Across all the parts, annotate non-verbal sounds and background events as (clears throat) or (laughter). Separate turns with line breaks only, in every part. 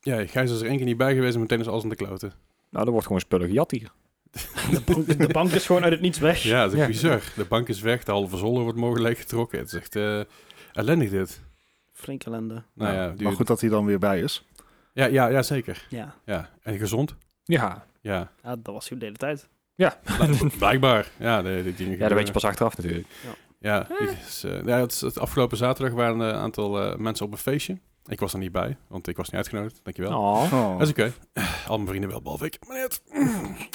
Ja, Gijs is er één keer niet bij geweest en meteen is alles in de kloten.
Nou, er wordt gewoon spullen gejat hier.
De bank, de bank is gewoon uit het niets
(laughs)
weg.
Ja, dat is
Ja.
bizar. De bank is weg, de halve zolder wordt mogelijk getrokken. Het is echt eh, ellendig dit.
Flink ellende.
Nou ja,
maar
duur.
goed dat hij dan weer bij is.
Ja, ja, ja, zeker.
Ja.
Ja. En gezond?
Ja.
(laughs) Ja,
ja, dat was hij de hele tijd.
blijkbaar. Ja, de, die dingen
ja, dat weet je
gebeuren.
pas achteraf natuurlijk. Ah.
Ja, ik- is, eh, ja het, is- het afgelopen zaterdag waren eh, een aantal eh, mensen op een feestje. Ik was er niet bij, want ik was niet uitgenodigd. Dankjewel.
Oh.
Oh.
Dat is oké. eh, Al mijn vrienden wel, behalve ik. Maar, net.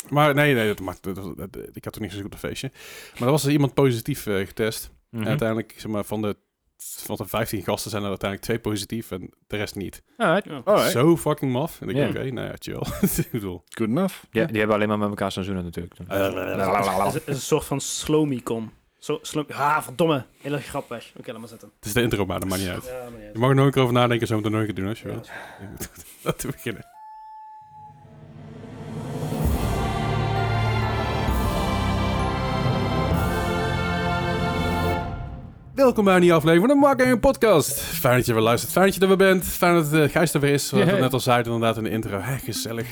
maar nee, nee dat maakt, dat- dat- dat- ik had toch niet zo goed een feestje. Maar er was er iemand positief eh, getest.
Mhm.
En uiteindelijk, zeg maar, van de, van de 15 gasten zijn er uiteindelijk twee positief en de rest niet.
Alright.
Ja.
All right.
Zo fucking maf. En ik
Oh, Ja.
denk, oké, nou ja, chill. (laughs) ik bedoel,
Good enough. Ah,
Ja, die hebben alleen maar met elkaar seizoenen natuurlijk.
Eh,
Het is, het is een soort van slomicon. Zo, slom ah, verdomme. Hele grap weg. Oké, laat maar zitten.
het is de intro, maar dat maakt niet uit.
Ja, maar ja.
Je mag er nog een keer over nadenken, zo meteen nog een keer doen als je
Ja,
wil.
dat is waar.
(laughs) Laten we beginnen. Welkom bij een nieuwe aflevering van de Mark Gaming Podcast. Fijn dat je weer luistert, fijn dat je er weer bent. Fijn dat eh, Gijs er weer is, zoals we
Yeah.
net al zeiden inderdaad in de intro. Hé, gezellig.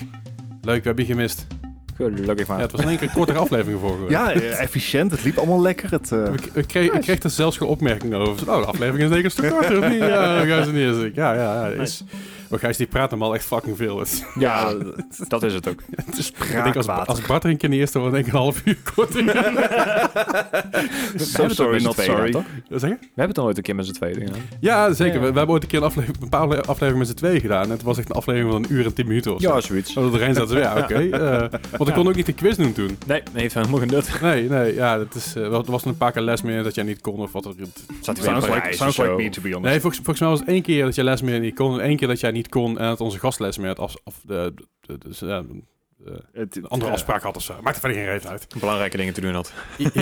Leuk, we hebben je gemist.
Gelukkig
Ja,
maar.
het was in één keer een kortere aflevering vorige week.
Ja, eh, efficiënt. Het liep allemaal lekker. Het, eh,
Ik, ik, kreeg, ik kreeg er zelfs geen opmerkingen over. Nou, de aflevering is zeker een stuk korter, of niet? Ja, Gijs en die is- Ja, ja, ja. Is. Maar Gijs, die praat hem al echt fucking veel. Het is-
Ja, dat is
(laughs)
het ook.
het is
Ik denk als,
praatwater.
als Bart er een keer niet is, dan wordt het denk ik een half uur korter.
So sorry, not sorry.
Wat zeg je?
We hebben het dan ooit een keer met z'n tweeën gedaan.
Ja, zeker.
Ja.
We, we hebben ooit een keer een, aflevering, een paar afle- afleveringen met z'n tweeën gedaan. En het was echt een aflevering van een uur en tien minuten of zo.
Ja, zoiets.
Omdat er één zat, zo, ja, oké. eh, want ik kon ook niet de quiz doen toen.
Nee, heeft helemaal geen nut.
Nee, nee, ja, dat is, eh, wel- er was een paar keer les meer dat jij niet kon of wat er...
Zat hij
Sounds like, sounds like me, to be honest.
Nee, volgens, volgens mij was het één keer dat jij les meer niet kon en één keer dat jij niet kon en dat onze gastles meer het af, of de, de, de- de- eh, eh,
Het-
een andere
eh,
afspraak had of zo. Maakt er verder geen reet uit.
Belangrijke dingen te doen had.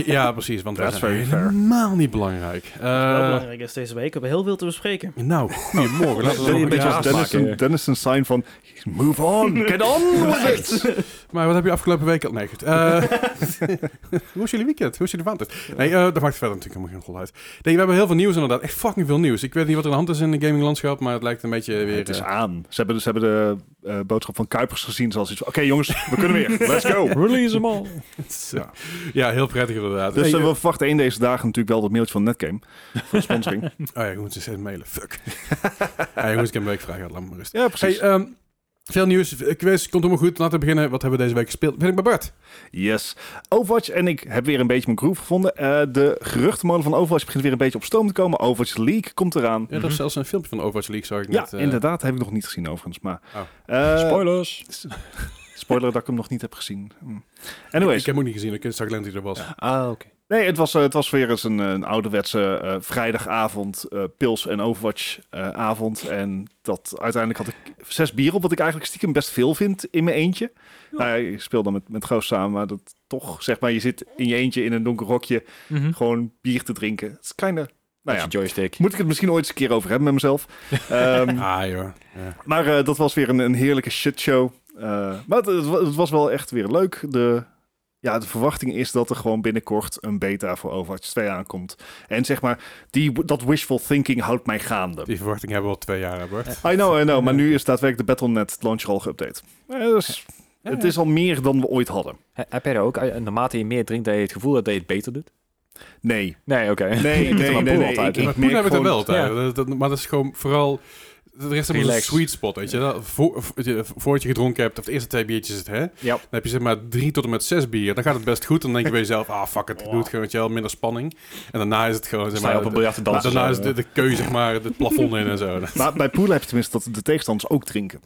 ja, precies, want dat
That's
is
very fair.
helemaal niet belangrijk.
Wel
Eh,
belangrijk is deze week. We hebben heel veel te bespreken.
Nou, goedemorgen. Laten we
Een
nog
beetje
een
als
jaar
Dennis,
maken.
een, Dennis een sign van... Move (laughs) on, get on with it.
Maar wat heb je afgelopen week al? Nee, goed.
(laughs)
Eh, (laughs) hoe is jullie weekend? Hoe is jullie maand? Nee, eh, dat maakt verder natuurlijk helemaal geen rol uit. Nee, we hebben heel veel nieuws inderdaad. Echt fucking veel nieuws. Ik weet niet wat er aan de hand is in het gaminglandschap, maar het lijkt een beetje weer...
het is
eh,
aan. Ze hebben, ze hebben de eh, boodschap van Kuipers gezien. Zoals iets van, oké jongens, we kunnen (laughs) weer. Let's go.
(laughs) Release hem al.
het is, eh, (laughs) ja, heel prettig inderdaad.
Dus
Hey,
eh,
eh,
we verwachten één deze dagen natuurlijk wel dat mailtje van Netgame. Voor sponsoring.
Oh ja, ik moet ze mailen. Fuck. ja, jongens, ik heb een week vrij gehad. Laat me maar rusten.
(laughs) ja, precies.
Hey, ehm, veel nieuws. Eh, Quiz, komt helemaal goed. Laten we beginnen. Wat hebben we deze week gespeeld? Ben ik bij Bart?
eh, Yes. Overwatch en ik heb weer een beetje mijn groove gevonden. Eh, de geruchtenmolen van Overwatch begint weer een beetje op stoom te komen. Overwatch League komt eraan.
Ja, dat is zelfs een filmpje van Overwatch League, zag ik
Mhm. Ja,
net. eh,
inderdaad. Heb ik nog niet gezien overigens. Maar,
Oh.
eh,
Spoilers.
spoiler dat ik hem nog niet heb gezien. Hm. Anyways.
Ik heb hem ook niet gezien. Ik zag alleen dat hij er was.
Ah, oké.
Nee, het was, eh, het was weer eens een, eh, een ouderwetse eh, vrijdagavond, eh, pils- en Overwatch-avond. en dat, uiteindelijk had ik zes bier op, wat ik eigenlijk stiekem best veel vind in mijn eentje. Nou ja, ik speel dan met, met Goos samen, maar dat toch, zeg maar, je zit in je eentje in een donker rokje gewoon bier te drinken. Het is kleine, nou ja,
Mhm. joystick.
moet ik het misschien ooit eens een keer over hebben met mezelf.
(laughs)
Ehm,
Ah, joh. Ja.
maar eh, dat was weer een, een heerlijke shitshow. Eh, maar het, het wa- het was wel echt weer leuk. De, ja, de verwachting is dat er gewoon binnenkort een beta voor Overwatch 2 aankomt. En zeg maar, die, dat wishful thinking houdt mij gaande.
Die verwachting hebben we al twee jaar, hè, Bart.
I know, I know. Maar nu is daadwerkelijk de Battle.net launcher al geüpdate. Eh, dus het is al meer dan we ooit hadden.
Heb jij dat ook? Eh, Naarmate je meer drinkt, dat je het gevoel hebt dat je het beter doet?
Nee.
Nee, (laughs) oké.
Nee, nee, nee. nee, Ik,
Ja,
ik
maar Poen
merk
hebben het nou wel
gewoon...
altijd. Dat- dat- Maar dat is gewoon vooral... Er is een
Relax.
sweet spot, weet je. Dat, voor, weet je, voordat je gedronken hebt, of de eerste twee biertjes, het, hè, dan
Ja.
heb je zeg maar drie tot en met zes bier. Dan gaat het best goed. Dan
(laughs)
denk je bij jezelf, ah fuck it, ik doe het gewoon, weet je wel, minder spanning. En daarna is het gewoon, zeg
Sta je
maar...
op een
de-
biljart te dansen? eh,
daarna is
zo,
de, de keuze, zeg maar, het plafond in en zo. (laughs)
Maar bij Poel heb je tenminste dat de tegenstanders ook drinken.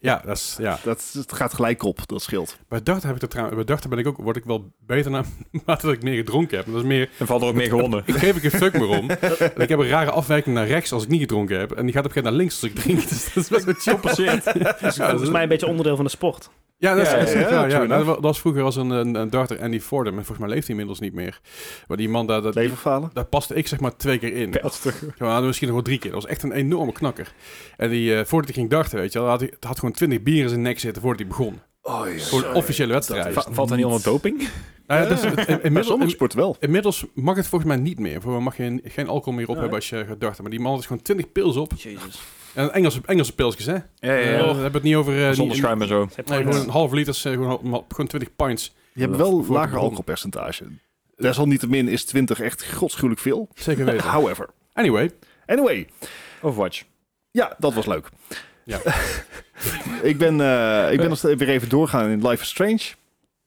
Ja, dat is, ja.
Dat, is- het gaat gelijk op, dat scheelt.
Bij darten heb ik dat trouwens... Bij darten ben ik ook, word ik wel beter (laughs) naarmate dat ik meer gedronken heb. Maar Dat is meer...
Dan valt er ook meer (laughs) gewonnen.
Ik geef ik een fuck meer om. En ik heb een rare afwijking naar rechts als ik niet gedronken heb. En die gaat op een gegeven moment naar links als ik drink. (laughs) Dus dat is best wel chopper shit. Ja, dat is-
Volgens mij een beetje onderdeel van de sport.
Ja, dat is,
Ja,
dat is-
ja,
ja,
ja,
ja. Nou,
true
Dat, was, dat was vroeger als een, een, een darter Andy Fordham. En volgens mij leeft hij inmiddels niet meer. Maar die man, daar, dat, die-
Leverfalen?
daar paste ik zeg maar twee keer in.
Pijlstuk.
Ja, maar misschien nog wel drie keer. Dat was echt een enorme knakker. En die, eh, voordat hij ging darten, weet je wel, had hij het had gewoon twintig bieren in zijn nek zitten voordat hij begon.
Oh, ja.
Voor een officiële wedstrijd.
Va- Valt dat niet onder doping?
Nou ja, dat is- in- in-
Bij
inmiddels,
sommige
in-
sporten wel.
inmiddels mag het volgens mij niet meer. Voor mij mag je geen alcohol meer op hebben als je gaat darten. Maar die man had gewoon dus twintig pils op.
Jezus.
En Engelse, Engelse pilsjes, hè?
Ja, ja,
Eh,
ja.
we hebben het niet over... eh,
Zonder
niet-
schuim en zo.
Zij
Nee,
pint.
gewoon een half liter, gewoon, gewoon 20 pints.
Je hebt wel
voor-
lager alcoholpercentage. Desalniettemin is 20 echt godschuwelijk veel. (laughs)
Zeker weten.
However.
Anyway,
Anyway,
Overwatch.
ja, dat was leuk.
Ja.
(laughs) ik ben, eh, ik ben nog steeds weer even doorgaan in Life is Strange.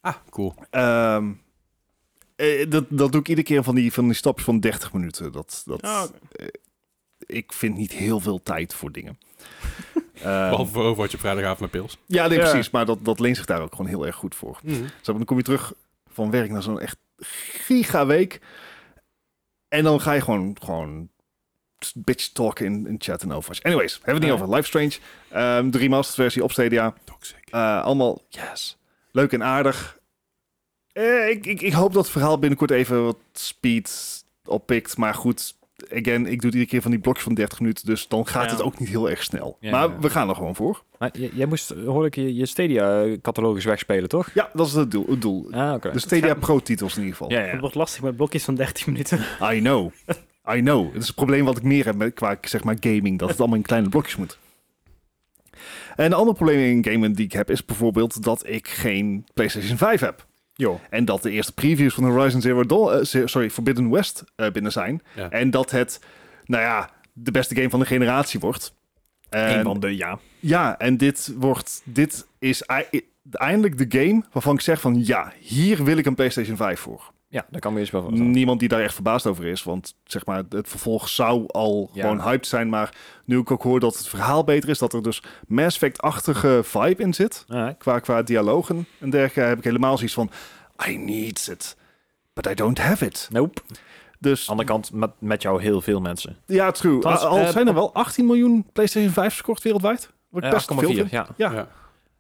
ah, cool.
Ehm, eh, dat, dat doe ik iedere keer van die, van die stapjes van 30 minuten. Dat, dat,
Ah, oké.
Ik vind niet heel veel tijd voor dingen. Ehm
Behalve voor Overwatch op vrijdagavond met pils.
ja, nee,
Ja.
precies. Maar dat, dat leent zich daar ook gewoon heel erg goed voor. Zo, dan kom je terug van werk naar zo'n echt gigaweek. En dan ga je gewoon, gewoon bitch talken in, in chat en Overwatch. Anyways, hebben we het niet
Ja.
over. Life Strange, ehm de remastered versie op Stadia.
Toxic.
Eh, allemaal yes. leuk en aardig. Eh, ik, ik, ik hoop dat het verhaal binnenkort even wat speed oppikt. Maar goed, again, ik doe het iedere keer van die blokjes van 30 minuten. Dus dan gaat
Ja.
het ook niet heel erg snel.
Ja,
maar
ja.
we gaan er gewoon voor.
Maar j- jij moest, hoor ik, je, je Stadia-catalogus wegspelen, toch?
Ja, dat is het doel. Het doel.
Ah, oké.
De Stadia Pro-titels in ieder geval.
ja,
Het
ja.
wordt lastig met blokjes van 13 minuten.
I know. I know. Het is het probleem wat ik meer heb met, qua zeg maar, gaming. Dat het allemaal in kleine blokjes moet. En een ander probleem in gaming die ik heb is bijvoorbeeld dat ik geen PlayStation 5 heb.
Jo.
En dat de eerste previews van Horizon Zero Dawn, eh, ze- sorry, Forbidden West eh, binnen zijn.
Ja.
En dat het, nou ja, de beste game van de generatie wordt. En-
Een van de, ja.
ja, en dit wordt, dit is ei- eindelijk de game waarvan ik zeg van ja, hier wil ik een PlayStation 5 voor.
Ja, daar kan me eens wel van.
Niemand die daar echt verbaasd over is. Want zeg maar, het vervolg zou al
Ja.
gewoon hyped zijn. Maar nu ik ook hoor dat het verhaal beter is, dat er dus Mass Effect-achtige vibe in zit.
Alright.
Qua, qua dialogen en dergelijke heb ik helemaal zoiets van... I need it, but I don't have it.
Nope.
Dus
Aan de kant met, met jou heel veel mensen.
ja, true.
Trouwens,
al
eh,
zijn er wel 18 miljoen PlayStation 5 verkocht wereldwijd. Wat ik
Eh,
best veel
8,4,
vind.
ja.
Ja.
Ja.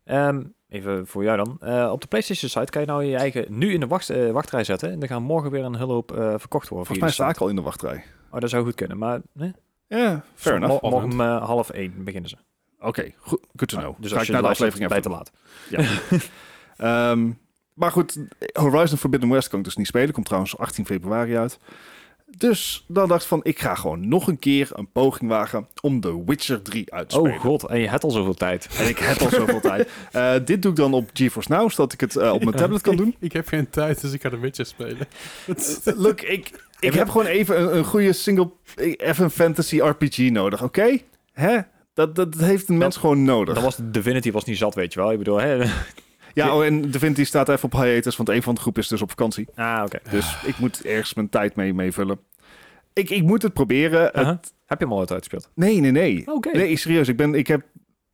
Ehm, even voor jou dan. Eh, op de PlayStation site kan je nou je eigen nu in de wacht, eh, wachtrij zetten. En dan gaan morgen weer een hele hoop eh, verkocht worden.
Volgens
via
mij
de
sta ik
site.
al in de wachtrij.
Oh, dat zou goed kunnen. Maar eh,
Ja, fair enough.
mor- morgen om eh, half één beginnen ze.
Oké, goed. Good to know.
Dus
Ga
als
ik
je
naar de
luistert,
aflevering
bij
even
te laat.
Ehm, maar goed, Horizon Forbidden West kan ik dus niet spelen. Komt trouwens 18 februari uit. Dus dan dacht ik van, ik ga gewoon nog een keer een poging wagen om The Witcher 3 uit te spelen.
Oh god, en je hebt al zoveel tijd.
En ik heb al zoveel
(laughs)
tijd. Eh, dit doe ik dan op GeForce Now, zodat ik het eh, op mijn tablet kan
(laughs)
doen.
Ik heb geen tijd, dus ik ga de Witcher spelen.
Look, ik, ik heb gewoon even een, een goede single, eh, even een fantasy RPG nodig, oké? Hè? Dat, dat, dat heeft een mens gewoon nodig.
Dat was, Divinity was niet zat, weet je wel. Ik bedoel,
(laughs)
hè?
Ja, oh, en Divinity staat even op hiatus, want een van de groep is dus op vakantie.
Ah, oké.
Dus ik moet ergens mijn tijd mee, mee vullen. Ik, ik moet het proberen. Het-
Uh-huh. Heb je hem al ooit uitgespeeld?
nee, nee, nee.
Oké.
Nee, ik- serieus. Ik ben, ik heb,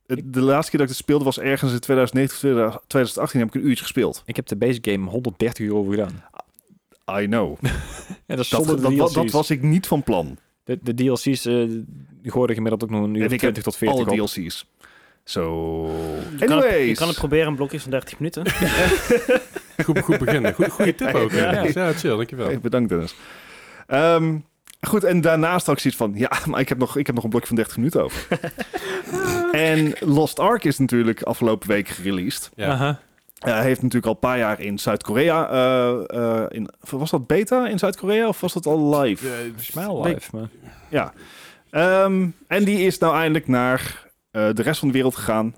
het- de laatste keer dat ik het speelde was ergens in 2019 2018. Heb ik een uurtje gespeeld.
Ik heb de base game 130 uur over gedaan.
I know.
En dat is
Dat,
zonder
dat,
de
dat,
DLC's.
dat was ik niet van plan.
De, de DLC's eh, die gooiden gemiddeld ook nog een uur
En
of
ik
20 tot
heb
40
alle
op.
DLC's. Zo.
Je kan, het, je
Anyways.
kan het proberen in blokjes van 13 minuten.
Goed, goed beginnen. Goed, goede tip ook.
Ja.
Ja, ja. chill, dankjewel.
Hey, bedankt Dennis. Ehm, goed, en daarnaast had ik zoiets van... Ja, (laughs) maar ik heb nog, ik heb nog een blokje van 30 minuten over. en Lost Ark is natuurlijk afgelopen week gereleased.
Ja.
Aha.
Eh, Hij heeft natuurlijk al een paar jaar in Zuid-Korea. eh, eh, in- was dat beta in Zuid-Korea of was dat al live?
Eh,
Volgens mij al live, maar...
Ehm, en die is nou eindelijk naar eh, de rest van de wereld gegaan.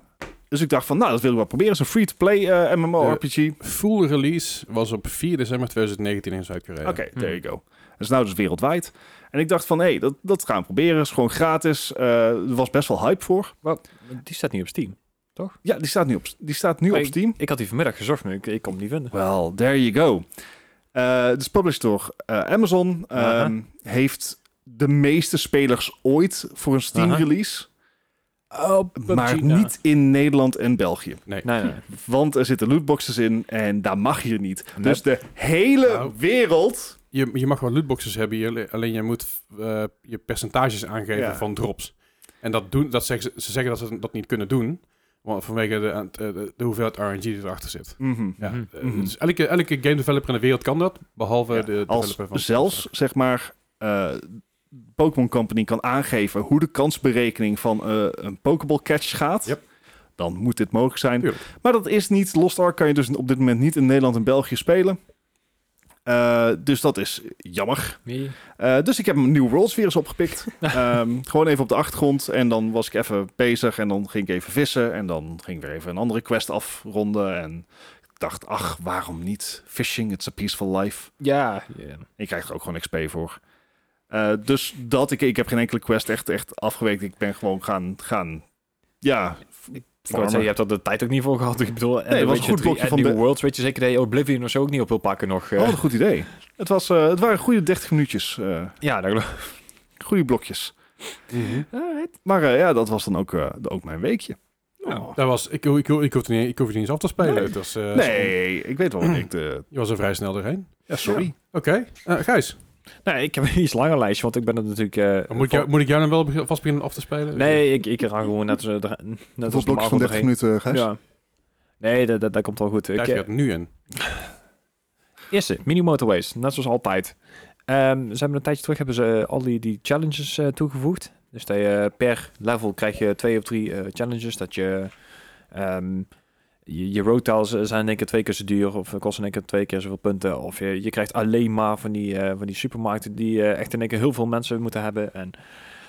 Dus ik dacht van, nou, dat wil ik wel proberen. Het is een free-to-play eh, MMORPG. Oké,
full release was op 4 december 2019 in Zuid-Korea.
there you go. Dat is nou dus wereldwijd. En ik dacht van, hé, dat, dat gaan we proberen. Het is gewoon gratis. Eh, er was best wel hype voor.
Die staat niet op Steam.
Ja, die staat nu op, die staat nu
Hey.
op Steam.
Ik had die vanmiddag gezocht, maar ik, ik kon hem niet vinden.
Well, there you go. Eh, dus published door eh, Amazon. ehm,
Aha.
Heeft de meeste spelers ooit voor een
Aha.
Steam-release.
Oh,
Maar niet in Nederland en België.
Nee,
(laughs)
nee.
Want er zitten lootboxes in en daar mag je niet.
Nee.
Dus de hele
Nou.
wereld...
Je, je mag wel lootboxes hebben, je- alleen je moet eh, je percentages aangeven
Ja. van
van drops. En dat doen, dat zeggen, ze- ze zeggen dat ze dat niet kunnen doen, want vanwege de, eh, de, de hoeveelheid RNG die erachter zit. Ja.
Mhm.
eh,
Mhm.
Dus elke, elke game developer in de wereld kan dat, behalve
Ja,
eh, de developer
als
van...
zelfs, zeg maar... eh, Pokémon Company kan aangeven hoe de kansberekening van eh, een Pokéball catch gaat.
Yep.
Dan moet dit mogelijk zijn.
Tuurlijk.
Maar dat is niet. Lost Ark kan je dus op dit moment niet in Nederland en België spelen. Eh, dus dat is jammer.
(laughs) Nee.
Eh, dus ik heb mijn New Worlds weer eens
(laughs)
opgepikt. Ehm, gewoon even op de achtergrond. En dan was ik even bezig. En dan ging ik even vissen. En dan ging ik weer even een andere quest afronden. En ik dacht, ach, waarom niet? Fishing, it's a peaceful life.
Ja. ja.
Ik krijg er ook gewoon XP voor. Eh, dus dat, ik, ik heb geen enkele quest echt, echt afgeweekt. Ik ben gewoon gaan, gaan ja...
Ik wou zeggen, je hebt er de tijd ook niet voor gehad. Ik bedoel, en
Nee, het
weet
was een
je,
goed
drie-
blokje
en
van
New
de-
Worlds, weet je zeker dat je Oblivion of zo ook niet op wil pakken nog. eh.
Oh, wat een goed idee. Het, was, eh, het waren goede 30 minuutjes. eh,
Ja, dat geloof ik.
goede blokjes. Maar eh, ja, dat was dan ook, eh, ook mijn weekje. Oh.
Nou, dat was, ik, ik, ik, hoef niet, ik hoef het niet eens af te spelen.
Nee.
Het was, eh,
Nee, ik weet wel wat ik... de
(clears throat)
Je was er vrij snel doorheen.
ja, sorry.
Oké, Eh, Gijs,
Nee, ik heb een iets langer lijstje, want ik ben er natuurlijk... eh,
moet, ik jou,
voor-
moet ik jou dan wel beg- vast beginnen af te spelen?
Nee, ik, ik raak gewoon net, zo- dra- net
Hoeveel
als normaal
blokjes van 30
doorheen.
minuten, Gijs?
Ja. Nee, dat, dat, dat komt wel goed. Ik,
Tijd
eh,
gaat nu in.
Eerste, mini motorways, net zoals altijd. Ehm, ze hebben een tijdje terug hebben ze eh, al die, die challenges eh, toegevoegd. Dus dat je per level krijg je twee of drie eh, challenges. Dat je, ehm, je, je road tiles eh, zijn in één keer twee keer zo duur of kosten in één keer twee keer zoveel punten. Of je, je krijgt alleen maar van die, eh, van die supermarkten die eh, echt in één keer heel veel mensen moeten hebben. En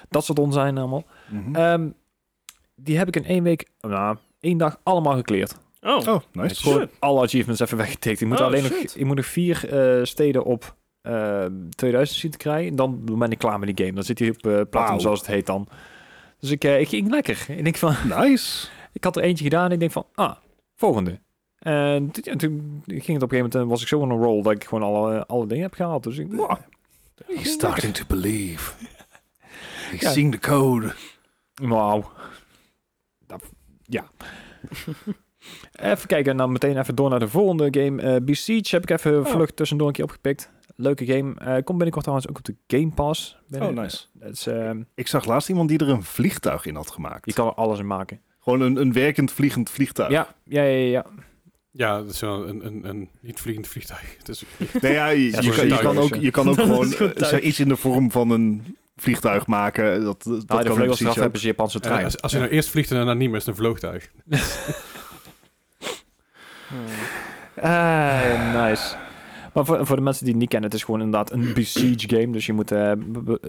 dat soort onzin allemaal.
Mhm.
Ehm, die heb ik in één week, nou, één dag allemaal gekleerd.
Oh,
Oh,
Ik
nice.
heb gewoon alle achievements even weggetikt. Ik moet
Oh,
alleen nog,
shit.
ik moet nog vier eh, steden op eh, 2000 zien te krijgen. Dan ben ik klaar met die game. Dan zit hij op eh platinum,
Wauw.
zoals het heet dan. Dus ik, eh, ik ging lekker. Ik, denk van,
Nice.
ik had er eentje gedaan en ik denk van, ah, volgende. En toen, en toen ging het op een gegeven moment, en was ik zo on een roll dat ik gewoon alle, eh, alle dingen heb gehaald. Dus ik, wow.
He's starting to believe.
(laughs)
He's
Ja.
seeing the code.
Wauw. Dat- Ja. even kijken en dan meteen even door naar de volgende game. Eh Besiege heb ik even vlug tussendoor een keer opgepikt. Leuke game. Eh komt binnenkort trouwens ook op de Game Pass.
Oh,
binnen.
nice.
Dat is, ehm,
Ik zag laatst iemand die er een vliegtuig in had gemaakt.
je kan er alles in maken.
Gewoon een, een werkend vliegend vliegtuig.
Ja, ja, ja, ja.
Ja, dat is wel een, een, een niet vliegend vliegtuig. Het is-
Nee, ja, je,
Ja,
je
zo'n
kan, je,
vliegtuig
kan
is,
ook,
ja.
je kan ook
Dat is
gewoon
goed
eh,
thuis.
iets in de vorm van een vliegtuig maken. eh, Dat, dat
Ah, de
kan
vleugels eraf
precies ook.
hebben ze Japanse
eh,
trein.
als, als je nou eerst vliegt en daarna niet meer, is het een vliegtuig.
Hmm.
Ah, nice. Maar voor, voor de mensen die het niet kennen, het is gewoon inderdaad een besiege game. Dus je moet eh, b- b-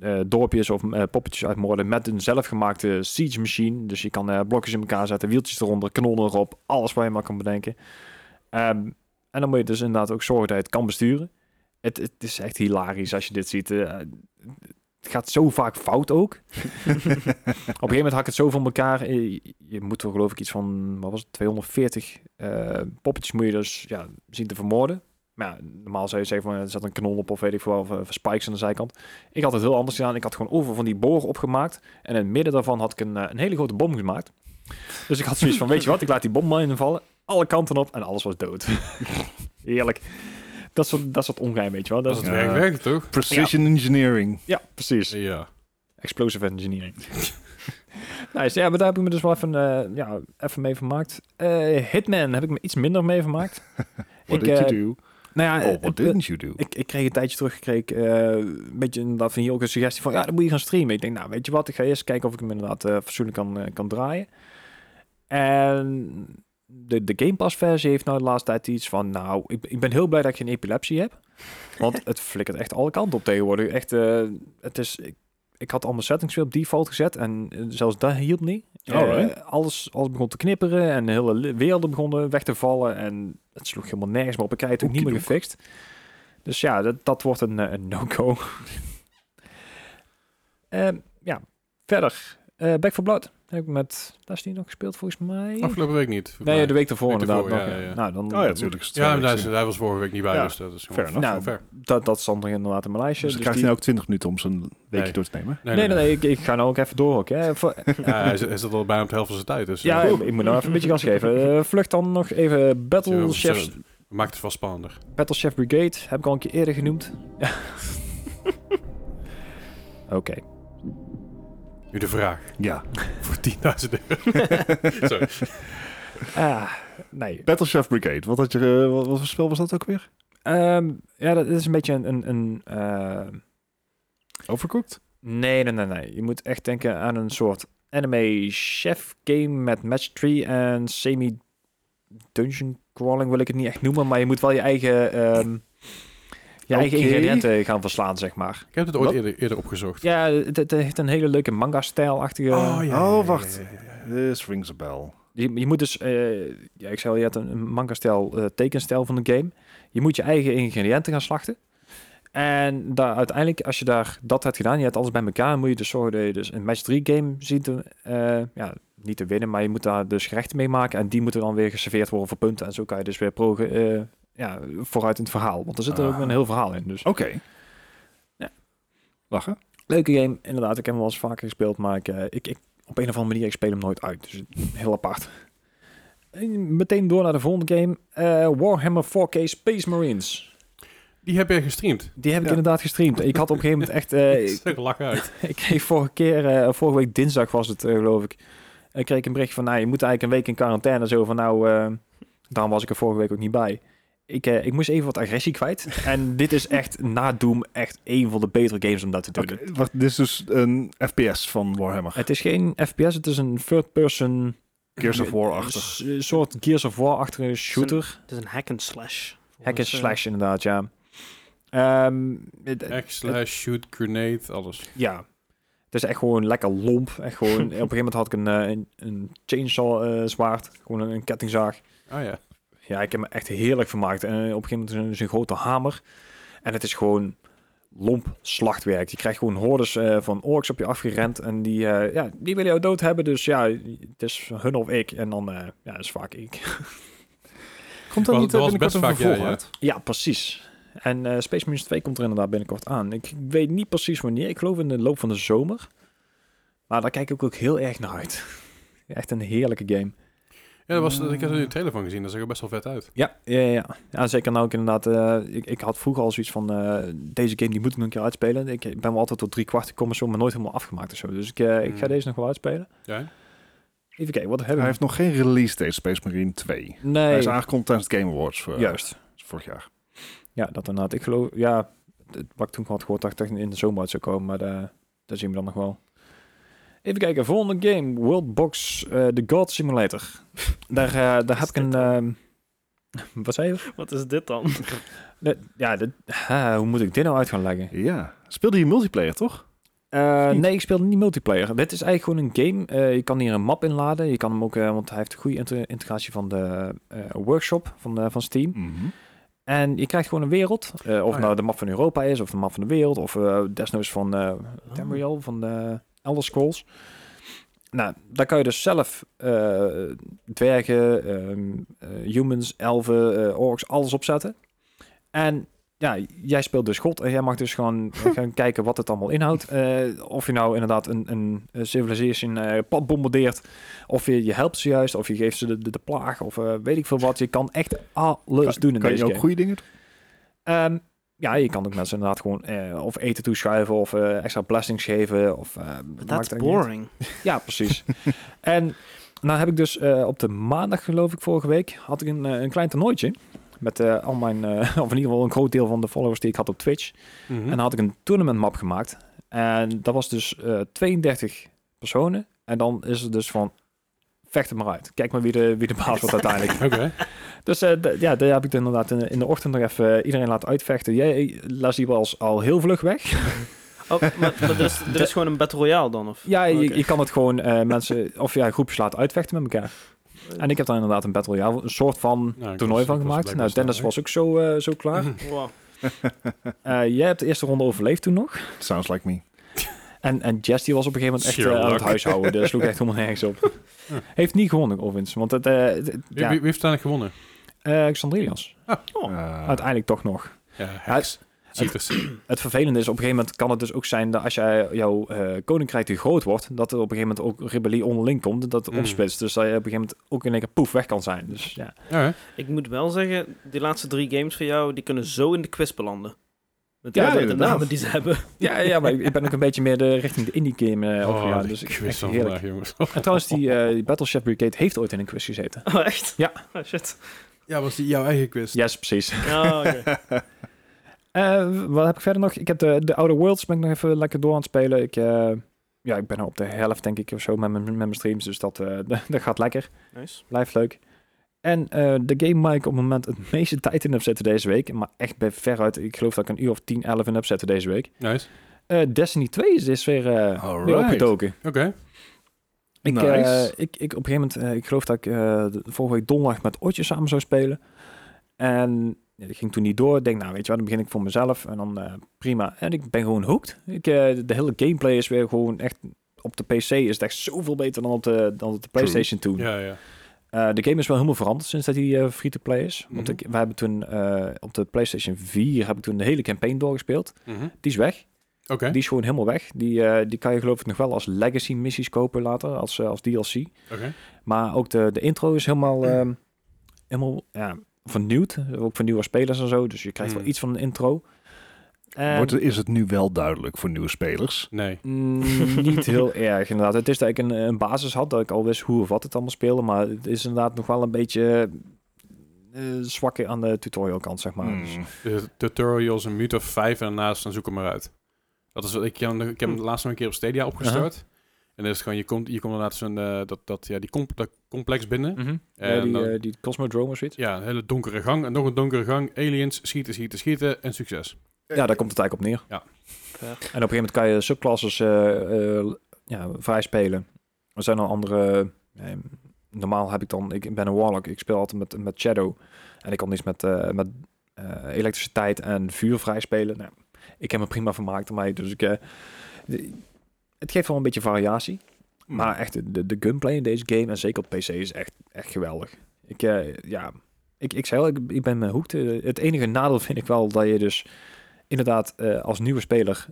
eh, dorpjes of eh, poppetjes uitmoorden met een zelfgemaakte siege machine. Dus je kan eh, blokjes in elkaar zetten, wieltjes eronder, kanonnen erop, alles wat je maar kan bedenken. Ehm, en dan moet je dus inderdaad ook zorgen dat je het kan besturen. Het, het is echt hilarisch als je dit ziet. eh, het gaat zo vaak fout ook. (laughs) Op een gegeven moment hak het zo van elkaar. eh, Je, je moet er geloof ik iets van, wat was het, 240 eh, poppetjes moet je dus ja, zien te vermoorden. Maar ja, normaal zou je zeggen van eh, er zat een kanon op of weet ik veel, of, eh, of spikes aan de zijkant. Ik had het heel anders gedaan. Ik had gewoon over van die boren opgemaakt. En in het midden daarvan had ik een, eh, een hele grote bom gemaakt. Dus ik had zoiets van, weet je wat, ik laat die bom maar invallen. Alle kanten op en alles was dood. (laughs) Heerlijk. Dat soort, dat soort ongeheim, weet je wel. Dat
Als
is eh,
het
Ja.
werkt, werkt het toch?
Precision engineering.
ja, precies.
Ja.
Explosive engineering. (laughs) nice, ja, maar daar heb ik me dus wel even, eh, ja, even mee vermaakt. Eh, Hitman heb ik me iets minder mee vermaakt.
What
Ik,
did
eh,
you do?
nou ja,
Oh, what
het-
didn't you do?
ik, ik kreeg een tijdje terug, kreeg ik, eh, een beetje inderdaad van hier ook een suggestie van, ja, dan moet je gaan streamen. Ik denk, nou, weet je wat, ik ga eerst kijken of ik hem inderdaad eh fatsoenlijk kan, eh, kan draaien. En de, de Game Pass versie heeft nou de laatste tijd iets van, nou, ik, ik ben heel blij dat ik geen epilepsie heb. Want het flikkert echt alle kanten op tegenwoordig. Echt, eh, het is, ik, ik had al mijn settings weer op default gezet en eh, zelfs dat hielp niet.
Alright.
Eh, alles, alles begon te knipperen en de hele le- werelden begonnen weg te vallen en het sloeg helemaal nergens meer op. Ik krijg het ook niet meer gefixt. Dus ja, dat, dat wordt een, eh, een no-go. (laughs) Ehm, ja, verder. Eh Back for Blood. Heb ik met Destiny nog gespeeld, volgens mij.
Afgelopen week niet. volgens
nee,
Oh, mij.
de week daarvoor
Week
inderdaad.
ervoor,
nog,
ja,
eh.
ja.
Nou, dan,
Oh ja, natuurlijk. is het
Ja,
twee
daar, is,
weken.
hij was vorige week niet bij,
Ja.
dus dat is gewoon
Fair enough.
gewoon
Nou,
fair.
dat, dat stond er inderdaad in mijn lijstje.
Dus dan
dus
krijgt
die-
hij ook 20 minuten om zijn weekje
Nee.
door te nemen.
Nee, nee, nee, ik, ik ga nou ook even door. Ook, hè. Voor-
Ja, hij, zit, hij zit al bijna op de helft van zijn tijd, dus
ja,
eh,
ik, ik moet nou even een beetje gas geven. Eh, vlucht dan nog even
Zullen
Battle
we-
Chefs
zullen we- maakt het wel spannender.
Battle Chef Brigade heb ik al een keer eerder genoemd. Oké.
Nu de vraag.
Ja.
Voor 10.000
(laughs)
euro. Sorry.
Ah, nee.
Battle Chef Brigade. Wat, had je, eh, wat, wat voor spel was dat ook weer?
Ehm, ja, dat is een beetje een... een, een eh,
Overcooked?
nee, nee, nee, nee. Je moet echt denken aan een soort anime chef game met match 3 en semi-dungeon crawling wil ik het niet echt noemen. Maar je moet wel je eigen... ehm, Je eigen
Oké.
ingrediënten gaan verslaan, zeg maar.
Ik heb het ooit
Wat?
eerder, eerder opgezocht.
Ja, het, het heeft een hele leuke manga-stijlachtige...
Oh, wacht. This rings a Eh, bell.
Je, je moet dus, eh, ja, ik zei al, je hebt een- een manga-stijl, eh, tekenstijl van de game. Je moet je eigen ingrediënten gaan slachten. En daar, uiteindelijk, als je daar dat hebt gedaan, je hebt alles bij elkaar, moet je dus zorgen dat je dus een match 3 game ziet te, eh, ja, niet te winnen, maar je moet daar dus gerechten mee maken. En die moeten dan weer geserveerd worden voor punten. En zo kan je dus weer pro, eh, ja, vooruit in het verhaal. Want er zit er ook
Ah.
een heel verhaal in. Dus.
Oké.
Ja.
Lachen.
Leuke game, inderdaad. Ik heb hem wel eens vaker gespeeld, maar ik, eh, ik, ik, op een of andere manier, ik speel hem nooit uit. Dus heel apart. En meteen door naar de volgende game. eh, Warhammer 4K Space Marines.
Die heb jij gestreamd.
Die heb ik
Ja.
inderdaad gestreamd. Ik had op een gegeven moment echt... eh, ik,
Zeg lach
(laughs)
uit.
ik kreeg vorige keer, eh, vorige week dinsdag was het eh, geloof ik, ik kreeg ik een bericht van, nou, je moet eigenlijk een week in quarantaine. Zo van, nou, eh, daarom was ik er vorige week ook niet bij. Ik, eh, ik moest even wat agressie kwijt. en dit is echt, na Doom, echt een van de betere games om dat te doen.
Oké, wacht, dit is dus een FPS van Warhammer.
Het is geen FPS, het is een third-person
Gears of War-achtig.
s- soort Gears of War-achtige shooter.
Het is een hack and slash.
Hack and
Dus, eh,
slash inderdaad, ja. Ehm, het- het-
Hack, slash, shoot, grenade, alles.
ja. Het is echt gewoon lekker lomp. Echt gewoon, op een gegeven moment had ik een, eh, een, een chainsaw eh, zwaard, gewoon een, een kettingzaag.
Ah ja.
Ja, ik heb me echt heerlijk vermaakt. En eh, op een gegeven moment is er een- is een grote hamer. En het is gewoon lomp slachtwerk. Je krijgt gewoon hordes eh, van orks op je afgerend. En die, eh, ja, die willen jou dood hebben. Dus ja, het is hun of ik. En dan eh, ja, dat is vaak ik.
Komt
Dat-
dat niet
dat was
binnenkort
best
een
vaak, ja,
vervolg
ja.
uit?
Ja, precies. En eh, Space Marines 2 komt er inderdaad binnenkort aan. Ik weet niet precies wanneer. Ik geloof in de loop van de zomer. Maar daar kijk ik ook heel erg naar uit. (laughs) Echt een heerlijke game.
Ja, dat was, ik had een trailer van gezien. Dat zag er best wel vet uit.
Ja, ja, ja. ja zeker nou ook inderdaad. eh, ik, ik had vroeger al zoiets van, eh, deze game die moet ik nog een keer uitspelen. Ik ben wel altijd tot drie kwart gekomen, zo, maar nooit helemaal afgemaakt of zo. Dus ik, eh, ik ga
Mm.
deze nog wel uitspelen.
Ja?
Even kijken, wat
Hmm. Hij
hebben we?
heeft nog geen release date, Space Marine 2. Hij
Nee,
is aangekondigd tijdens het Game Awards eh, voor,
juist.
vorig jaar.
Ja, dat inderdaad. Ik geloof, ja, het- wat ik toen had gehoord, dacht ik dat in de zomer uit zou komen, maar eh dat zien we dan nog wel. Even kijken, volgende game, Worldbox, eh The God
(laughs)
Simulator. daar eh, daar heb ik een... ehm, (laughs) wat zei je?
Wat is dit dan?
Nee, ja, dit, ha, hoe moet ik dit nou uit gaan leggen?
Ja. Speelde je multiplayer, toch?
Eh,
Niet.
nee, ik speel niet multiplayer. Dit is eigenlijk gewoon een game. Eh, je kan hier een map inladen. Je kan hem ook, eh, want hij heeft een goede inter- integratie van de eh, workshop van, eh, van Steam.
Mhm.
En je krijgt gewoon een wereld. Eh, of
Oh,
ja.
nou de map van Europa is, of de map van de wereld, of eh, desnoods van eh
Oh.
Tamriel, van de Elder Scrolls. Nou, daar kan je dus zelf eh, dwergen, ehm, eh, humans, elfen, eh, orks, alles opzetten. En ja, jij speelt dus God en jij mag dus
(laughs)
gewoon gaan kijken wat het allemaal inhoudt. Eh, of je nou inderdaad een, een, een civilization eh, pad bombardeert, of je, je helpt ze juist, of je geeft ze de, de, de plaag, of eh, weet ik veel wat. Je kan echt alles doen in
Kan
deze
je ook
game.
goede dingen doen?
Ehm, ja, je kan ook mensen inderdaad gewoon eh, of eten toeschuiven of eh, extra blessings geven. Of, eh, maakt
That's
eigenlijk niet uit.
boring.
Ja,
(laughs)
precies. en nou heb ik dus eh, op de maandag, geloof ik, vorige week, had ik een, eh, een klein toernooitje. Met eh, al mijn, eh, (laughs) of in ieder geval een groot deel van de followers die ik had op Twitch.
Mhm.
En dan had ik een tournament map gemaakt. En dat was dus eh, 32 personen. En dan is het dus van, vecht er maar uit. Kijk maar wie de, wie de baas
(laughs)
wordt uiteindelijk.
Oké.
Dus eh, d- ja, daar heb ik dan inderdaad in, de- in de ochtend nog even eh, iedereen laten uitvechten. Jij las die was al heel vlug weg. (laughs)
Oh, maar, maar er, is, er is gewoon een Battle Royale dan? Of?
Ja, je,
Oké.
je kan het gewoon eh, mensen of ja, groepjes laten uitvechten met elkaar. En ik heb daar inderdaad een Battle Royale, een soort van
Nou, ik
toernooi
was-
van
ik was
gemaakt.
blijkbaar Mhm.
Nou, Dennis
snel,
was ook zo, eh, zo klaar.
Wow.
Eh, jij hebt de eerste ronde overleefd toen nog.
Sounds like me.
En, en Jess die was op een gegeven moment echt eh, aan het
Sherlock.
huishouden. Dus sloeg echt helemaal nergens
(laughs)
op. Heeft niet gewonnen, overigens. Want het, eh, het-
hè? Wie,
ja,
wie, wie heeft uiteindelijk gewonnen?
eh, Xandrilias.
Oh.
Eh,
Uiteindelijk toch nog.
Ja,
hacks.
cheaters.
Het vervelende is, op een gegeven moment kan het dus ook zijn dat als jij, jouw eh, koninkrijk te groot wordt, dat er op een gegeven moment ook rebellie onderling komt, dat het
Mm.
opsplitst. Dus dat je op een gegeven moment ook in één keer poef weg kan zijn. Dus ja.
Ja,
Ik moet wel zeggen, die laatste drie games van jou, die kunnen zo in de quiz belanden. Met
Ja,
de, de
inderdaad.
namen die ze hebben. (laughs)
Ja, (laughs) ja, maar ik ben ook een beetje meer de, richting de indie game
oh,
eh overgegaan.
die
Dus ik
quiz
echt
van
heerlijk.
vandaag, jongens.
En trouwens, die, eh die Battleship Brigade heeft ooit in een quiz gezeten.
Oh, echt?
Ja.
Oh, shit.
Ja, was die jouw eigen quiz?
Yes, precies.
Oh, oké.
Eh, wat heb ik verder nog? Ik heb de, de Outer Worlds ben ik nog even lekker door aan het spelen. Ik, eh, ja, ik ben (laughs) al op de helft, denk ik, of zo, met mijn met mijn streams. Dus dat, eh, dat gaat lekker.
Nice.
Blijft leuk. En eh, de game waar ik op het moment het (laughs) meeste tijd in heb zitten deze week, maar echt bij veruit, ik geloof dat ik een uur of 10, 11 in heb zitten deze week.
Nice.
Eh, Destiny 2 is dus weer, eh, weer
Alright.
opgetoken.
Oké.
Ik,
Nice.
eh, ik, ik op een gegeven moment, eh, ik geloof dat ik eh, de- vorige week donderdag met Otje samen zou spelen. En ja, dat ging toen niet door. Ik denk, nou weet je wat, dan begin ik voor mezelf. En dan eh, prima. En ik ben gewoon hooked. Ik, eh, de- de hele gameplay is weer gewoon echt... Op de PC is het echt zoveel beter dan op de, dan op de PlayStation toen.
Ja, ja.
Eh, de game is wel helemaal veranderd sinds dat die eh free-to-play is. Want
Mhm.
ik, wij hebben toen eh, op de PlayStation 4 heb ik toen de hele campaign doorgespeeld.
Mhm.
Die is weg.
Oké.
Die is gewoon helemaal weg. Die, eh, die kan je geloof ik nog wel als legacy missies kopen later, als, eh, als DLC.
Oké.
Maar ook de, de intro is helemaal, ehm, helemaal ja, vernieuwd. Ook voor nieuwe spelers en zo. Dus je krijgt
Mm.
wel iets van een intro. En-
Wordt, is het nu wel duidelijk voor nieuwe spelers?
Nee.
Mm, niet heel erg, inderdaad. Het is dat ik een, een basis had, dat ik al wist hoe of wat het allemaal speelde. Maar het is inderdaad nog wel een beetje eh, zwakker aan de tutorial kant, zeg maar.
Mm.
Dus-
Hmm.
De tutorials een minuut of vijf en daarnaast dan zoek hem maar uit. Dat is wat ik, ik heb ik heb hem laatst nog een keer op Stadia opgestart. En dan is het gewoon, je komt, je komt inderdaad zo'n, eh, dat, dat, ja, die comp- dat complex binnen.
Ja,
En
die,
Mhm. dan-
eh, die Cosmodrome of zoiets.
Ja, een hele donkere gang en nog een donkere gang. Aliens, schieten, schieten, schieten en succes.
Ja, daar komt het eigenlijk op neer.
Ja.
En op een gegeven moment kan je subclasses eh, eh, ja, vrij spelen. Er zijn al andere... eh, normaal heb ik dan... Ik ben een warlock. Ik speel altijd met, met shadow. En ik kan iets met, eh, met eh, elektriciteit en vuur vrij spelen. Nou, ik heb me prima vermaakt ermee. Dus ik... eh, de- het geeft wel een beetje variatie. Maar echt, de, de gunplay in deze game en zeker op PC is echt, echt geweldig. Ik, eh, ja, ik, ik zei al, ik, ik ben mijn hoek. Het enige nadeel vind ik wel dat je dus inderdaad eh, als nieuwe speler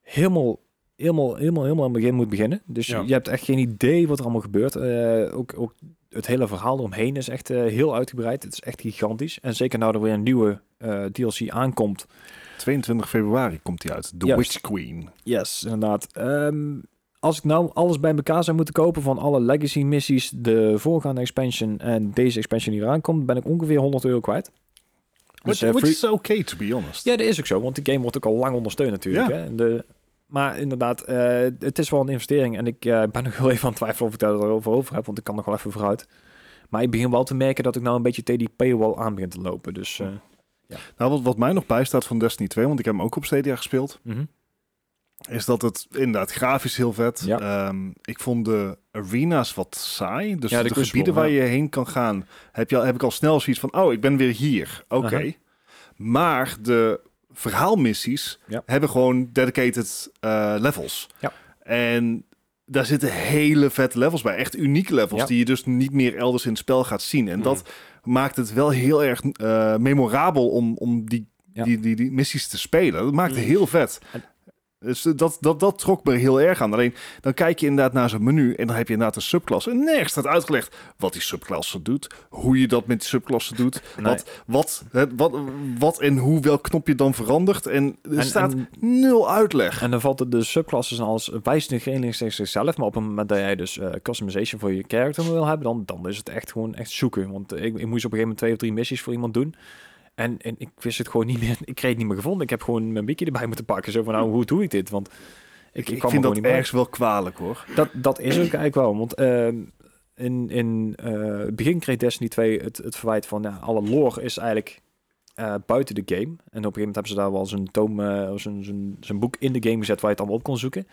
helemaal, helemaal, helemaal, helemaal aan het begin moet beginnen. Dus
Ja.
je hebt echt geen idee wat er allemaal gebeurt. Eh, ook, ook het hele verhaal eromheen is echt eh, heel uitgebreid. Het is echt gigantisch. En zeker nou er weer een nieuwe eh, DLC aankomt.
22 februari komt die uit. The
Juist.
Witch Queen.
Yes, inderdaad. Ehm, als ik nou alles bij elkaar zou moeten kopen van alle legacy missies, de voorgaande expansion en deze expansion die eraan komt, ben ik ongeveer 100 euro kwijt.
Which,
eh,
which
free-
is okay, to be honest.
Ja, dat is ook zo, want die game wordt ook al lang ondersteund natuurlijk.
Ja.
Hè? De, maar inderdaad, eh, het is wel een investering en ik eh, ben (laughs) nog wel even aan het twijfelen of ik daar over over heb, want ik kan nog wel even vooruit. Maar ik begin wel te merken dat ik nou een beetje tegen die paywall aan begin te lopen. Dus, eh,
Nou, wat, wat mij nog bijstaat van Destiny 2, want ik heb hem ook op Stadia gespeeld,
mhm.
is dat het inderdaad grafisch heel vet.
Ja.
Ehm, ik vond de arena's wat saai. Dus
Ja, de
de,
Crucible,
gebieden waar
ja.
je heen kan gaan, heb, je al, heb ik al snel zoiets van, oh, ik ben weer hier. Oké.
Aha.
Maar de verhaalmissies
Ja.
hebben gewoon dedicated eh, levels.
Ja.
En daar zitten hele vette levels bij. Echt unieke levels
Ja. Mm.
die je dus niet meer elders in het spel gaat zien. En dat maakt het wel heel erg eh, memorabel om, om die,
Ja.
die, die, die missies te spelen. Dat maakt het
Mm.
heel vet.
En-
Dus dat, dat, dat trok me heel erg aan. Alleen dan kijk je inderdaad naar zo'n menu en dan heb je inderdaad een subklasse. En nergens staat uitgelegd wat die subklasse doet, hoe je dat met die subklasse doet,
Nee.
wat, wat, het, wat, wat en hoe welk knopje dan verandert. En er
En-
staat
en-
nul uitleg.
En dan valt het de subclasses en alles wijst nu geen links tegen zichzelf. Maar op het moment dat jij dus eh, customization voor je character wil hebben, dan, dan is het echt gewoon echt zoeken. Want eh, ik, ik moest op een gegeven moment twee of drie missies voor iemand doen. En, en ik wist het gewoon niet meer. (laughs) Ik kreeg het niet meer gevonden. Ik heb gewoon mijn wiki erbij moeten pakken. Zo van, nou, hoe doe ik dit? Want ik, ik
Ik, ik
kwam
vind
er
dat
gewoon niet meer.
ergens wel kwalijk hoor.
Dat, dat is ook eigenlijk wel. Want ehm, in, in eh, het begin kreeg Destiny 2 het, het verwijt van ja, alle lore is eigenlijk eh, buiten de game. En op een gegeven moment hebben ze daar wel zo'n toom, eh, zo'n, zo'n, zo'n boek in de game gezet waar je het allemaal op kon zoeken.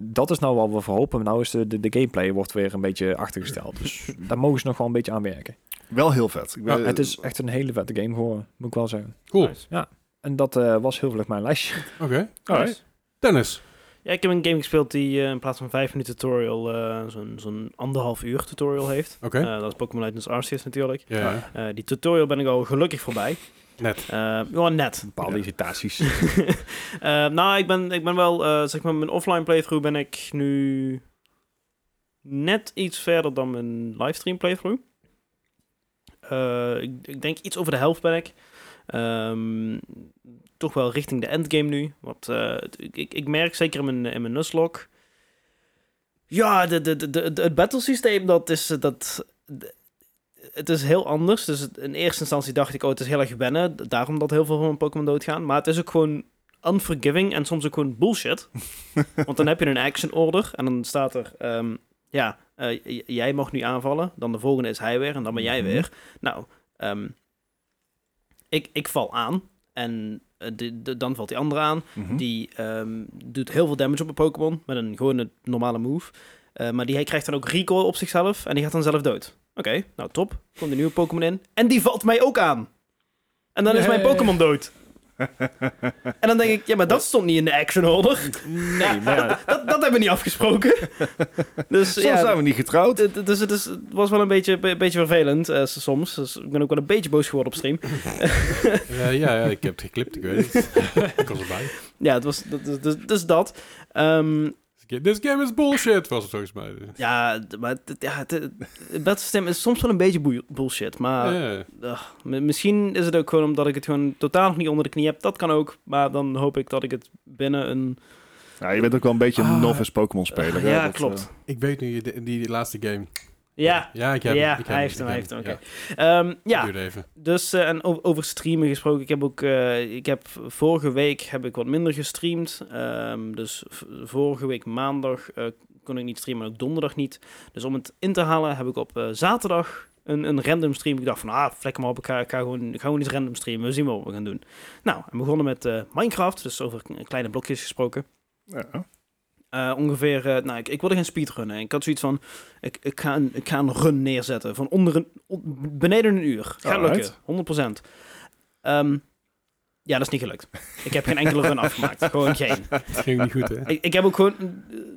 Dat is nou wel wat we hopen. Nou is de, de, de gameplay wordt weer een beetje achtergesteld.
(laughs)
Dus daar mogen ze nog wel een beetje aan werken.
Wel heel vet. Ik eh, ben-
Nou, het is echt een hele vette game geworden, moet ik wel zeggen.
Cool.
Nice.
En dat eh, was heel vlug mijn lijstje.
Oké.
Nice.
Tennis.
Ja, ik heb een game gespeeld die eh, in plaats van vijf minuten tutorial eh, zo'n zo'n anderhalf uur tutorial heeft.
Oké.
Eh, dat is Pokémon Legends Arceus natuurlijk.
ja. ja.
Eh, die tutorial ben ik al gelukkig voorbij.
Net.
Eh, ja, net.
Bepaalde irritaties.
(laughs) Eh, nou, ik ben, ik ben wel, eh, zeg maar, mijn offline playthrough ben ik nu net iets verder dan mijn livestream playthrough. Eh, ik, ik denk iets over de helft ben ik. Ehm, toch wel richting de endgame nu. Want eh, t- ik, ik, ik merk zeker in mijn, in mijn Nuzlocke... Ja, de, de, de, de, de- het battlesysteem, dat is... eh, Dat, de- het is heel anders. Dus het- in eerste instantie dacht ik, oh, het is heel erg wennen. d- Daarom dat heel veel van mijn Pokémon doodgaan. Maar het is ook gewoon unforgiving en soms ook gewoon bullshit. Want dan heb je een action order en dan staat er... ehm, ja, eh, j- jij mag nu aanvallen, dan de volgende is hij weer en dan ben jij
Mhm.
weer. Nou, ehm, ik, ik val aan en eh, de- de- dan valt die andere aan.
Mhm.
Die ehm, doet heel veel damage op een Pokémon met een gewone normale move. Eh, maar die hij krijgt dan ook recoil op zichzelf en die gaat dan zelf dood. Oké, nou top. Komt een nieuwe Pokémon in en die valt mij ook aan. En dan is mijn
Yay.
Pokémon dood. En dan denk ik, ja, maar dat stond niet in de action order. (laughs)
Nee, maar ja,
Dat, dat hebben we niet afgesproken. Dus
Zo
ja,
zijn we niet getrouwd.
het- het- Dus het, is, het was wel een beetje, be- beetje vervelend eh, soms. Dus ik ben ook wel een beetje boos geworden op stream.
Eh, ja, ja, ik heb het geklipt, ik weet het. (laughs) ik was erbij.
(laughs) Ja, het was, dat- dat- dus, dus dat. Ehm,
This game is bullshit, was het volgens mij.
ja, d- maar d- ja, het- het battlestem is soms wel een beetje boeie- bullshit. Maar
Ja.
mi- misschien is het ook gewoon omdat ik het gewoon totaal nog niet onder de knie heb. Dat kan ook. Maar dan hoop ik dat ik het binnen een...
Ja, je bent ook wel een beetje een
Ah.
novice Pokémon-speler. hè?
ja,
Dat, eh,
klopt.
Ik weet nu, die, die, die laatste game.
ja,
ja ik heb
ja,
hem, ik heb
hij heeft hem, hij
ik
heeft hem.
heb
Oké. Ehm, ja.
Duurde even.
Dus, eh, en o- over streamen gesproken, ik heb ook, eh, ik heb vorige week heb ik wat minder gestreamd. Ehm, dus v- vorige week maandag eh, kon ik niet streamen, en ook donderdag niet. Dus om het in te halen heb ik op eh, zaterdag een, een random stream. Ik dacht van, ah, vlek maar op, ik ga, ik ga gewoon, ik ga gewoon iets random streamen. We zien wel wat we gaan doen. Nou, en we begonnen met eh, Minecraft, dus over k- kleine blokjes gesproken.
eh, ja.
Eh, ongeveer, eh, nou, ik, ik wilde geen speedrunnen. Ik had zoiets van, ik, ik, ga een, ik ga een run neerzetten van onder een, on- beneden een uur. Gaat lukken, 100%.
Alright.
Ehm, ja, dat is niet gelukt. Ik heb geen enkele run (laughs) afgemaakt. Gewoon geen.
Het ging niet goed, hè?
Ik, ik heb ook gewoon... eh,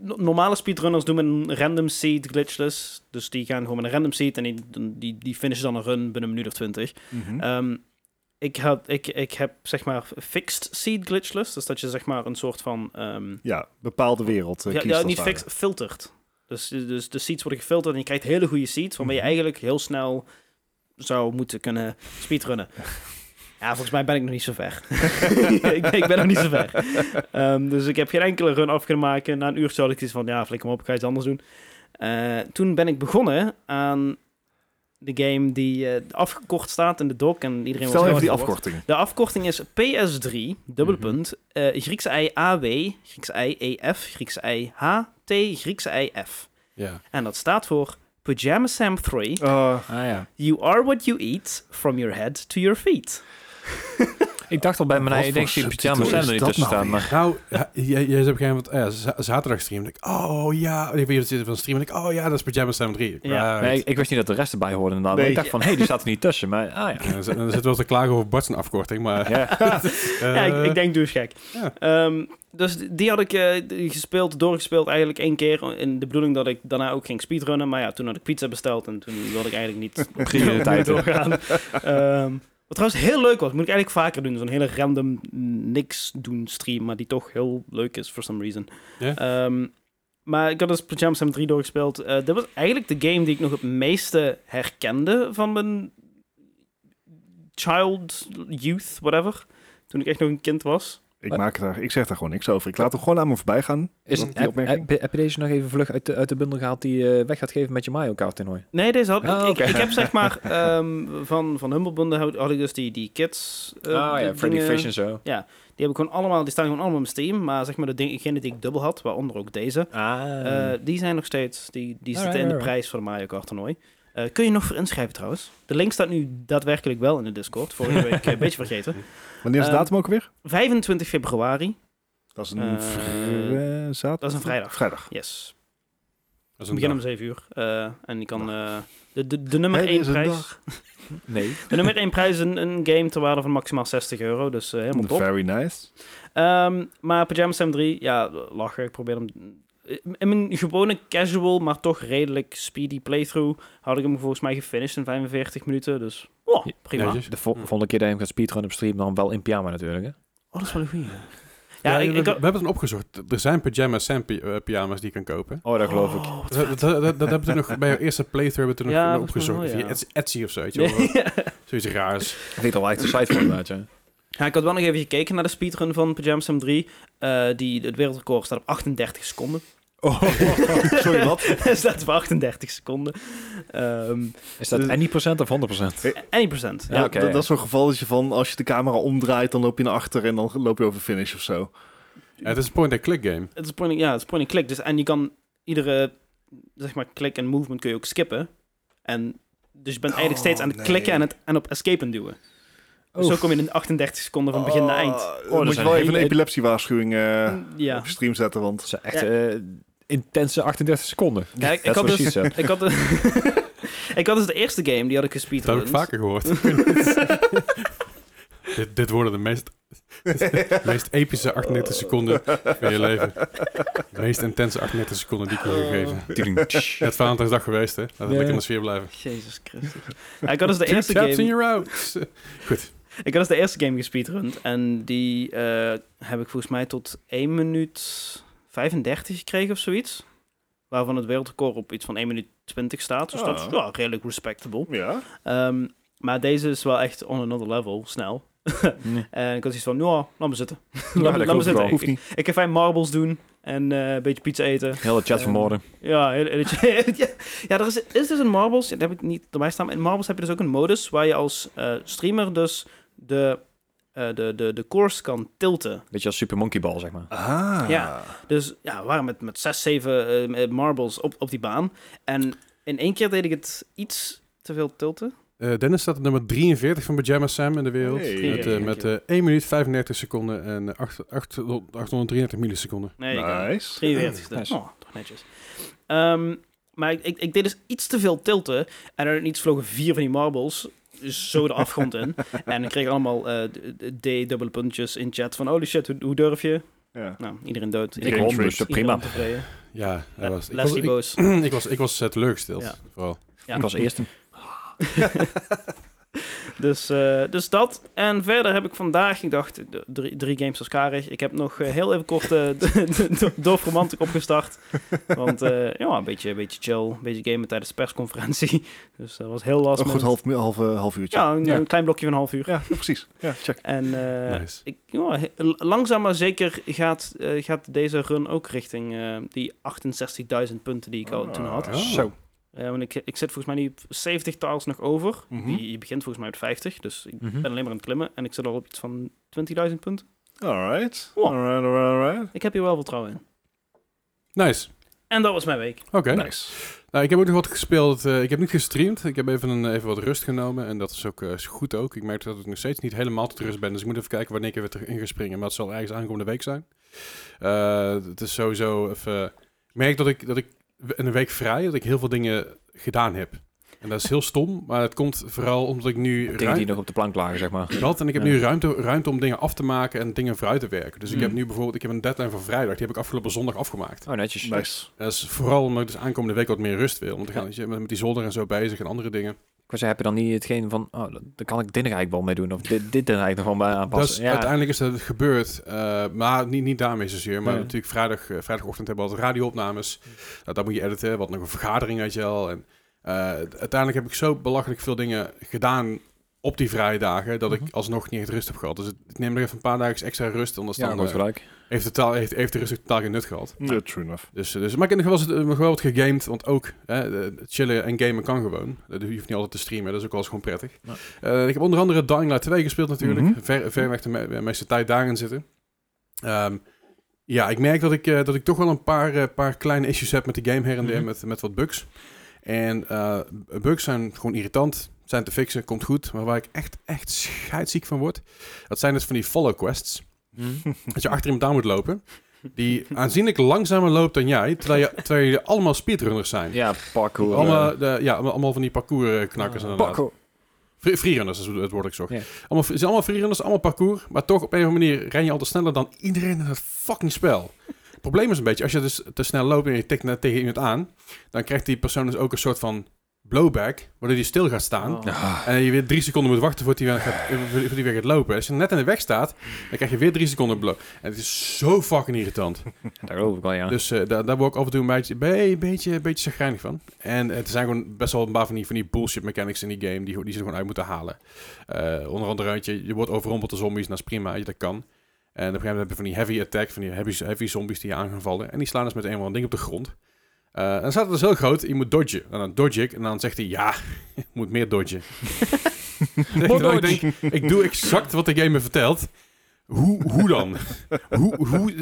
no- Normale speedrunners doen met een random seed glitchless. Dus die gaan gewoon met een random seed en die, die, die finishen dan een run binnen een minuut of twintig.
Mhm.
Ehm, ik, had, ik, ik heb zeg maar fixed seed glitchless. Dus dat je zeg maar een soort van... ehm,
ja, bepaalde wereld. eh,
ja,
kiest
ja,
als
niet
het ware.
fixed, filtert. Dus, dus de seeds worden gefilterd en je krijgt hele goede seeds... waarmee
Mhm.
je eigenlijk heel snel zou moeten kunnen speedrunnen. Ja, volgens mij ben ik nog niet zo ver. (laughs) ik, ik ben nog niet zo ver. Ehm, dus ik heb geen enkele run af kunnen maken. Na een uurtje had ik iets van, ja, flikker hem op, ik ga iets anders doen. Eh, toen ben ik begonnen aan de game die eh, afgekort staat in de doc. En iedereen was
Stel
heel
even die
erg verward.
afkorting.
De afkorting is PS3, dubbele punt, eh, Griekse ei AW, Griekse ei EF, Griekse ei HT, Griekse ei F.
Ja.
En dat staat voor Pyjama Sam 3,
Eh,
ah, ja.
You are what you eat, from your head to your feet. (laughs)
Ik dacht al bij mijn
Wat
eigen, ik
voor
zie
subtitel
pyjama's
is
er niet
dat
tussen
nou
staan. Maar
Nou, ja, jij, jij zei op een gegeven moment, eh, za- zaterdag stream. Ik, oh ja, ik weet het van stream. Ik, oh ja, dat is Pajama Sam 3.
Ja.
Right.
nee, ik, ik wist niet dat de rest erbij hoorde inderdaad. Maar
Nee.
ik dacht van, hé, hey, die staat er niet tussen. Maar, ah ja.
En dan zit- dan zitten we te klagen over Bart's afkorting, maar...
ja.
ja, ik, ik
eh,
denk doe eens gek.
ja.
Ehm, dus die had ik eh, gespeeld, doorgespeeld eigenlijk één keer. In de bedoeling dat ik daarna ook ging speedrunnen. Maar ja, toen had ik pizza besteld en toen wilde ik eigenlijk niet
Prioriteiten.
(laughs) doorgaan. Ehm, wat trouwens heel leuk was, moet ik eigenlijk vaker doen. Zo'n hele random niks doen stream, maar die toch heel leuk is for some reason.
Ja.
Ehm, maar ik had dus Pajama Sam 3 doorgespeeld. Eh dat was eigenlijk de game die ik nog het meeste herkende van mijn child, youth, whatever. Toen ik echt nog een kind was.
ik, maak daar, ik zeg daar gewoon niks over. Ik laat hem gewoon aan me voorbij gaan.
Is,
Die
heb,
opmerking?
heb- heb je deze nog even vlug uit de, uit de bundel gehaald die je weg gaat geven met je Mario Kart toernooi?
Nee, deze had ik.
Ah,
ik-
oké.
Ik, heb zeg maar ehm, van, van Humble Bundle had, had ik dus die, die kids. eh,
Ah,
dingen.
zo.
Die heb ik gewoon allemaal, die staan gewoon allemaal op Steam. Maar zeg maar de degene die ik dubbel had, waaronder ook deze.
Ah.
eh, die zijn nog steeds, die, die
Alright,
zitten in de
alright.
prijs voor de Mario Kart toernooi. Eh, kun je nog voor inschrijven trouwens? De link staat nu daadwerkelijk wel in de Discord. Vorige week eh, een beetje vergeten.
Wanneer is de
Ehm,
datum ook weer?
25 februari.
Dat is een
eh,
vri- eh, zaterdag.
dat is een vrijdag.
Vrijdag.
Yes.
dat is
We
een
beginnen
dag.
om 7 uur. Eh, en die kan eh, de, de, de nummer
Hey,
1
is een
prijs.
dag.
nee.
De nummer 1 prijs is een, een game ter waarde van maximaal 60 euro, dus eh, helemaal top.
Very nice.
Ehm, maar Pajama Sam 3, ja, lachen. Ik probeer hem... In mijn gewone casual, maar toch redelijk speedy playthrough... had ik hem volgens mij gefinished in 45 minuten, dus... Oh, prima.
Netjes.
De vo- volgende keer dat je hem gaat speedrunnen op stream, dan wel in pyjama natuurlijk. Hè?
Oh, dat is wel een goeie. Ja,
Ja,
ik,
we,
ik
we
had-
hebben het opgezocht. Er zijn Pajama Sam pi- eh, pyjama's die je kan kopen.
Oh, dat geloof ik.
Oh, wat
Dat, dat, dat, dat hebben we toen nog bij jouw eerste playthrough hebben we toen
Ja,
nog
volgens mij
opgezocht.
wel, ja.
Via Etsy- Etsy of zo, weet je wel.
(laughs)
Zoiets raars.
Ik weet al echt de site voor inderdaad, ja.
Ja, ik had wel nog even gekeken naar de speedrun van Pajama Sam 3. eh, die, het wereldrecord staat op 38 seconden.
(laughs)
(laughs) Dus
Oh, (laughs) sorry, wat?
Hij staat op 38 seconden. Ehm
Is dat
Dus-
any procent of 100 procent?
any percent.
Ja,
Ja,
oké,
dat,
ja.
dat is zo'n gevalletje van als je de camera omdraait, dan loop je naar achter en dan loop je over finish of zo.
Ja, het is een point-and-click game.
Het is point, ja, het is point and click. Dus, en je kan iedere zeg maar, klik en movement kun je ook skippen. En dus je bent eigenlijk
Oh,
steeds aan het
nee.
klikken en, het, en op escape en duwen. Dus zo kom je in 38 seconden van begin naar eind.
Oh,
dat
moet
is
je
een
wel even een
hele-
epilepsiewaarschuwing eh
Ja.
op je stream zetten, want...
Dat zijn echt eh, intense 38 seconden.
Kijk, ik
That's
had,
what she
dus,
said.
ik, had, (laughs) ik had dus de eerste game, die had
Dat heb
ik gespeedrund.
ik vaker gehoord.
(laughs)
dit, dit worden de meest, (laughs) de meest epische 38 seconden van je
(laughs)
leven. De meest intense 38 seconden die ik
Oh.
je heb gegeven. (laughs) Ja, Het is Valentijnsdag geweest, hè? Laten we
Ja.
lekker in de sfeer blijven.
Jezus Christus. Ja, ik had dus de
Two
eerste
taps and
game...
you're out. Goed.
Ik had dus de eerste game gespeedrund en die eh, heb ik volgens mij tot 1 minuut 35 gekregen of zoiets. Waarvan het wereldrecord op iets van 1 minuut 20 staat. Dus dat is
Oh.
Ah.
ja, redelijk respectable.
Ja,
Ehm, maar deze is wel echt on another level, snel.
Nee.
En ik had iets van, nou, laat me zitten. (laughs)
Ja, dat
laat me, laat me
klopt
zitten.
wel.
Ik, ik- ik ga fijn marbles doen en eh, een beetje pizza eten.
Hele chat
Eh,
vermoorden.
Ja, heel- heel- ja, (laughs) ja er is, is dus een Marbles, ja, dat heb ik niet erbij staan, maar in Marbles heb je dus ook een modus waar je als eh, streamer dus de, eh, de, de, de course kan tilten.
Beetje als Super Monkey Ball, zeg maar.
Ah.
Ja. Dus ja, we waren met, met zes, zeven eh, Marbles op, op die baan. En in één keer deed ik het iets te veel tilten.
Eh, Dennis staat op nummer 43 van Pajama Sam in de wereld.
Hey.
Met, eh, met eh, 1 minuut 35 seconden en eh, acht- acht- 833 milliseconden.
Nee, ik- eh,
Nice.
43. dus.
Nice.
Oh, toch netjes. Ehm, maar ik, ik, ik deed dus iets te veel tilten. En er niets vlogen vier van die marbles dus zo de afgrond in. En ik kreeg allemaal eh, d- d dubbele puntjes in chat van... Holy shit, hoe, hoe durf je?
Ja.
Nou, iedereen dood.
Ik
Iedereen-
won, dus dat
iedereen
prima.
ontevreden.
Ja, hij was, ik, was,
Leslie
ik,
boos.
(clears throat) ik was, ik was eh, teleurgesteld,
Ja.
vooral.
Ja.
Ik was eerste.
Dus, eh, dus dat. En verder heb ik vandaag, ik dacht, d- drie, drie games als karig. Ik heb nog eh, heel even kort eh, (laughs) d- d- Dorf Romantic opgestart. Want eh, ja, een beetje, een beetje chill. Een beetje gamen tijdens de persconferentie. (laughs) Dus dat was heel
Een
lastig.
goed half, half, eh, half uurtje.
Ja, een,
Ja.
een klein blokje van een half uur.
Ja, precies. Ja, check.
En eh,
Nice.
ik, ja, he- langzaam maar zeker gaat, eh, gaat deze run ook richting eh, die 68.000 punten die ik al
Ah,
toen had.
Oh.
Zo.
Eh, want ik, ik zit volgens mij nu op 70 tiles nog over.
Mhm.
Die- je, begint volgens mij op 50, dus ik
Mhm.
ben alleen maar aan het klimmen. En ik zit al op iets van 20.000 punten.
Alright.
Wow.
Alright, alright, alright.
Ik heb hier wel vertrouwen in.
Nice.
En dat was mijn week.
Oké.
Nice.
Nou, ik heb ook nog wat gespeeld. eh, ik heb niet gestreamd. Ik heb even, een, even wat rust genomen. En dat is ook eh, is goed ook. Ik merk dat ik nog steeds niet helemaal tot rust ben. Dus ik moet even kijken wanneer ik er weer terug in ga springen. Maar dat zal ergens aankomende week zijn. Eh, het is sowieso even... Ik merk dat ik, dat ik in een week vrij... dat ik heel veel dingen gedaan heb. En dat is heel stom. Maar het komt vooral omdat ik nu...
Dingen
ruim-
die nog op de plank lagen, zeg maar.
dat. En ik heb
Ja.
nu ruimte, ruimte om dingen af te maken en dingen vooruit te werken. Dus ik
Hmm.
heb nu bijvoorbeeld, ik heb een deadline voor vrijdag. Die heb ik afgelopen zondag afgemaakt.
Oh, netjes.
Nice.
En dat is vooral omdat ik dus aankomende week wat meer rust wil. Want ik ga je, bent met die zolder en zo bezig en andere dingen.
Ik was heb je dan niet hetgeen van, oh, dat- daar kan ik dit er eigenlijk wel mee doen. Of dit, dit er eigenlijk nog wel bij
Dat is-
aanpassen. ja.
Uiteindelijk is dat gebeurd. eh, maar niet, niet daarmee zozeer. Maar
Nee.
natuurlijk vrijdag, eh, vrijdagochtend hebben we wat radioopnames.
Mm.
Nou, dat moet je editen. Wat nog een vergadering, weet je wel. En, eh, uiteindelijk heb ik zo belachelijk veel dingen gedaan op die vrije dagen... dat
Mhm.
ik alsnog niet echt rust heb gehad. Dus het, ik neem nog even een paar dagen extra rust. Anders
Ja,
dan,
goed
eh,
gelijk.
heeft, totaal, heeft, heeft de rust totaal geen nut gehad.
Ja, true enough.
Dus, eh, dus, maar ik heb nog wel eens, eh, nog wel wat gegamed, want ook hè, eh, chillen en gamen kan gewoon. Dat hoef je niet altijd te streamen, dat is ook wel eens gewoon prettig.
Ja.
Eh, ik heb onder andere Dying Light 2 gespeeld natuurlijk.
Mhm.
ver, ver weg de me- de meeste tijd daarin zitten. Ehm, ja, ik merk dat ik, eh, dat ik toch wel een paar, eh, paar kleine issues heb met de game her en der,
Mhm.
met, met wat bugs. En eh, bugs zijn gewoon irritant, zijn te fixen, komt goed. Maar waar ik echt, echt scheidsziek van word, dat zijn dus van die follow quests
Hmm?
dat je achter iemand aan moet lopen. Die aanzienlijk langzamer loopt dan jij. Terwijl, je, terwijl jullie allemaal speedrunners zijn.
(laughs) Ja, eh, parkour.
allemaal, de, ja, allemaal allemaal van die parcoursknakkers
eh,
inderdaad.
parkour.
Free- Freerunners is het woord dat ik zocht.
Ja.
Allemaal, het zijn allemaal freerunners, allemaal parcours. Maar toch op een of andere manier ren je altijd sneller dan iedereen in het fucking spel. Het probleem is een beetje, als je dus te snel loopt en je tikt net tegen iemand aan. Dan krijgt die persoon dus ook een soort van blowback. Waardoor die stil gaat staan.
Oh.
Ah,
En je weer drie seconden moet wachten voordat hij weer gaat, voordat hij weer gaat lopen. Als je net in de weg staat, dan krijg je weer drie seconden blow. En het is zo fucking irritant.
daar geloof ik wel, ja.
Dus eh, daar, daar word ik af en toe een beetje, be- beetje, beetje chagrijnig van. En het zijn gewoon best wel een paar van die, van die bullshit mechanics in die game die, die ze er gewoon uit moeten halen. Eh, onder andere, weet je, je wordt overrompeld door zombies, nou is prima, je, dat kan. En op een gegeven moment heb je van die heavy attack, van die heavy, heavy zombies die je aan gaan vallen. En die slaan dus met een of ander ding op de grond. Eh, en dan staat het dus heel groot, je moet dodgen. En dan dodge ik en dan zegt hij, ja, (laughs) je moet meer dodgen. Terwijl ik, denk, ik doe exact wat de game me vertelt. Hoe, hoe dan? hoe, hoe,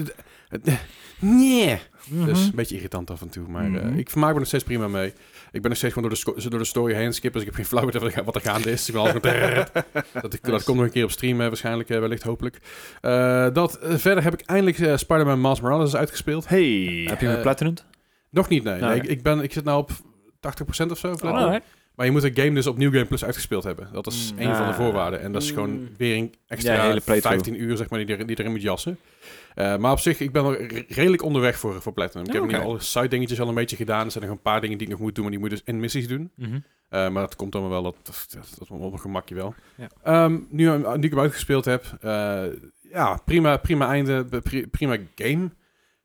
Het- Nee. Dus
Mhm.
een beetje irritant af en toe. Maar eh,
Mhm.
ik vermaak me nog steeds prima mee. Ik ben nog steeds gewoon door de, sco- door de story heen skippen. Dus ik heb geen flauw idee wat er- wat er gaande is. Ik ben altijd gewoon- dat, ik, dat komt nog een keer op stream eh, waarschijnlijk. eh, wellicht, hopelijk. Eh, dat, eh, verder heb ik eindelijk eh, Spider-Man Miles Morales uitgespeeld.
Hey.
Heb je hem
Eh,
geplatinumd?
Nog niet, nee.
Nou,
Nee,
ja.
ik, ik, ben, ik zit nou op 80% of zo. platinum.
Oh, Alright.
Maar je moet de game dus op New Game Plus uitgespeeld hebben. Dat is
Mm.
één van de
Ah.
voorwaarden. En dat is
Mm.
gewoon weer een extra
Ja, hele playthrough.
15 uur zeg maar, die, er, die erin moet jassen. Eh, maar op zich, ik ben al re- redelijk onderweg voor, voor Platinum. Ik
Ja,
heb
oké.
nu alle side dingetjes al een beetje gedaan. Er zijn nog een paar dingen die ik nog moet doen, maar die moet ik dus in missies doen.
Mhm.
Eh, maar dat komt allemaal wel, dat, dat, dat, dat op een gemakje wel.
Ja.
Ehm, nu, nu ik hem uitgespeeld heb, eh, ja, prima, prima einde, pri- prima game.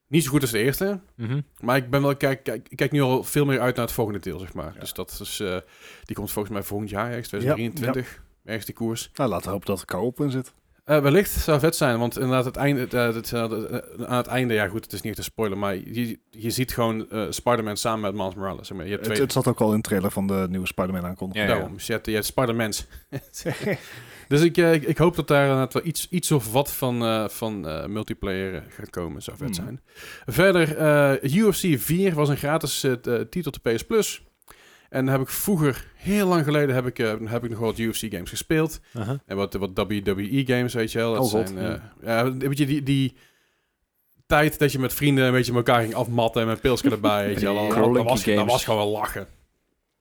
Niet zo goed als de eerste,
Mhm.
maar ik ben wel, kijk, kijk, ik kijk nu al veel meer uit naar het volgende deel, zeg maar. Dus dat is, eh, die komt volgens mij volgend jaar, ergens 2023, ergens die koers.
Nou, laten we hopen dat er koop in zit.
Eh, wellicht zou vet zijn, want inderdaad, het einde, het, eh, het, eh, het- aan het einde, ja goed, het is niet echt een spoiler, maar je, je ziet gewoon eh Spider-Man samen met Miles Morales. Zeg maar. Je hebt
Het,
twee,
het zat ook al in de trailer van de nieuwe Spider-Man aankondiging.
Ja, ja.
daarom, Dus je hebt, je hebt
(laughs)
Spider-Mans. dus ik, eh, ik, ik hoop dat daar inderdaad wel iets, iets of wat van, eh, van eh, multiplayer eh, gaat komen, zou vet
Mhm.
Hmm.
zijn. Verder, eh, UFC 4 was een gratis eh, t- eh, titel te PS Plus. En heb ik vroeger, heel lang geleden, heb ik, eh, heb ik nog wat UFC games gespeeld.
Aha.
En wat, wat WWE games, weet je wel. Dat
Oh, god,
zijn, eh, ja, weet je, die, die tijd dat je met vrienden een beetje elkaar ging afmatten en met pilsken erbij, weet je
(laughs)
wel.
Die
Dat was- Dat was,
crunky
dat
games.
was gewoon wel lachen.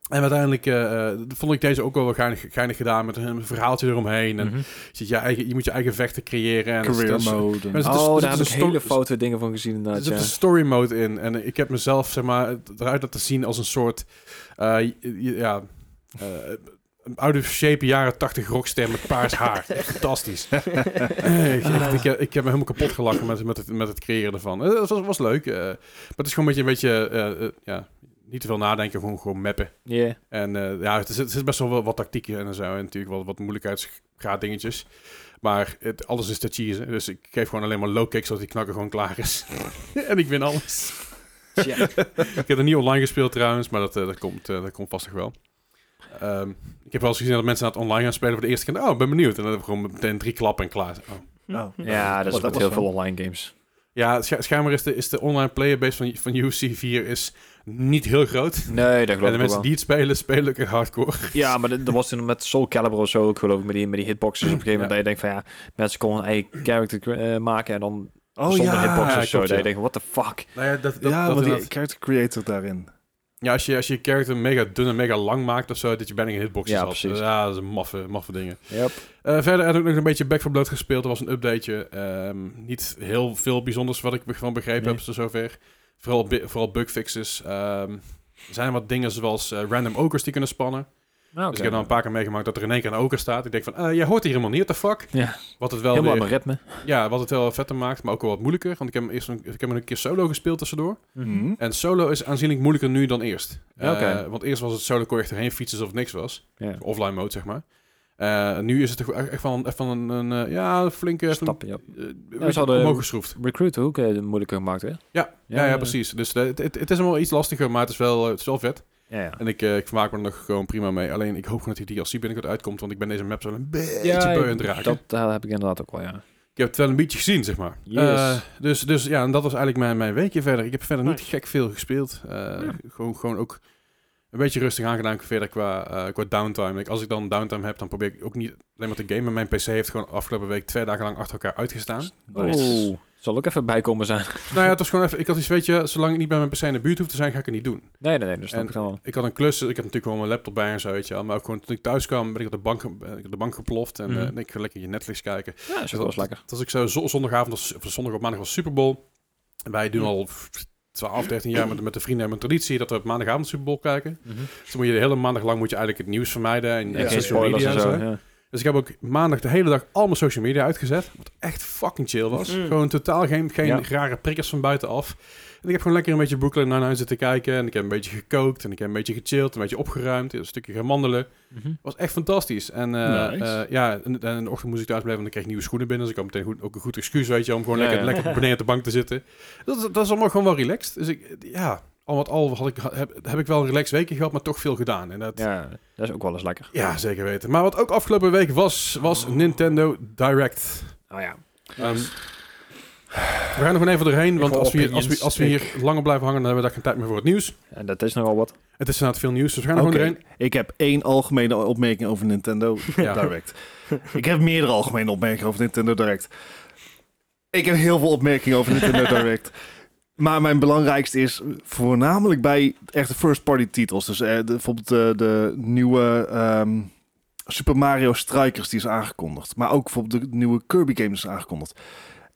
En uiteindelijk eh, eh, vond ik deze ook wel wel geinig, geinig gedaan met een verhaaltje eromheen. En
Mhm.
je, zit je, eigen, je moet je eigen vechten creëren. En er zit
Career
een-
mode. en-
dus- Maar- het is- het
Oh, daar
is
heb ik
een Dus sto-
hele foute dingen van gezien
er
inderdaad,
zit
ja.
een story mode in. En ik heb mezelf zeg maar, het- eruit laten zien als een soort... eh, j- j- ja, eh, een out-of-shape jaren 80 rockster met paars haar. Echt fantastisch. Eh, ik, echt, ik, heb- ik heb me helemaal kapot gelachen met, met, het, met het creëren ervan. Eh, Dat was, was leuk. eh, maar het is gewoon een beetje... Een beetje eh, eh, ja, niet te veel nadenken, gewoon, gewoon mappen.
Ja.
En eh, ja, er zit, er zit best wel wat, wat tactieken in en zo. En natuurlijk wel wat moeilijkheidsgraad dingetjes. Maar het, alles is te cheesen. Dus ik geef gewoon alleen maar low kicks zodat die knakker gewoon klaar is. (laughs) en ik win alles.
Tja.
ik heb er niet online gespeeld trouwens, maar dat, eh, dat, komt, eh, dat komt vast nog wel. Ehm, ik heb wel eens gezien dat mensen aan het online gaan spelen voor de eerste keer. Oh, ik ben benieuwd. En dan heb ik gewoon meteen drie klappen en klaar. Oh.
Hm.
Oh.
(laughs)
Ja, dat is
Dat
met
was
heel
wel.
veel online games.
Ja, scha- schijnbaar is de, is de online playerbase van, van UFC 4 is niet heel groot.
Nee, dat
En
geloof
de
ik ook
mensen
wel.
die het spelen, spelen ook echt hardcore.
Ja, maar dat dat was toen met Soul Calibur of zo ook geloof ik, met die, met die hitboxes op een gegeven moment. Dat je denkt van ja, mensen konden een eigen character eh, maken en dan zonder hitboxes
Oh, ja,
of zo.
klopt,
Dat je
ja.
denkt, what the fuck?
Nou ja, dat, dat,
Ah, ja,
dat
want die
inderdaad-
character creator daarin.
Ja, als je, als je character mega dun en mega lang maakt of zo, dat je bijna geen hitboxes
Ja,
had.
precies.
Ja, dat is een maffe, maffe dingen.
Yep.
Eh, verder had ik nog een beetje Back for Blood gespeeld. Er was een updateje. Ehm, niet heel veel bijzonders wat ik van begrepen
Nee.
heb tot zover. Vooral, bi- vooral bugfixes. Ehm, er zijn wat dingen zoals eh, random okers die kunnen spannen. Dus ik heb dan een paar keer meegemaakt dat er in één keer een oker staat. Ik denk van, eh, jij hoort hier helemaal niet, what the fuck?
Ja.
Wat het wel
Helemaal
weer,
aan mijn ritme.
ja, wat het wel vetter maakt, maar ook wel wat moeilijker. Want ik heb hem eerst een, ik heb hem een keer solo gespeeld tussendoor.
Mhm.
En solo is aanzienlijk moeilijker nu dan eerst.
Ja, oké.
Eh, want eerst was het solo kon je echt erheen fietsen alsof het niks was.
Ja.
Offline mode, zeg maar. Eh, nu is het toch echt van, echt van een, een, eh, ja, flinke...
Stap, ja.
Uh,
Ja, ze hadden-
omhoog geschroefd.
Recruiter ook eh, moeilijker gemaakt, hè?
Ja, ja, ja, precies. Dus eh, het, het, het is wel iets lastiger, maar het is wel, eh, het is wel vet.
Ja, ja.
En ik, eh, ik vermaak me er nog gewoon prima mee. Alleen ik hoop gewoon dat die DLC binnenkort uitkomt, want ik ben deze map zo een beetje beu aan het raken.
dat eh, heb ik inderdaad ook wel, ja.
Ik heb het wel een beetje gezien, zeg maar.
Yes.
Eh, dus, dus ja, en dat was eigenlijk mijn, mijn weekje verder. Ik heb verder niet
Nice.
gek veel gespeeld. Eh, gewoon, gewoon ook een beetje rustig aangedaan verder qua, eh, qua downtime. Ik, als ik dan downtime heb, dan probeer ik ook niet alleen maar te gamen. Mijn PC heeft gewoon afgelopen week twee dagen lang achter elkaar uitgestaan.
Oh. Nice.
Oeh, zal ook even bijkomen zijn. (laughs)
nou ja, het was gewoon even... Ik had iets, weet je, zolang ik niet bij mijn PC in de buurt hoef te zijn, ga ik het niet doen.
Nee, nee, nee, dat snap
En-
ik dan wel.
Ik had een klus, dus ik heb natuurlijk gewoon mijn laptop bij en zo, weet je wel. Maar ook gewoon toen ik thuis kwam, ben ik op de bank, ge- ben ik op de bank geploft. En
Mhm.
eh, ik ga lekker je Netflix kijken.
Ja, dat is ook wel eens lekker.
Het was ik zo zo- zondagavond, was- of zondag op maandag was Super Bowl. En wij doen al 12, 13 jaar met, met de vrienden en mijn traditie dat we op maandagavond Super Bowl kijken.
Mhm.
Dus dan moet je de hele maandag lang moet je eigenlijk het nieuws vermijden en, en
Ja,
Geen
social
spoilers
media
en zo.
en zo.
ja.
Dus ik heb ook maandag de hele dag al mijn social media uitgezet. Wat echt fucking chill was.
Mm.
Gewoon totaal geen, geen
Ja.
rare prikkers van buitenaf. En ik heb gewoon lekker een beetje Brooklyn Nine-Nine zitten kijken. En ik heb een beetje gekookt. En ik heb een beetje gechilled. Een beetje opgeruimd. Een stukje gaan wandelen.
Mhm.
was echt fantastisch. En eh,
Nice.
eh, ja, en, en in de ochtend moest ik thuis blijven. Want ik kreeg nieuwe schoenen binnen. Dus ik had meteen goed, ook een goed excuus, weet je. Om gewoon
Ja,
lekker,
ja. (laughs)
lekker beneden op de bank te zitten. Dat, is- dat is allemaal gewoon wel relaxed. Dus ik, ja, al wat al had ik, heb, heb ik wel een relaxed weekje gehad. Maar toch veel gedaan. En dat,
Ja, dat is ook wel eens lekker.
ja, zeker weten. Maar wat ook afgelopen week was, was Nintendo Direct.
Oh ja.
Ehm, We gaan er gewoon even doorheen, want
hoor
als we, hier, als,
opinions.
we, als we hier langer blijven hangen, dan hebben we daar geen tijd meer voor het nieuws.
En dat is nogal wat.
Het is inderdaad veel nieuws, dus we gaan er
Oké,
gewoon doorheen.
Ik heb één algemene opmerking over Nintendo
(laughs) Ja.
Direct. ik heb meerdere algemene opmerkingen over Nintendo Direct. Ik heb heel veel opmerkingen
(laughs)
over Nintendo Direct. Maar mijn belangrijkste is voornamelijk bij echte first-party titels. Dus eh, de- bijvoorbeeld de, de nieuwe ehm, Super Mario Strikers die is aangekondigd. Maar ook bijvoorbeeld de nieuwe Kirby games is aangekondigd.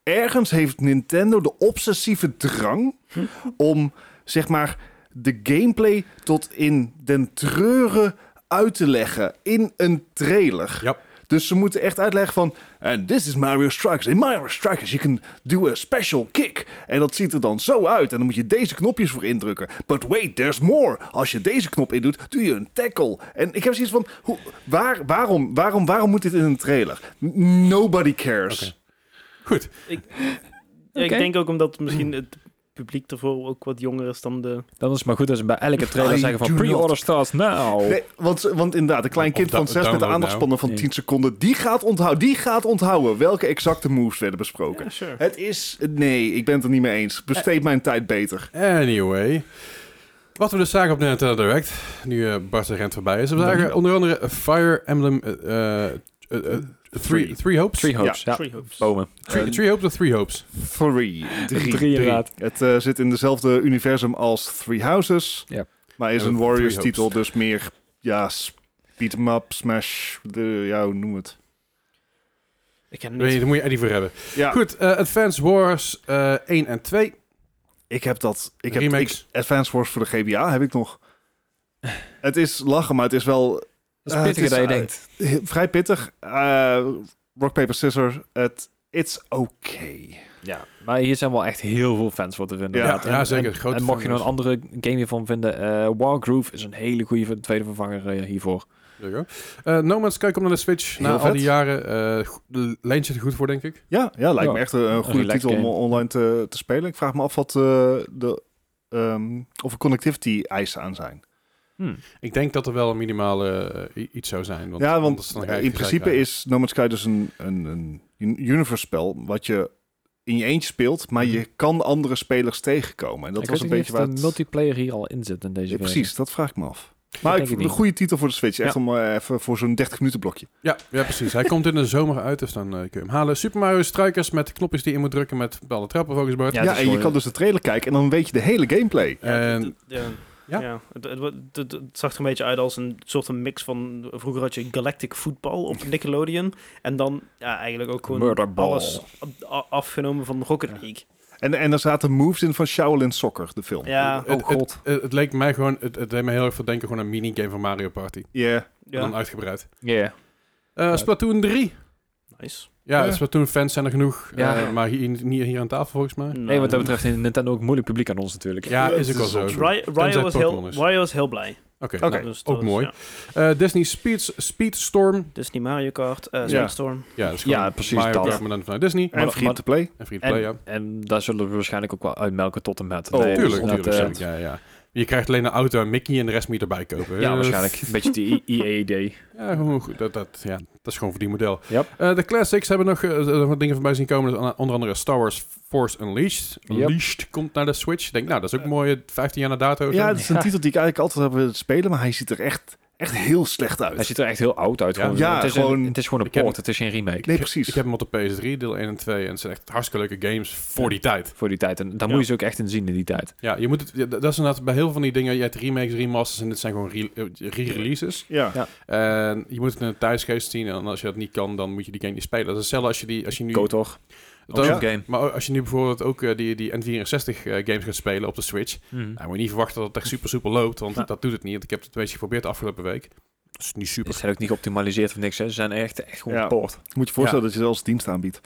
Ergens heeft Nintendo de obsessieve drang
Hm?
om zeg maar de gameplay tot in den treuren uit te leggen in een trailer.
Ja.
Dus ze moeten echt uitleggen van, and this is Mario Strikers. In Mario Strikers you can do a special kick. En dat ziet er dan zo uit. En dan moet je deze knopjes voor indrukken. But wait, there's more. Als je deze knop indoet, doe je een tackle. En ik heb zoiets van, hoe, waar, waarom, waarom, waarom moet dit in een trailer? N- Nobody cares.
Oké. Goed.
Ja,
Oké.
Ik denk ook omdat misschien het publiek ervoor ook wat jonger is dan de...
Dan is het maar goed dat ze bij elke
I
trailer zeggen
do
van
not.
pre-order starts now.
Nee, want, ze- want inderdaad, een klein
Of
kind
da-
van 6 met een
download
aandachtspannen van
nou.
10 seconden, die gaat onthouden, die gaat onthouden welke exacte moves werden besproken.
Ja, sure.
Het is. Nee, ik ben het er niet mee eens. Besteed mijn tijd beter.
Anyway. Wat we dus zagen op Nintendo Direct, nu eh Bart de Rent voorbij is. We zagen
Dankjewel.
onder andere Fire Emblem... eh, eh, eh, eh, three,
Three.
three Hopes?
Tree Hopes, ja. Oh.
Three Hopes.
Bomen.
Three, three Hopes of Three Hopes?
Three. Drie.
Drie, inderdaad.
Het eh, zit in dezelfde universum als Three Houses.
Ja.
Maar is
En
een
Three
Warriors
Hopes.
titel, dus meer. Ja, beat 'em up, smash. De, ja, hoe noem het?
Ik ken
Weet je,
niet.
daar moet je Eddie voor hebben.
Ja,
Goed, eh, Advance Wars eh 1 en 2.
ik heb dat. Ik heb
Remakes.
ik- Advance Wars voor de GBA heb ik nog. Het is lachen, maar het is wel
Dat
Ah,
is
het
pittiger
is,
dan je
eh,
denkt.
He- vrij pittig. Eh, rock, paper, scissors. Het it's okay.
Ja. Maar hier zijn wel echt heel veel fans voor te vinden.
Ja.
inderdaad.
Ja, zeker.
En,
Grote
en mocht je nog een
fanbase.
andere game hiervan vinden, eh Wargroove is een hele goede tweede vervanger eh, hiervoor.
There you go. Eh, no Man's Sky komt naar de Switch.
Heel
Na al
vet.
die jaren eh, go- de leent zich er goed voor, denk ik.
Ja, ja lijkt
Ja.
me echt een, een goede
relaxed
titel om
game.
online te, te spelen. Ik vraag me af wat eh, de, ehm, of er connectivity eisen aan zijn.
Ik denk dat er wel een minimale eh, i- iets zou zijn. Want
ja,
anders
want
dan ga je
in
gezeik
principe
krijgen.
is No Man's Sky dus een, een, een universe spel wat je in je eentje speelt, maar je kan andere spelers tegenkomen. En dat
Mhm. ik
was
weet
een
niet
beetje
of
waar
de
het-
multiplayer hier al in zit in deze
Ja,
versie.
precies, dat vraag ik me af.
denk
Maar
ik
ik vind
niet.
een goede titel voor de Switch. Echt
Ja.
om eh, even voor zo'n 30 minuten blokje.
Ja, ja, precies. Hij komt in de zomer uit, dus dan eh, kun je hem halen. Super Mario Strikers met knopjes die je moet drukken met bepaalde trappen, volgens Bart.
Ja,
Ja,
het is
en je
wel-
kan dus de trailer kijken en dan weet je de hele gameplay.
Ja,
En-
het- het- ja.
eh, Ja?
Ja, het, het, wa- het- het zag er een beetje uit als een soort van mix van... Vroeger had je Galactic Football op Nickelodeon. En dan ja, eigenlijk ook gewoon
Murderball.
alles a- a- afgenomen van Rocket League.
En, en er zaten moves in van Shaolin Soccer, de film.
Ja,
het,
Oh, god.
Het, het, het leek mij gewoon, het, het deed me heel erg veel denken gewoon aan een minigame van Mario Party.
Ja.
En Dan
ja.
uitgebreid.
Ja.
Eh, Splatoon 3.
nice.
Ja,
Ja.
Splatoon fans zijn er genoeg.
Ja.
eh, maar hier, niet hier aan tafel volgens mij.
Nee, wat dat betreft heeft Nintendo ook moeilijk publiek aan ons natuurlijk.
Ja, is ook wel
is
zo.
op-
Oké,
Ry- Ryo was, heel,
Pokémon is.
Ryo was heel blij.
Oké.
nou,
dus
ook
dat is-
mooi.
ja.
eh, Disney Speed, Speedstorm.
Disney Mario Kart, eh
Ja.
Sandstorm.
Ja, dat is
Ja,
gewoon
precies
Mario
dat.
Kart, maar dan vanuit Disney.
En free to play.
En free to play, ja.
En, en daar zullen we waarschijnlijk ook wel uitmelken tot en met.
Oh,
dus
Tuurlijk,
dat,
tuurlijk.
eh,
zeker. ja, ja. Je krijgt alleen een auto en Mickey en de rest moet je erbij kopen.
ja,
Eh,
waarschijnlijk. Een beetje die E- EA-idee.
Ja, gewoon goed. Dat, dat, ja, dat is gewoon voor die model.
Yep.
Eh, de classics hebben nog eh, nog wat dingen voorbij zien komen. Dus onder andere Star Wars Force Unleashed.
Yep.
Unleashed komt naar de Switch. Ik denk, nou, dat is ook een mooie 15 jaar na dato.
Ja,
Zo.
dat is een titel die ik eigenlijk altijd heb willen spelen, maar hij ziet er echt, echt heel slecht uit.
Hij ziet er echt heel oud uit.
Ja.
gewoon.
Ja,
het, is
gewoon-
een, het is gewoon een
Ik heb-
port, het is geen remake.
Nee, precies.
Ik heb hem op de PS3, deel 1 en 2. En het zijn echt hartstikke leuke games voor die tijd.
Voor die tijd. En daar
Ja.
moet je ze ook echt in zien in die tijd.
Ja, je moet het, ja, dat is inderdaad bij heel veel van die dingen. Je hebt remakes, remasters en dit zijn gewoon re- eh, re-releases.
ja.
Ja.
En je moet het in een thuisgeest zien. En als je dat niet kan, dan moet je die game niet spelen. Dat is hetzelfde als je, die, als je nu...
Kotor.
Dat ook.
Ja.
game.
Maar als je nu bijvoorbeeld ook eh, die, die N64 eh, games gaat spelen op de Switch...
Mhm.
Nou, moet je niet verwachten dat het echt super super loopt, want
Ja.
dat doet het niet. Want ik heb het een beetje geprobeerd de afgelopen week. Dat is niet
Ze
super.
zijn ook niet geoptimaliseerd of niks. Hè. Ze zijn echt, echt gewoon
Ja.
een port.
Moet je voorstellen dat je zelfs dienst aanbiedt.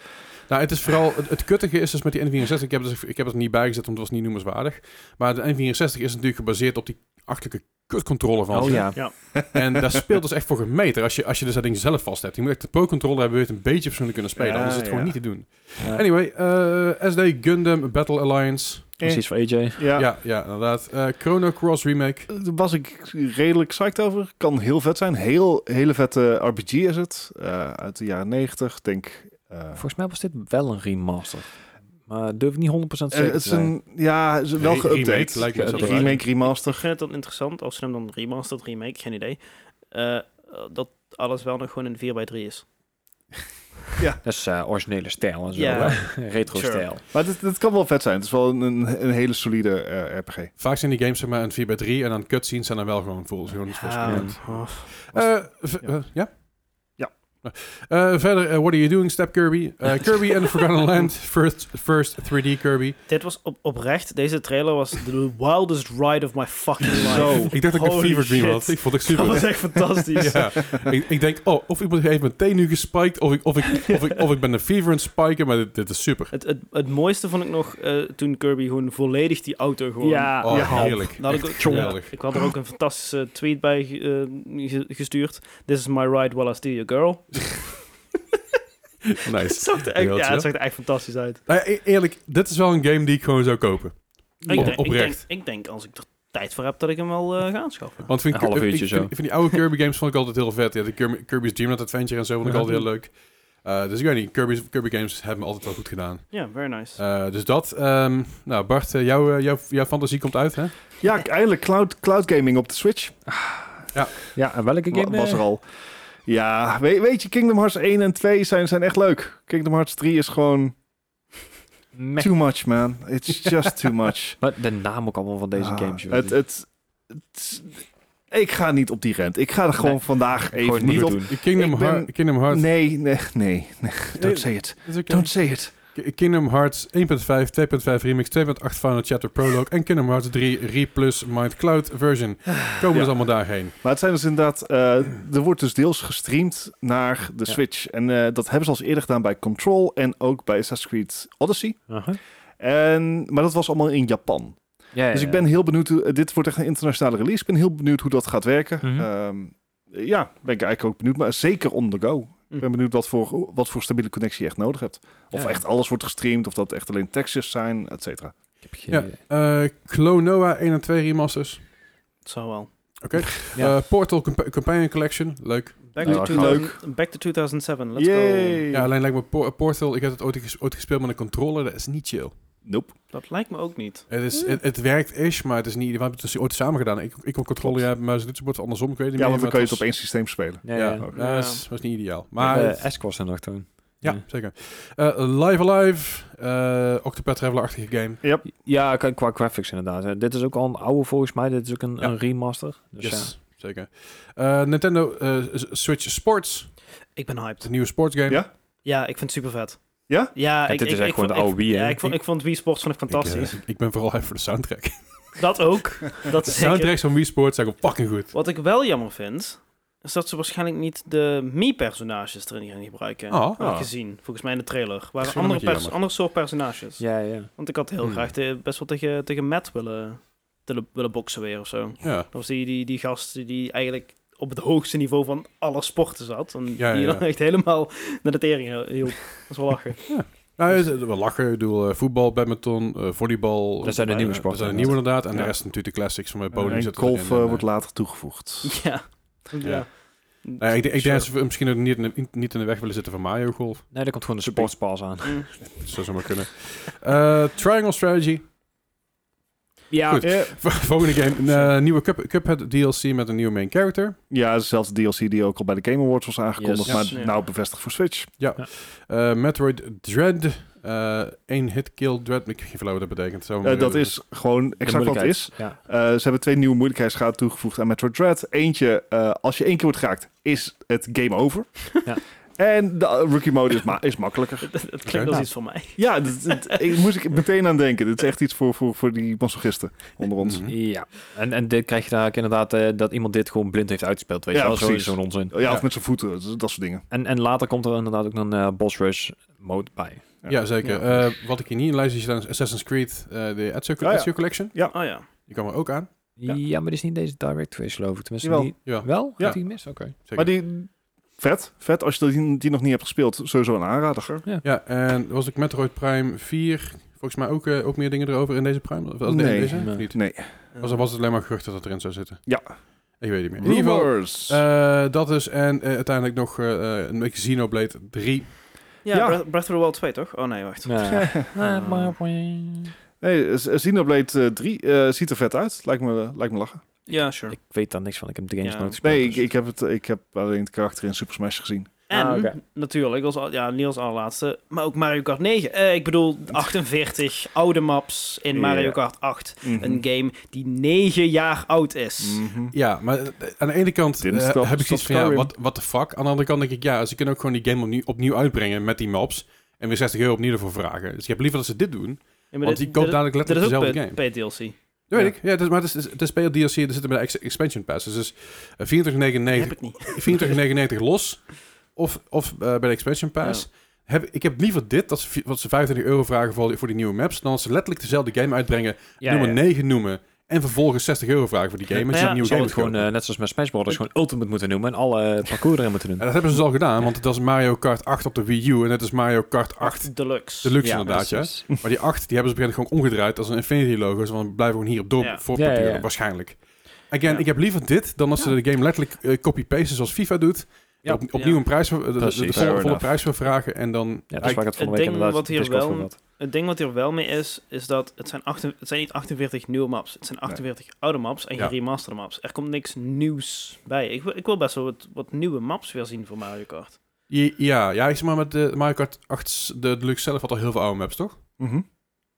Nou, het is vooral het, het kuttige is dus met die N64. Ik heb, dus, ik heb het er niet bij gezet, want het was niet noemenswaardig. Maar de N64 is natuurlijk gebaseerd op die achterlijke kutcontroller van.
Oh
ze.
ja.
En daar speelt dus echt voor gemeter. Als je, als je dus dat ding zelf vast hebt. Je moet echt de pro-controller hebben, wil je het een beetje persoonlijk kunnen spelen.
Ja,
anders is het gewoon
ja.
niet te doen.
Ja.
Anyway, eh, SD Gundam Battle Alliance.
Precies voor AJ.
Ja.
Ja, ja, inderdaad. Eh, Chrono Cross Remake.
Eh, Daar was ik redelijk psyched over. Kan heel vet zijn. Heel, hele vette RPG is het. Eh, uit de jaren 90. Denk... eh,
Volgens mij was dit wel een remaster. Maar durf ik niet 100% zeker
Eh,
te
het is
zijn.
een, ja, het is wel
Re- remake,
geüpdate.
lijkt me
Een
zo te
remake,
Ik
remaster.
vind het dan interessant, als ze hem dan remastered, remake, geen idee, eh, dat alles wel nog gewoon in 4x3 is.
Dat is eh, originele stijl en zo.
Ja.
(laughs) Retro-stijl.
Maar dit, dit kan wel vet zijn. Het is wel een, een, een hele solide eh, RPG.
Vaak zijn die games zeg maar een 4x3 en dan cutscenes zijn dan wel gewoon full. Gewoon
Ah,
iets volgens
Ja,
mij.
oh.
Eh, v-
Ja.
eh, ja?
Ja.
Eh, verder, eh, What Are You Doing, Step Kirby.
(laughs)
Eh, Kirby and the Forgotten Land, first, first 3D Kirby.
Dit was op, oprecht, deze trailer was the wildest ride of my fucking life.
Zo.
Ik dacht dat ik een
Holy
fever dream
shit.
had. Ik vond het
Dat was
super.
echt
(laughs)
fantastisch.
Ja. ik, ik denk, oh, of iemand heeft meteen nu gespiked, of ik, of
(laughs)
ik, of ik, of ik ben een fever aan het spiken, maar dit, dit is super.
Het, het, het mooiste vond ik nog eh, toen Kirby gewoon volledig die auto gewoon...
Ja,
Oh,
ja.
heerlijk.
Nou,
Echt
ik-
geweldig.
Ik had er ook een fantastische tweet bij eh, ge- gestuurd. This is my ride while I steal your girl. Het
Nice.
zag er echt,
Heel
ja,
chill.
het zag er echt fantastisch uit.
Nou ja, e- eerlijk, dit is wel een game die ik gewoon zou kopen.
Ik
Op-
denk, ik, denk,
oprecht.
ik denk, als ik er tijd voor heb, dat ik hem wel eh, ga aanschaffen.
Want vind ik,
Een half
ik- ik,
uurtje
vind-
zo.
ik vind die oude Kirby games vond ik altijd heel vet. Ja, de Kirby- Kirby's Dream Land Adventure en zo vond ik
Ja.
altijd heel leuk. Eh, dus ik weet niet, Kirby's, Kirby games hebben me altijd wel goed gedaan.
Ja, very nice.
Eh, dus dat. ehm, nou, Bart, eh, jouw, eh, jouw, jouw fantasie komt uit, hè?
Ja,
Eh.
k- eindelijk cloud, cloud gaming op de Switch.
ja, en welke
Wa-
game?
was
eh?
er al. Ja, weet, weet je, Kingdom Hearts 1 en 2 zijn, zijn echt leuk. Kingdom Hearts 3 is gewoon
Meh.
too much, man. It's just
(laughs)
too much.
Maar de naam ook allemaal van deze
Ah,
games. joh.
Het, het, het- ik ga niet op die rent. Ik ga er gewoon
Nee.
vandaag eh, even
Gewoon
niet op.
doen.
Kingdom,
Ik ben-
Heart- Kingdom Hearts.
Nee, nee, nee, (laughs) nee.
Nee,
Don't say it.
is oké.
Don't say it.
Ki- Kingdom Hearts 1.5, 2.5 Remix, 2.8 Final Chapter Prologue en Kingdom Hearts 3 Re plus Mind Cloud version. Komen dus allemaal daarheen.
Maar het zijn dus inderdaad, eh, er wordt dus deels gestreamd naar de
Ja.
Switch. En eh, dat hebben ze al eens eerder gedaan bij Control en ook bij Assassin's Creed Odyssey.
Aha.
En, maar dat was allemaal in Japan.
Ja, ja,
Dus ik
ja.
ben heel benieuwd, hoe- eh, dit wordt echt een internationale release. Ik ben heel benieuwd hoe dat gaat werken.
Mhm.
Ehm, ja, ben ik eigenlijk ook benieuwd, maar zeker on the go.
Mm.
Ik ben benieuwd wat voor, wat voor stabiele connectie je echt nodig hebt. Of
Ja.
echt alles wordt gestreamd, of dat echt alleen tekstjes zijn, et cetera.
Ik heb geen
Ja.
idee.
Eh Clonoa 1 en 2 remasters.
Het zou wel.
Ja.
Eh, Portal Compa- Companion Collection. Leuk.
Back,
Ja,
to
dat
2000 back to 2007, let's go.
Yay!
Ja, alleen lijkt me Por- Portal, ik heb het ooit, ges- ooit gespeeld met een controller, dat is niet chill.
Nope.
Dat lijkt me ook niet.
Het, is, het, het werkt is, maar het is niet, we hebben het dus ooit samen gedaan. Ik, ik kon controller, jij maar het wordt andersom, ik weet het niet
Ja,
meer,
want dan
maar
kan je het
was-
op één systeem spelen.
Ja,
ja,
ja.
dat
Ja.
is- was niet ideaal. Maar
Maar
het-
eh, Esk was er nog toen.
Ja,
mm.
Ja.
zeker. Eh, live Alive, eh Octopath Traveler-achtige game.
Ja, qua- qua graphics inderdaad. Eh, Dit is ook al een oude volgens mij. Dit is ook een,
Ja.
een remaster. Dus ja.
Zeker. Eh, Nintendo eh, S- Switch Sports,
Ik ben hyped.
de nieuwe sportsgame.
Ja?
Ja, ik vind het super vet.
Ja?
Ja,
dit
ik,
is
ik,
echt gewoon
ik vond-
de
ik,
oude Wii, hè?
Ja, ik vond, ik vond Wii Sports vond ik
Ik, eh,
fantastisch.
Ik, ben vooral hype voor de soundtrack. De
dat ook. Dat zeker.
soundtracks van Wii Sports zijn gewoon fucking goed.
Wat ik wel jammer vind, is dat ze waarschijnlijk niet de Mii-personages erin gaan gebruiken.
Ah.
Had ik
Ah.
gezien, volgens mij in de trailer.
is
Waren
wel een
andere,
beetje
pers-
jammer.
andere soort personages.
Ja, ja.
Want ik had heel
Hmm.
graag eh, best wel tegen, tegen Matt willen, willen, willen boksen weer of zo. Dat
Ja.
was die, die, die gast die- die eigenlijk op het hoogste niveau van alle sporten zat. En
Ja,
die
ja,
dan
ja.
echt helemaal naar de tering hielp. Dat is wel
(laughs)
lachen.
Nou, is- we lachen. Ik bedoel, eh, voetbal, badminton, eh, volleybal.
Dat zijn de
Eh,
nieuwe
Dat
sporten,
zijn de nieuwe inderdaad. En de
Ja.
rest natuurlijk de classics van mijn
En
podium. zitten
golf
erin. En,
eh,
eh,
wordt later toegevoegd.
(laughs) ja. ja.
nou ja, ik, denk- ik denk dat ze misschien ook niet in, de, niet in de weg willen zitten van Mario Golf. Dus
Nee, daar komt gewoon de sportspas aan.
Mm.
Dat zou zomaar kunnen. Eh, triangle Strategy. (laughs)
Ja,
Goed.
Eh,
Volgende game. Een eh, nieuwe Cup, Cuphead DLC met een nieuwe main character.
Ja, dezelfde DLC die ook al bij de Game Awards was aangekondigd,
Yes.
maar
Ja.
nou bevestigd voor Switch.
Eh, Metroid Dread. eh één hit kill Dread. Ik heb geen flauw wat dat betekent. Zo
Eh, dat is gewoon exact wat het is.
Ja.
Eh, ze hebben twee nieuwe moeilijkheidsgraden toegevoegd aan Metroid Dread. Eentje, eh, als je één keer wordt geraakt, is het game over.
(laughs) Ja.
En de eh, rookie mode is, ma- is makkelijker.
(laughs) Het het
Oké.
klinkt als iets voor mij.
Ja, dat, dat- ik moest ik meteen aan denken. Dit is echt iets voor, voor, voor die masochisten onder ons.
Mhm.
ja. En, en dit krijg je daar inderdaad eh, dat iemand dit gewoon blind heeft uitgespeeld. Weet je
Ja,
wel, Zo-
precies.
zo'n onzin.
Ja, of met zijn voeten, dat, dat soort dingen.
En, en later komt er inderdaad ook een eh boss rush mode bij.
Ja, zeker. Eh, wat ik hier niet in lijst zie staan is Assassin's Creed. eh, de Ezio,
Ah, ja.
Ezio Collection.
Oh ja.
Die kwam er ook aan.
Ja, maar dit is niet deze direct geweest, geloof ik. Tenminste,
Jawel.
niet-
Ja.
wel?
Ja.
Had hij gemist? Oké.
Zeker.
Maar die, vet, vet. Als je die, die nog niet hebt gespeeld, sowieso een aanrader.
Ja, en er was ook Metroid Prime 4. Volgens mij ook, eh, ook meer dingen erover in deze Prime. Of als
Nee.
in deze?
Nee.
Niet.
Nee.
Was, was het alleen maar gerucht dat het erin zou zitten?
Ja.
Ik weet het niet meer. In ieder geval,
Rumors.
eh, dat is. En eh, uiteindelijk nog eh eh, een eh, Xenoblade 3.
Ja,
Ja.
Breath, Breath of the Wild 2, toch? Oh nee,
(laughs)
wacht.
Ah,
Eh, maar-
Nee, Z- Xenoblade eh, 3 eh, ziet er vet uit. Lijkt me, lijkt me lachen.
Ja, sure.
Ik weet daar niks van. Ik heb de games
Ja.
nooit gespeeld.
Nee, ik,
dus-
ik, heb het, ik heb alleen het karakter in Super Smash gezien.
En
Ah, oké.
natuurlijk, als, al- ja, Niels allerlaatste, maar ook Mario Kart 9. Eh, ik
(laughs)
bedoel, 48 oude maps in Mario
Ja.
Kart 8.
Mhm.
Mm.
Een game die 9 jaar oud is.
Mhm.
Ja, maar eh, aan de ene kant
Dit is
eh,
toch-
heb ik
is toch
zoiets van, ja,
Skyrim?
what, what the fuck? Aan de andere kant denk ik, ja, ze kunnen ook gewoon die game opnieuw, opnieuw uitbrengen met die maps. En weer 60 euro opnieuw ervoor vragen. Dus ik heb liever dat ze dit doen.
Ja, maar
want
dit-
die koopt
dit-
dadelijk
dit is
letterlijk
ook
dezelfde
pa-
game.
paid DLC.
Dat weet
Ja.
ik. Ja, het is, maar het is, het is- het is bij DLC. Er zitten bij de ex- expansion passes. Dus eh, 24,99
Heb ik niet.
24,99 los. Of, of eh, bij de expansion pass. Heb, ik heb liever dit, dat ze, vi- wat ze 25 euro vragen voor die, voor die nieuwe maps. Dan dat ze letterlijk dezelfde game uitbrengen.
Ja,
nummer
ja.
9 noemen. En vervolgens 60 euro vragen voor die game. En
Nou
ze
ja,
een nieuwe
Zou
game
het gewoon,
kopen.
eh, net zoals met Smash Brothers, gewoon Ultimate moeten noemen en alle
(laughs)
eh, parcours erin moeten doen.
En dat hebben ze dus al gedaan. Want het was Mario Kart 8 op de Wii U. En het is Mario Kart
(laughs)
8
Deluxe.
Deluxe
Dus- Ja,
inderdaad. Ja.
precies.
Maar die 8 die hebben ze op een gegeven moment gewoon omgedraaid als een Infinity logo. Zo van, we blijven gewoon hier op dorp
Ja.
voor
Ja, ja, ja.
porteren, waarschijnlijk. Again,
Ja.
ik heb liever dit dan als ze de game letterlijk eh, copy-pasten zoals FIFA doet.
Ja.
Op, opnieuw een prijs, voor- de, de- de
Precies.
volle,
Fair
volle
enough.
prijs voor vragen en dan...
Ja, dat is waar ik het van de
Het
week
ding
inderdaad
wat hier
discuss
wel-
over had.
Het ding wat hier wel mee is, is dat het zijn, 8 het zijn niet 48 nieuwe maps. Het zijn 48 oude maps en
Ja.
geremasterde maps. Er komt niks nieuws bij. Ik, wil- ik wil best wel wat, wat nieuwe maps weer zien voor Mario Kart.
Ja, ja, ja, ik zeg maar met de Mario Kart 8, de Deluxe zelf had al heel veel oude maps, toch?
Mhm.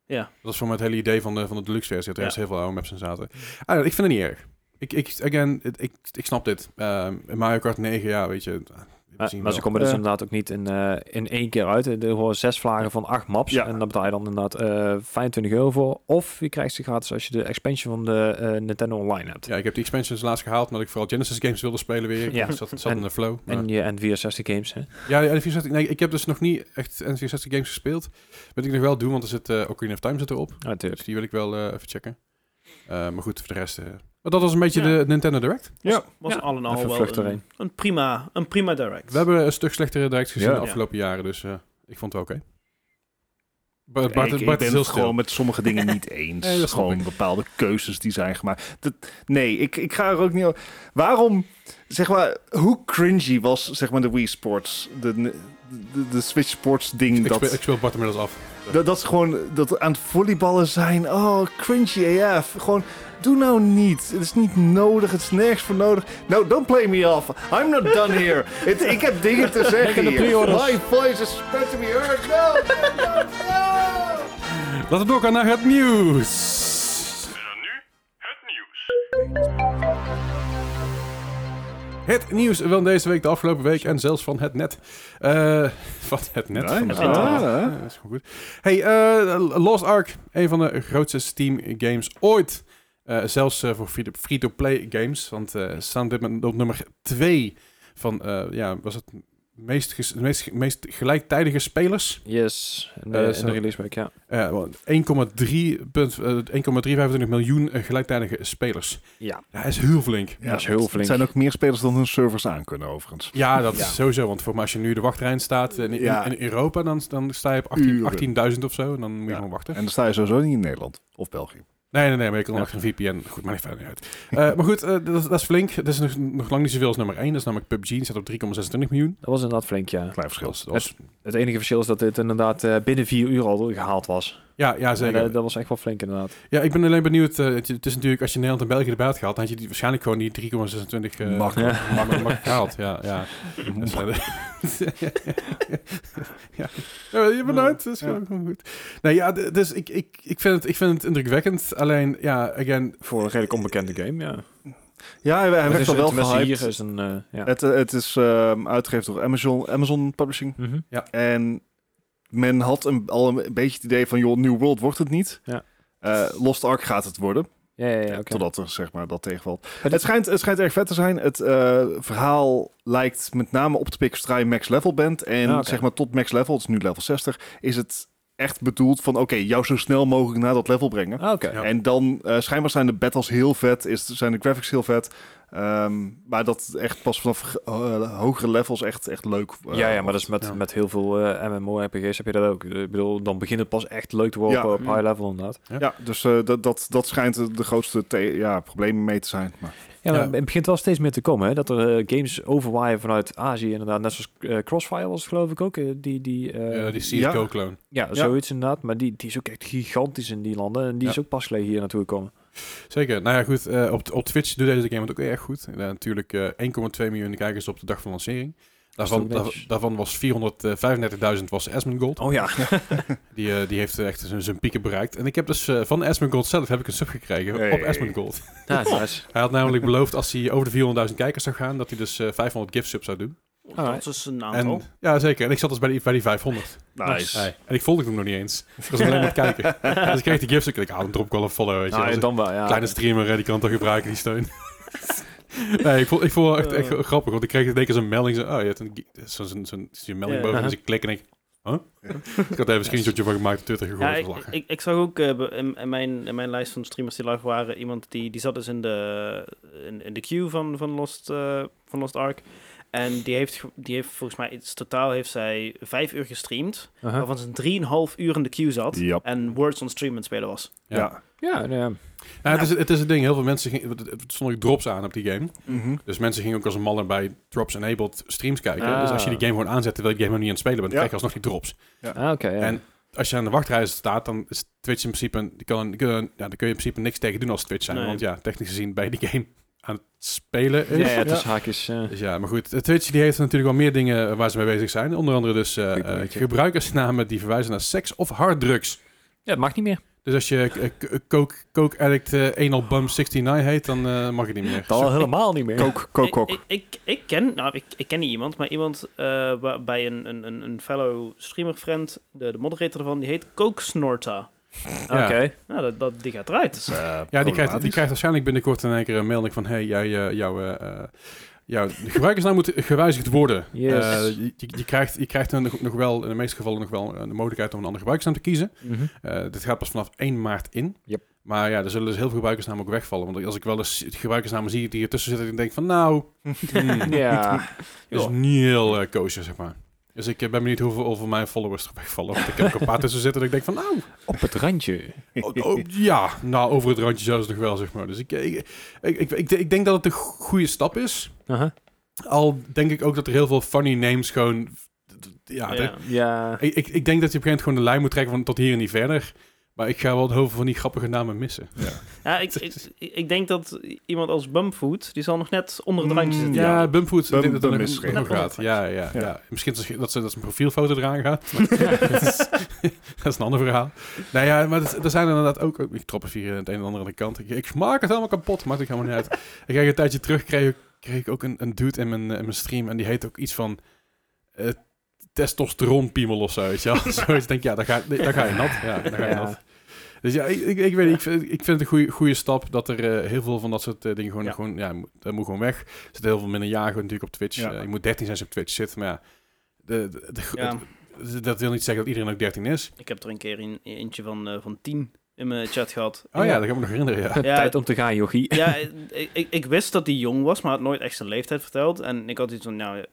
Dat was voor mij het hele idee van de, van de Deluxe versie, dat er
Ja.
eerst heel veel oude maps in zaten. Ah, ik vind het niet erg. Ik, ik, again, ik, ik, ik snap dit. Ehm, Mario Kart 9, ja, weet je...
Maar, maar ze komen
Ja.
dus inderdaad ook niet in, eh, in één keer uit. Er horen zes vlagen van acht maps.
Ja.
En daar betaal je dan inderdaad eh 25 euro voor. Of je krijgt ze gratis als je de expansion van de eh, Nintendo Online hebt.
Ja, ik heb die expansions laatst gehaald, omdat ik vooral Genesis games wilde spelen weer.
Ja.
(laughs) Ja. Zat, zat
En-
in de flow. maar-
En, je en 64 games, hè?
ja, ja, de 64, nee, ik heb dus nog niet echt N64 games gespeeld. Wat ik nog wel doe, want er zit ook Ocarina of Time zit erop.
Natuurlijk.
Dus die wil ik wel eh, even checken. Eh, maar goed, voor de rest... eh, maar dat was een beetje
Ja.
de Nintendo Direct.
Ja.
Was
Ja,
al en al
Even
wel
vlucht
een,
erheen.
een, prima, een prima direct.
We hebben een stuk slechtere Direct gezien
Ja.
de afgelopen jaren, dus eh, ik vond het wel oké. Bart,
Ik-
Bart,
ik,
Bart
ben
is heel
het
stil.
gewoon met sommige dingen
(laughs)
niet eens.
Nee, dat snap
gewoon bepaalde keuzes die zijn gemaakt. Dat, nee, ik, ik ga er ook niet over. Waarom, zeg maar, hoe cringy was zeg maar de Wii Sports, de, de, de Switch Sports ding
Ik,
dat...
speel, ik speel Bart inmiddels af.
Dat, dat is gewoon dat we aan het volleyballen zijn. Oh, cringy AF. Gewoon, doe nou niet. Het is niet nodig. Het is nergens voor nodig. No, don't play me off. I'm not done here. Het- ik heb dingen te zeggen
Lekker de
hier.
pre-orders.
My voice is spread to be heard. No, no, no, no.
Laten we doorgaan naar het nieuws.
En dan nu het nieuws.
Het nieuws van deze week, de afgelopen week en zelfs van het net. Eh, van het net. Van het
Nice.
internet.
Ah, hè?
Ja, dat is gewoon goed. Hey, eh, Lost Ark, een van de grootste Steam games ooit. Eh, zelfs eh, voor free- free-to-play games. Want eh, ze staan op dit moment op nummer 2 van, eh, ja, was het meest, ges- meest, meest gelijktijdige spelers.
Yes. In de,
Eh,
in
zo-
de release week, ja.
Eh, want 1,3 punt- eh, 1,325 miljoen eh, gelijktijdige spelers.
Ja.
Ja, Dat is heel flink.
Ja, dat is heel flink.
Het zijn ook meer spelers dan hun servers aan kunnen, overigens.
Ja, dat
Ja.
is sowieso. Want voor mij, als je nu de wachtrij staat eh, in, in,
Ja.
in Europa, dan, dan sta je op
Uren.
18 18.000 of zo. En dan moet je
Ja.
gewoon wachten.
En dan sta je sowieso niet in Nederland of België.
Nee, nee, nee, maar je kan
Ja.
achter een VPN. Goed, maar niet verder niet uit. Eh, maar goed, eh, dat, dat is flink. Dat is nog, nog lang niet zoveel als nummer 1. Dat is namelijk PUBG. Die staat op 3,26 miljoen.
Dat was inderdaad flink, ja.
Klein
Dat
verschil.
was, dat was-
Het enige verschil is dat dit inderdaad eh, binnen vier uur al gehaald was.
ja, ja, zeker.
En, eh, dat was echt wel flink, inderdaad.
ja, ik ben alleen benieuwd. eh, het, het is natuurlijk, als je Nederland en België erbij had gehaald, dan had je die, waarschijnlijk gewoon die 3,26 eh
Makkelijk.
(laughs) Ja.
makkelijk gehaald. Ja, ja. Dat is, eh, ja. ja, je bent uit, dat is gewoon gewoon goed. Nee, ja, d- dus ik, ik, ik, vind het, ik vind het indrukwekkend. Alleen, ja, again,
Voor een redelijk onbekende game, ja.
Ja, hij, hij werd al wel gehyped.
hier is een... eh, ja.
Het, eh, het is ehm, uitgegeven door Amazon, Amazon Publishing.
Mhm.
En men had een, al een beetje het idee van, joh, New World wordt het niet.
Ja.
Eh, Lost Ark gaat het worden.
Ja, ja, ja. oké.
Totdat er, zeg maar, dat tegenvalt.
dit-
Het schijnt, het schijnt erg vet te zijn. Het eh, verhaal lijkt met name op te pikken zodra je max level bent. En
Ah, oké.
zeg maar tot max level, het is nu level 60, is het echt bedoeld van, oké, jou zo snel mogelijk naar dat level brengen.
Ah, oké.
Ja.
En dan, eh, schijnbaar zijn de battles heel vet, is, zijn de graphics heel vet. Ehm, maar dat echt pas vanaf eh, hogere levels echt, echt leuk. eh,
Ja, ja, maar dat is met,
ja.
met heel veel eh, MMORPG's heb je dat ook. Ik bedoel, dan begint het pas echt leuk te worden
Ja.
op high level inderdaad.
Ja, dus eh, dat, dat, dat schijnt de grootste the- ja, probleem mee te zijn. Maar,
Ja, maar
Ja.
het begint wel steeds meer te komen. Hè? Dat er eh, games overwaaien vanuit Azië inderdaad. Net zoals eh, Crossfire was het geloof ik ook. eh, die, die, eh,
Ja, die
ja.
CSGO-clone.
ja, zoiets inderdaad. Maar die, die is ook echt gigantisch in die landen. En die
Ja.
is ook pas geleden hier naartoe gekomen.
Zeker. Nou ja, goed. eh, op, op Twitch doet deze game het ook erg goed. Eh, natuurlijk eh, 1,2 miljoen kijkers op de dag van lancering. Daarvan,
ook netjes.
daar- daarvan was 435.000 was Asmongold. Gold.
Oh
(laughs)
ja.
Die, eh, die heeft echt zijn, zijn pieken bereikt. En ik heb dus eh, van Asmongold Gold zelf heb ik een sub gekregen
Hey.
op Asmongold. Gold.
Ja, nice.
Hij had namelijk beloofd als hij over de 400.000 kijkers zou gaan, dat hij dus eh, 500 gift subs zou doen.
Alright.
Dat is een aantal.
En, ja, zeker. En ik zat dus bij die, bij die 500.
Nice.
En ik volgde hem nog niet eens. Ik was alleen maar aan het kijken. (laughs) Dus ik kreeg die gift sub. Ik dacht, ah, dan drop ik wel een follow, weet je.
Nou,
Als
ja,
ik-
dan wel, ja.
Kleine streamer, eh, die kan toch gebruiken, die steun. (laughs) nee, ik vond, ik vond het echt,
Eh.
echt grappig, want ik kreeg in één keer zo'n melding. Zo, oh, je hebt een gi- zo'n zo'n zo'n zo'n melding
Ja. Uh-huh.
boven,
Aha.
dus ik klik en ik... Huh? ik had even een screenshotje van gemaakt op Twitter gegooid.
Ja, ik,
was lachen.
ik, ik zag ook eh, be- in, in mijn, in mijn lijst van streamers die live waren, iemand die, die zat dus in de, in, in de queue van, van, Lost, eh, van Lost Ark. En die heeft, ge- die heeft volgens mij iets totaal heeft zij vijf uur gestreamd,
Aha.
waarvan ze een 3,5 uur in de queue zat.
Ja.
En Words on Stream aan het spelen was.
Ja.
Ja.
Ja, nou ja.
Nou, het, is, het is een ding, heel veel mensen... Gingen, het- het stonden ook drops aan op die game.
Mhm.
Dus mensen gingen ook als een malle bij drops enabled streams kijken.
Ah.
Dus als je die game gewoon aanzet terwijl je game nog niet aan het spelen bent,
Ja.
krijg je alsnog die drops.
Ah, oké. ja.
En als je aan de wachtrij staat, dan is Twitch in principe... een- Die kan, die kan- ja, daar kun je in principe niks tegen doen als Twitch zijn.
Nee.
Want ja, technisch gezien ben je die game aan het spelen.
ja,
Is.
ja, het is haakjes. eh.
Dus ja, maar goed. eh, Twitch die heeft natuurlijk wel meer dingen waar ze mee bezig zijn. Onder andere dus eh, eh,
Gebruiken.
gebruikersnamen die verwijzen naar seks of harddrugs.
ja, het mag niet meer.
Dus als je eh, k- eh, coke, coke Addict eh, Anal Bum 69 heet, dan eh, mag het niet meer.
Dat al helemaal niet meer.
Kook, kook,
Ik-
kook.
Ik, ik, ik ken, nou, ik, ik ken niet iemand, maar iemand eh, wa- bij een, een, een- een fellow streamer friend, de, de moderator ervan, die heet Coaksnorta.
Oké.
Nou, dat, dat, die gaat eruit. Dus, eh,
Dus, Ja, die krijgt, die krijgt waarschijnlijk binnenkort in één keer een melding van... hey, jij, eh, jouw, eh, eh, jouw gebruikersnaam moet gewijzigd worden.
(laughs) Yes.
Eh, je, je- je krijgt, je krijgt dan nog nog wel, in de meeste gevallen nog wel eh, de mogelijkheid om een andere gebruikersnaam te kiezen.
Mhm.
Eh, dit gaat pas vanaf 1 maart in.
Yep.
Maar ja, er zullen dus heel veel gebruikersnamen ook wegvallen. Want als ik wel eens gebruikersnamen zie die ertussen zitten... en denk ik van
(laughs)
nou, hmm,
Ja.
dat is
joh.
niet heel eh, kosher, zeg maar. Dus ik eh, ben benieuwd hoeveel, hoeveel mijn followers er wegvallen. Want ik heb er ook een paar (laughs) tussen zitten dat ik denk van nou...
(laughs) Op het randje.
Oh, oh, ja, nou, over het randje zelfs nog wel, zeg maar. Dus ik, ik, ik, ik, ik, ik denk dat het een goede stap is.
Aha.
Al denk ik ook dat er heel veel funny names gewoon... Ja,
ja.
Ja.
Ik, ik, ik denk dat je op een gegeven moment gewoon de lijn moet trekken van tot hier en niet verder. Maar ik ga wel heel veel van die grappige namen missen.
Ja, Nou, ik, ik, ik denk dat iemand als Bumpfood, die zal nog net onder het randje
Mm,
zitten.
Ja,
Ja.
Bumfood, ik
Bum-
denk dat
Bum
dat
is
nog-
geen-
nog gaat. Ja, ja, ja.
Ja.
Misschien dat ze, dat ze dat zijn profielfoto eraan
(laughs)
gaat. maar dat, is, (laughs) dat is een ander verhaal. Nou ja, maar dat- er zijn inderdaad ook... ook- Ik trap het hier het een en ander aan de kant. Ik, ik maak het helemaal kapot, maakt het helemaal niet uit.
(laughs)
Ik kreeg een tijdje terug, kreeg, ik- kreeg ik ook een, een dude in mijn, in mijn stream. En die heet ook iets van... eh testosteronpiemel of zo, weet je wel. (laughs) Zoiets denk ik, ja, daar ga, daar ga je nat. Ja, daar ga je
Ja.
nat. Dus ja, ik, ik, ik weet niet, ik vind, ik vind het een goede, goede stap dat er eh, heel veel van dat soort eh, dingen gewoon,
Ja.
gewoon ja, moet- dat moet gewoon weg. Er zitten heel veel minderjarigen natuurlijk op Twitch.
Ja.
Eh, je moet 13 zijn als je op Twitch zit, maar ja, de, de- de-
Ja.
het- dat wil niet zeggen dat iedereen ook 13 is.
Ik heb er een keer een, eentje van, eh, van 10 in mijn chat gehad.
Oh ja, dat kan ik me nog herinneren,
(laughs)
ja.
Ja.
Tijd om te gaan, jochie.
Ja, ik, ik, ik wist dat hij jong was, maar had nooit echt zijn leeftijd verteld. En ik had iets van, nou,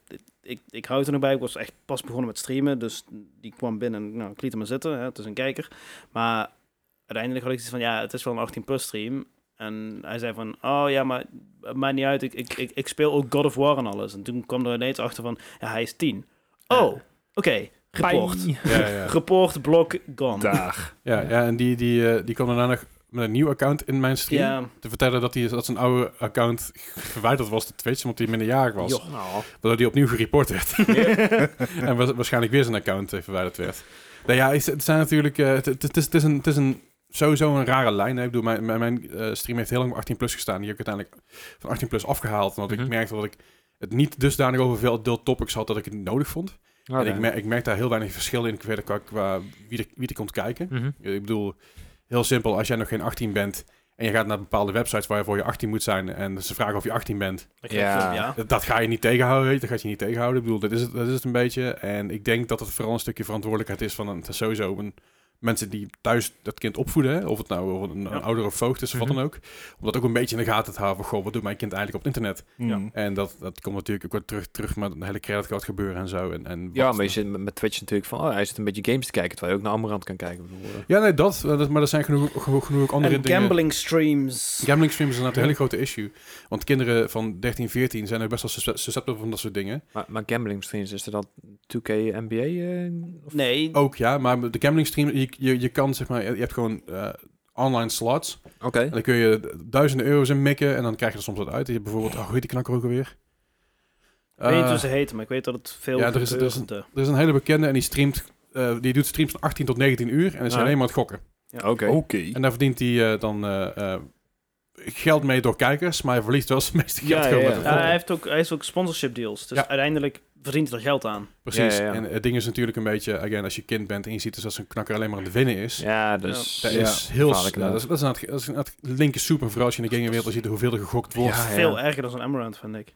ik, ik hou het er nog bij. Ik was echt pas begonnen met streamen, dus die kwam binnen en nou, ik liet hem maar zitten. Hè, het is een kijker. Maar uiteindelijk had ik iets van, ja, het is wel een 18-plus stream. En hij zei van, oh ja, maar het maakt niet uit. Ik, ik, ik, ik speel ook God of War en alles. En toen kwam er ineens achter van, ja, hij is 10. Oh, oké, report.
Bye.
Ja, ja.
Report, blok, gone.
Daag.
ja, ja en die, die, eh, die kwam daarna nog met een nieuw account in mijn stream
Ja,
te vertellen dat, hij dat zijn oude account verwijderd was te Twitch, omdat hij minderjarig was.
joh.
Nou,
Waardoor hij opnieuw gereport werd. (laughs) en wa- waarschijnlijk weer zijn account eh, verwijderd werd. Nou ja, het het zijn natuurlijk... eh, Het het- het is, het is, een, het is een, sowieso een rare lijn. Hè. Ik bedoel, mijn, mijn, mijn, eh, stream heeft heel lang op 18 plus gestaan. Die heb ik uiteindelijk van 18 plus afgehaald. Omdat
Mhm.
ik merkte dat ik het niet dusdanig over veel adult topics had dat ik het niet nodig vond.
Oké.
En ik, mer ik merk daar heel weinig verschil in verder qua, qua wie, er, wie er komt kijken. Eh,
Mhm.
Ik bedoel, heel simpel, als jij nog geen 18 bent... en je gaat naar bepaalde websites waarvoor je 18 moet zijn... en ze vragen of je 18 bent...
Ik geef het op, ja.
Dat, dat ga je niet tegenhouden, weet je. Dat gaat je niet tegenhouden. Ik bedoel, dat is, het, dat is het een beetje. En ik denk dat het vooral een stukje verantwoordelijkheid is van een, het is sowieso een mensen die thuis dat kind opvoeden, hè, of het nou over een, een ouder of voogd is of wat
Mhm.
dan ook, om dat ook een beetje in de gaten te houden. van, Goh, wat doet mijn kind eigenlijk op het internet?
Ja.
En dat, dat komt natuurlijk ook weer terug, terug met een hele creditcard gebeuren en zo. En, en
Ja,
wat-
maar je zit met, met Twitch natuurlijk van, oh, hij zit een beetje games te kijken, terwijl je ook naar Amarant kan kijken. Ik bedoel, eh.
Ja, nee, dat, eh, dat- maar er zijn genoeg, genoeg, genoeg andere
en
dingen.
gambling streams.
Gambling streams is inderdaad een hele grote issue. Want kinderen van 13, 14 zijn ook best wel susce- susceptible van dat soort dingen.
maar, maar gambling streams, is er dan 2K NBA? eh, of-
Nee,
Ook ja, maar de gambling stream, je, je, je kan zeg maar, je hebt gewoon eh, online slots.
Oké.
En dan kun je duizenden euro's in mikken en dan krijg je er soms wat uit. Je hebt bijvoorbeeld, oh, hoe heet die knakker ook alweer?
ik weet niet
Eh,
hoe ze heten, maar ik weet dat het veel
ja, er is- er is een-
gebeurt.
er is een hele bekende en die streamt, eh, die doet streams van 18 tot 19 uur en is
Ah.
alleen maar aan het gokken.
Oké.
Oké.
En daar verdient hij eh, dan eh, eh, geld mee door kijkers, maar hij verliest wel zijn meeste geld
Ja,
gewoon met
ja, ja.
het
Ja,
gokken.
hij, heeft ook, hij heeft ook sponsorship deals. Dus
Ja.
uiteindelijk verdient hij er geld aan.
Precies.
Ja, ja, ja.
En het ding is natuurlijk een beetje, again, als je kind bent en je ziet dus dat zo'n knakker alleen maar aan het winnen is.
Ja, dus...
Dat
Ja,
is heel... s-
gevaarlijk
ja, dat is, dat is inderdaad- dat is inderdaad linker super, vooral als je in de gamingwereld ziet hoeveel er gegokt wordt.
Ja, ja. (laughs)
Veel erger dan zo'n Amaranth, vind ik.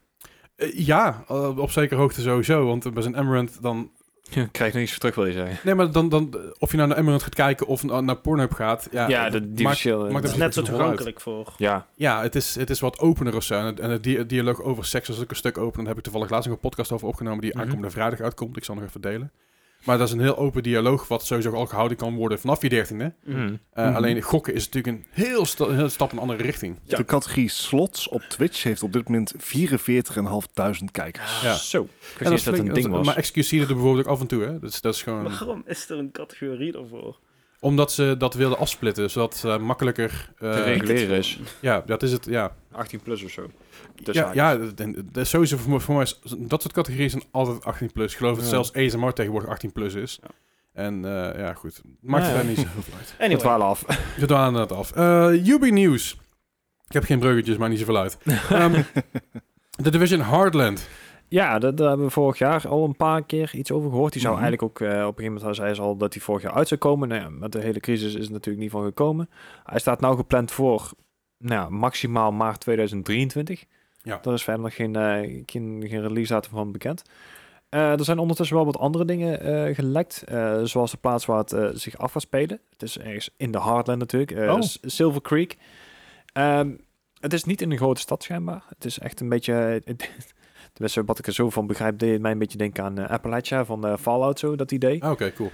Eh, Ja, eh, op zekere hoogte sowieso, want bij zo'n Emerald dan...
Je krijgt niks voor terug, wil je zeggen.
Nee, maar dan, dan of je nou naar Emerald gaat kijken of na- naar Pornhub gaat... Ja, eh,
Ja, dat die
maakt-
verschil.
maakt
Het is
het-
eh,
Ja.
net zo toegankelijk voor.
Ja,
ja het, is, het is wat opener of zo. En, het- en het dia- het dialoog over seks is ook een stuk open. Daar heb ik toevallig laatst nog een podcast over opgenomen die
Mhm.
aankomende vrijdag uitkomt. Ik zal nog even delen. Maar dat is een heel open dialoog wat sowieso al gehouden kan worden vanaf je dertiende.
Mhm.
Eh,
Mhm.
Alleen gokken is natuurlijk een heel, sta- heel stap in een andere richting.
De categorie slots op Twitch heeft op dit moment 44.500 kijkers.
Ja.
Zo. Ik wist
En
niet eens dat het
flink.
een ding was.
Maar excuse er bijvoorbeeld ook af en toe. Hè? Dus dat is gewoon
Waarom is er een categorie daarvoor?
omdat ze dat wilden afsplitten, zodat eh, makkelijker. eh,
Te reguleren is.
ja, dat is het. Ja,
18 plus of zo. Dus
ja, ja dat- dat dat is sowieso voor, mij- voor mij is, dat soort categorieën zijn altijd 18 plus. Ik geloof dat
Ja.
zelfs ASMR tegenwoordig 18 plus is.
Ja.
En eh, ja, goed. Maakt
Ja,
het
ja.
daar niet
(laughs)
zoveel uit.
Het
Anyway,
waren af.
Zit we aan het af. Eh UB News. Ik heb geen bruggetjes, maar niet zoveel
(laughs)
uit. Ehm, De Division Hardland.
Ja, daar, daar hebben we vorig jaar al een paar keer iets over gehoord. Die zou
Mhm.
eigenlijk ook, eh, op een gegeven moment zei ze al dat hij vorig jaar uit zou komen. Nou ja, met de hele crisis is het natuurlijk niet van gekomen. Hij staat nou gepland voor nou, ja, maximaal maart 2023.
Ja.
Daar is verder nog geen, eh, geen, geen release datum van bekend. Eh, er zijn ondertussen wel wat andere dingen eh, gelekt. eh, zoals de plaats waar het eh, zich af gaat spelen. Het is ergens in de Heartland natuurlijk. eh,
Oh.
S- Silver Creek. Ehm, het is niet in een grote stad schijnbaar. Het (laughs) is echt een beetje... Tenminste, wat ik er zo van begrijp, deed het mij een beetje denken aan eh, Appalachia van eh, Fallout, zo, dat idee.
Ah, Oké, cool.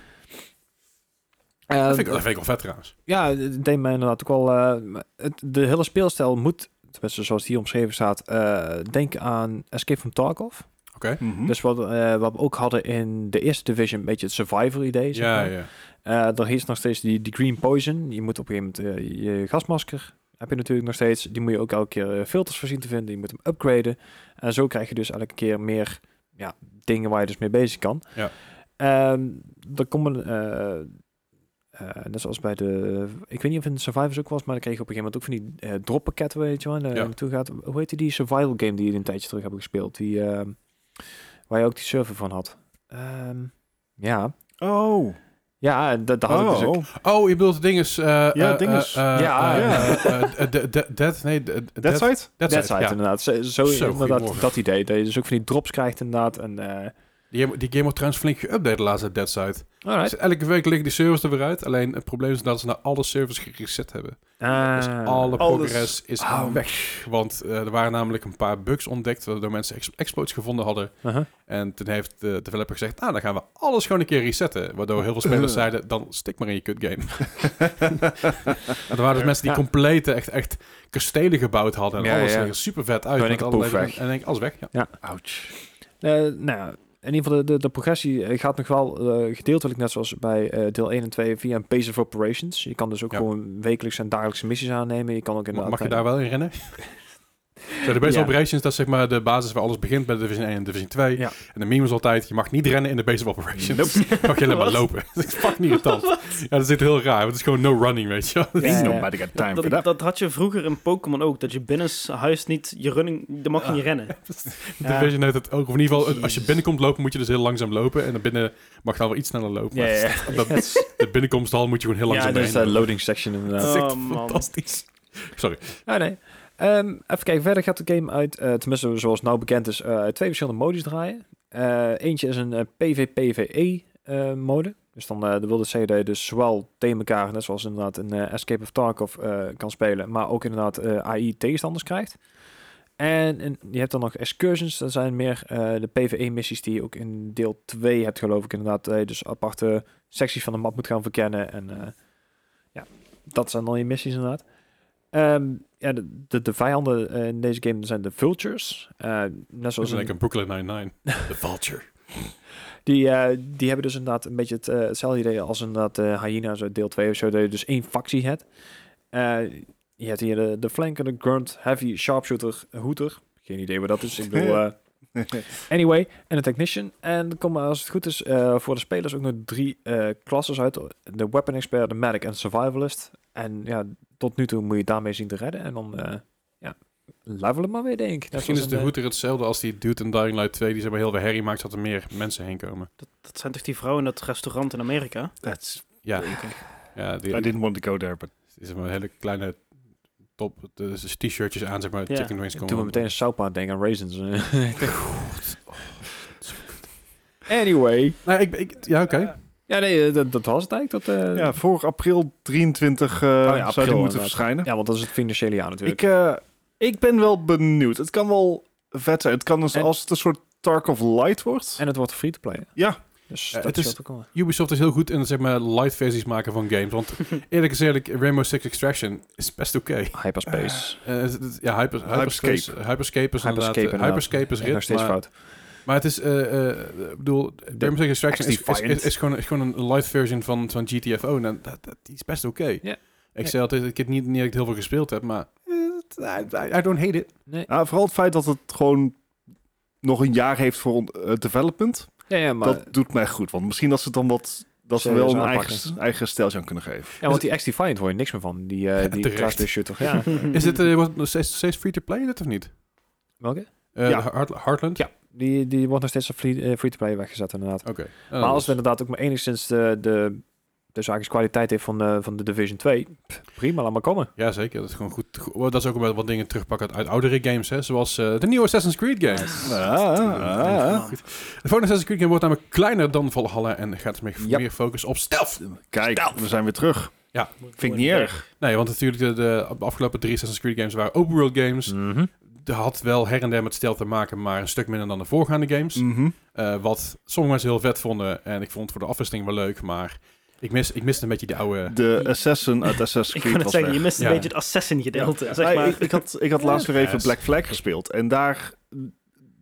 Eh,
Dat vind, ik, dat vind ik wel vet trouwens.
ja, het deed mij inderdaad ook wel... eh, maar het, de hele speelstijl moet, tenminste zoals het hier omschreven staat, eh denken aan Escape from Tarkov.
Hm?
Mhm.
Dus wat, eh, wat we ook hadden in de eerste division, een beetje het survivor idee. Zeg
Ja,
maar.
ja.
Eh, er is nog steeds die, die green poison. Je moet op een gegeven moment eh, je gasmasker heb je natuurlijk nog steeds. Die moet je ook elke keer eh, filters voorzien te vinden. Je moet hem upgraden. En zo krijg je dus elke keer meer ja, dingen waar je dus mee bezig kan.
Ja.
Ehm, er komen, eh, eh, net zoals bij de, ik weet niet of in de Survivors ook was, maar dan kreeg je op een gegeven moment ook van die eh, droppakketten, weet je wel, en daar
Ja.
naartoe gaat. Hoe heette die survival game die je een tijdje terug hebben gespeeld? Die, eh, waar je ook die server van had. Ehm, ja,
Oh.
ja, dat, dat had ik dus ook.
Oh.
Oh, je bedoelt dinges. eh ja,
dinges.
Ja,
ja.
Dead, nee, eh, de- de-
That
Dead-
side?
Dead
Dat
Side,
site
ja.
inderdaad. Zo, zo
Zo,
inderdaad
goedemorgen.
dat idee. Dat je dus ook van die drops krijgt inderdaad. En, eh
Die game, die game wordt trouwens flink geüpdate de laatste Dead Side. Dus
alright.
elke week liggen die servers er weer uit. Alleen het probleem is dat ze nou alle servers gereset hebben.
Ah,
Dus alle
alles.
progress is
Oh.
weg. Want eh, er waren namelijk een paar bugs ontdekt waardoor mensen ex- exploits gevonden hadden.
Uh-huh.
En toen heeft de developer gezegd, nou dan gaan we alles gewoon een keer resetten. Waardoor heel veel spelers zeiden, dan stik maar in je kut
(laughs)
game. en er waren dus mensen die
Ja.
complete, echt, echt kastelen gebouwd hadden. En
Ja,
alles
ja.
er super vet uit. met
Dan denk ik,
allerlei-
poef,
en
weg.
dan denk ik, alles weg. Ja.
Ouch.
Eh, nou ja, in ieder geval de, de, de progressie eh, gaat nog wel eh, gedeeltelijk net zoals bij eh, deel 1 en 2 via een pace of operations. Je kan dus ook
Ja.
gewoon wekelijks en dagelijkse missies aannemen. Je kan ook
Ma-
inderdaad...
Mag je
eh,
daar wel in
(laughs)
rennen? Zo, de base
Ja.
of operations, dat is zeg maar de basis waar alles begint bij Division 1 en Division 2.
Ja.
En de meme is altijd, je mag niet rennen in de base of
(laughs)
operations. (laughs) mag je alleen
(laughs)
maar
Wat?
lopen. (laughs) dat is fucking irritant. ja, dat zit heel raar, want het is gewoon no running, weet je wel.
Ja,
Ain't
ja, ja.
nobody got time for
Dat,
that.
dat had je vroeger in Pokémon ook. Dat je binnen huis niet je running... Dan mag je
Ah.
niet rennen. Ja.
Division heeft het ook, of in ieder geval, als je
Jezus.
binnenkomt lopen, moet je dus heel langzaam lopen. En dan binnen mag je dan wel iets sneller lopen.
Ja,
Maar (laughs)
ja.
dat- de binnenkomsthal moet je gewoon heel
ja,
langzaam
dat is eh,
heen
de
lopen.
loading section inderdaad.
Dat is echt
Oh, man.
fantastisch. Sorry.
Ah, nee. Ehm, even kijken, verder gaat de game uit, eh, tenminste zoals nou bekend is, E, eh, uit twee verschillende modi draaien. Eh, eentje is een eh, PvPvE eh, mode. Dus dan eh, dat wil dat zeggen dat je dus zowel tegen elkaar, net zoals inderdaad een eh, Escape of Tarkov eh, kan spelen, maar ook inderdaad eh, AI tegenstanders krijgt. En, en je hebt dan nog excursions, dat zijn meer eh, de PvE-missies die je ook in deel 2 hebt, geloof ik inderdaad. Dat je dus aparte secties van de map moet gaan verkennen. En eh, ja, dat zijn dan je missies inderdaad. Ehm, ja, de, de, de vijanden eh, in deze game zijn de Vultures. Eh, net
Dat
zoals
is
in-
lekker Brooklyn
(laughs)
Nine-Nine. The Vulture.
die, eh, die hebben dus inderdaad een beetje het, eh, hetzelfde idee als inderdaad eh Hyena, zo deel 2 of zo, dat je dus één factie hebt. Eh, je hebt hier de, de flanker, de grunt, heavy, sharpshooter, hoeter. Geen idee wat dat is. Ik bedoel, eh, anyway, en een technician. En er komen als het goed is eh, voor de spelers ook nog drie eh klasses uit. De weapon expert, de medic en survivalist. En ja, tot nu toe moet je daarmee zien te redden. En dan, eh ja, level het maar weer, denk ik. Net
Misschien
zoals
is de
in, eh,
router hetzelfde als die dude in Dying Light 2. Die zeg maar heel veel herrie maakt, zodat er meer mensen heen komen.
Dat zijn toch die vrouwen in dat restaurant in Amerika?
That's,
Ja,
(laughs)
ja die,
I didn't want to go there, but
die zeg maar hele kleine top, dus t-shirtjes aan, zeg maar,
Ja.
chicken wings komen.
Toen we meteen een Soupa denken aan raisins. (laughs) anyway.
Nou, ik, ik, ja, oké.
Ja, nee, eh, dat, dat was het eigenlijk. Dat, eh,
ja, voor april 23 eh, zou
april,
die
inderdaad.
moeten verschijnen.
ja, want dat is het financiële jaar natuurlijk.
Ik, eh, ik ben wel benieuwd. Het kan wel vet zijn. Het kan dus
En-
als het een soort Tarkov Light wordt.
en het wordt free to play.
Ja.
Dus
Ja,
dat
Eh, het
is
is-
ook wel-
Ubisoft is heel goed in het, zeg maar, light versies maken van games.
(laughs)
Want eerlijk gezegd, Rainbow Six Extraction is best oké.
Hyperspace.
Eh, het- het- ja, hyper,
Hyperscape.
hyperscape. Hyperscape is inderdaad. Hyperscape,
Hyperscape inderdaad.
hyperscape is
Ik nog
rit,
steeds
maar,
fout.
maar het is, eh, eh, ik bedoel, Rainbow Six Extraction is, is,
Defiant.
is, is gewoon, is gewoon een light version van, van GTFO. En Nou, dat, dat, die is best oké.
Ja.
Ik zei altijd, ik heb niet, niet dat ik heel veel gespeeld heb, maar eh, I, I- I don't hate it.
Nee.
Ja, vooral het feit dat het gewoon nog een jaar heeft voor eh, development.
Ja, ja, maar,
dat doet mij goed. Want misschien dat ze het dan wat. Dat ze
Serieus
wel een
aanpakken.
eigen, eigen stijltje aan kunnen geven.
ja, want die X-Defiant hoor je niks meer van. Die,
(laughs)
eh die
Terecht.
class-based shooter. Ja.
Is dit eh, wordt het nog steeds, steeds free to play, dit of niet?
Welke?
Eh,
Ja.
Heart- Heartland?
Ja. Die, die wordt nog steeds op free, eh, free to play weggezet inderdaad.
Oké. Oh,
maar als we inderdaad ook maar enigszins de, de, de zaakjes kwaliteit heeft van de, van de Division 2, pff, prima, laat maar komen.
Ja, zeker. Dat is gewoon goed. go- Dat is ook wel wat dingen terugpakken uit, uit oudere games, hè? zoals eh, de nieuwe Assassin's Creed game.
Ah, ah, ah.
Goed. De volgende Assassin's Creed game wordt namelijk kleiner dan Valhalla en gaat meer,
Ja.
meer focus op stealth.
Kijk, we zijn weer terug. Vind ik niet erg.
Nee, want natuurlijk de, de afgelopen drie Assassin's Creed games waren open world games.
Mhm.
Dat had wel her en der met stealth te maken, maar een stuk minder dan de voorgaande games.
Mhm.
Eh, wat sommige mensen heel vet vonden en ik vond het voor de afwisseling wel leuk, maar ik mis, ik miste een beetje die oude...
De Assassin uit
(laughs)
Assassin's
Ik
Creed.
kan het
was
zeggen,
weg.
je mist een
Ja.
beetje het assassin-gedeelte, zeg
Ja,
maar.
ik, ik had, ik had laatst weer even
Yes.
Black Flag gespeeld. En daar...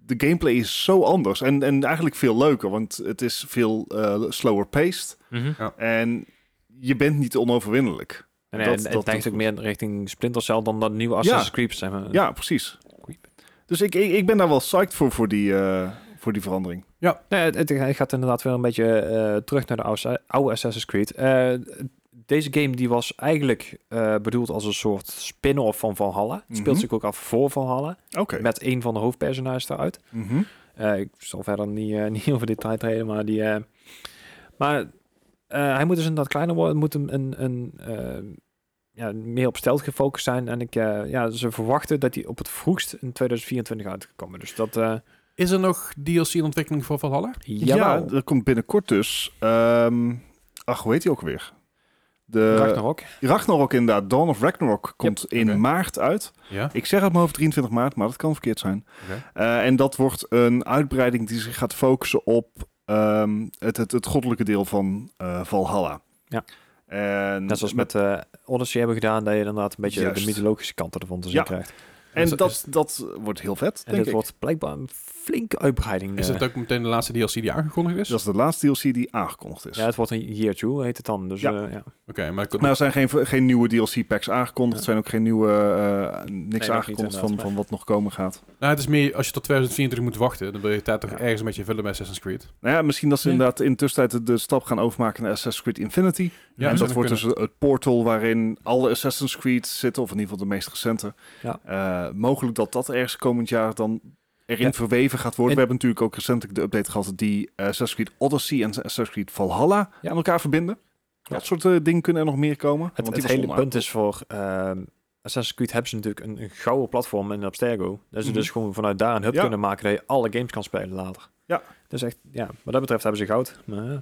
De gameplay is zo anders. En, en eigenlijk veel leuker. Want het is veel eh, slower paced.
Mhm.
En je bent niet onoverwinnelijk.
En,
Dat-
en
dat
het
doet
neigt ook
goed.
meer richting Splinter Cell dan dat nieuwe Assassin's Creed. Zeg maar.
Ja, precies.
Creep.
Dus ik, ik, ik ben daar wel psyched voor, voor die, eh, voor die verandering.
Nee, het, het- het gaat inderdaad weer een beetje eh, terug naar de oude, oude Assassin's Creed. Eh, deze game die was eigenlijk eh, bedoeld als een soort spin-off van Valhalla. Het speelt
Mhm.
zich ook af voor Valhalla.
Oké.
Met een van de hoofdpersonages daaruit.
Mhm.
Eh, ik zal verder niet, eh, (laughs) niet over detail treden, maar die. eh, maar eh, hij moet dus inderdaad kleiner worden. Het moet een. een, een eh, ja, meer op stelt gefocust zijn. En ik, eh, ja, ze verwachten dat hij op het vroegst in 2024 uit gaat komen. Dus dat. eh
Is er nog DLC in ontwikkeling voor Valhalla?
jawel.
Ja, er komt binnenkort dus... ehm, ach, hoe heet die ook weer?
Eh,
De
Ragnarok.
Ragnarok inderdaad. Dawn of Ragnarok komt in
Oké.
maart uit.
Ja.
Ik zeg het maar over 23 maart, maar dat kan verkeerd zijn.
Oké.
Eh, en dat wordt een uitbreiding die zich gaat focussen op ehm, het, het, het goddelijke deel van eh, Valhalla.
Ja.
En,
Net zoals met eh Odyssey hebben gedaan, dat je inderdaad een beetje de
Juist.
mythologische kanten ervan te zien
Ja,
krijgt.
en
Is-
dat,
is-
dat wordt heel vet,
En
denk
dit
ik.
wordt blijkbaar een flinke uitbreiding.
Is
eh.
het ook meteen de laatste DLC die aangekondigd is?
Dat is de laatste DLC die aangekondigd is.
ja, het wordt een year two, heet het dan. Dus,
Ja.
eh, ja.
Oké, maar ik-
Maar er zijn geen, geen nieuwe DLC-packs aangekondigd. Er zijn ook geen nieuwe... eh, niks
niet,
aangekondigd van,
inderdaad.
van wat nog komen gaat.
Nou, het is meer als je tot 2024 moet wachten, dan wil je tijd toch
Ja.
ergens een beetje vullen bij Assassin's Creed.
Nou ja, misschien dat ze
Ja.
inderdaad in tussentijd de stap gaan overmaken naar Assassin's Creed Infinity.
Ja,
en
zou
dat wordt dus
kunnen.
het portal waarin alle Assassin's Creed zitten, of in ieder geval de meest recente.
Ja.
Eh, mogelijk dat dat ergens komend jaar dan erin
Ja.
verweven gaat worden.
En-
We hebben natuurlijk ook recentelijk de update gehad die eh, Assassin's Creed Odyssey en Assassin's Creed Valhalla
Ja.
aan elkaar verbinden.
Ja.
Dat soort eh, dingen kunnen er nog meer komen.
Het,
want
het
die
hele
was online.
punt is voor ehm Assassin's Creed hebben ze natuurlijk een, een gouden platform in Abstergo. Dat ze
Mhm.
dus gewoon vanuit daar een hub
Ja.
kunnen maken dat je alle games kan spelen later.
Ja.
Dus echt, ja, wat dat betreft hebben ze goud. Maar, ja. eh,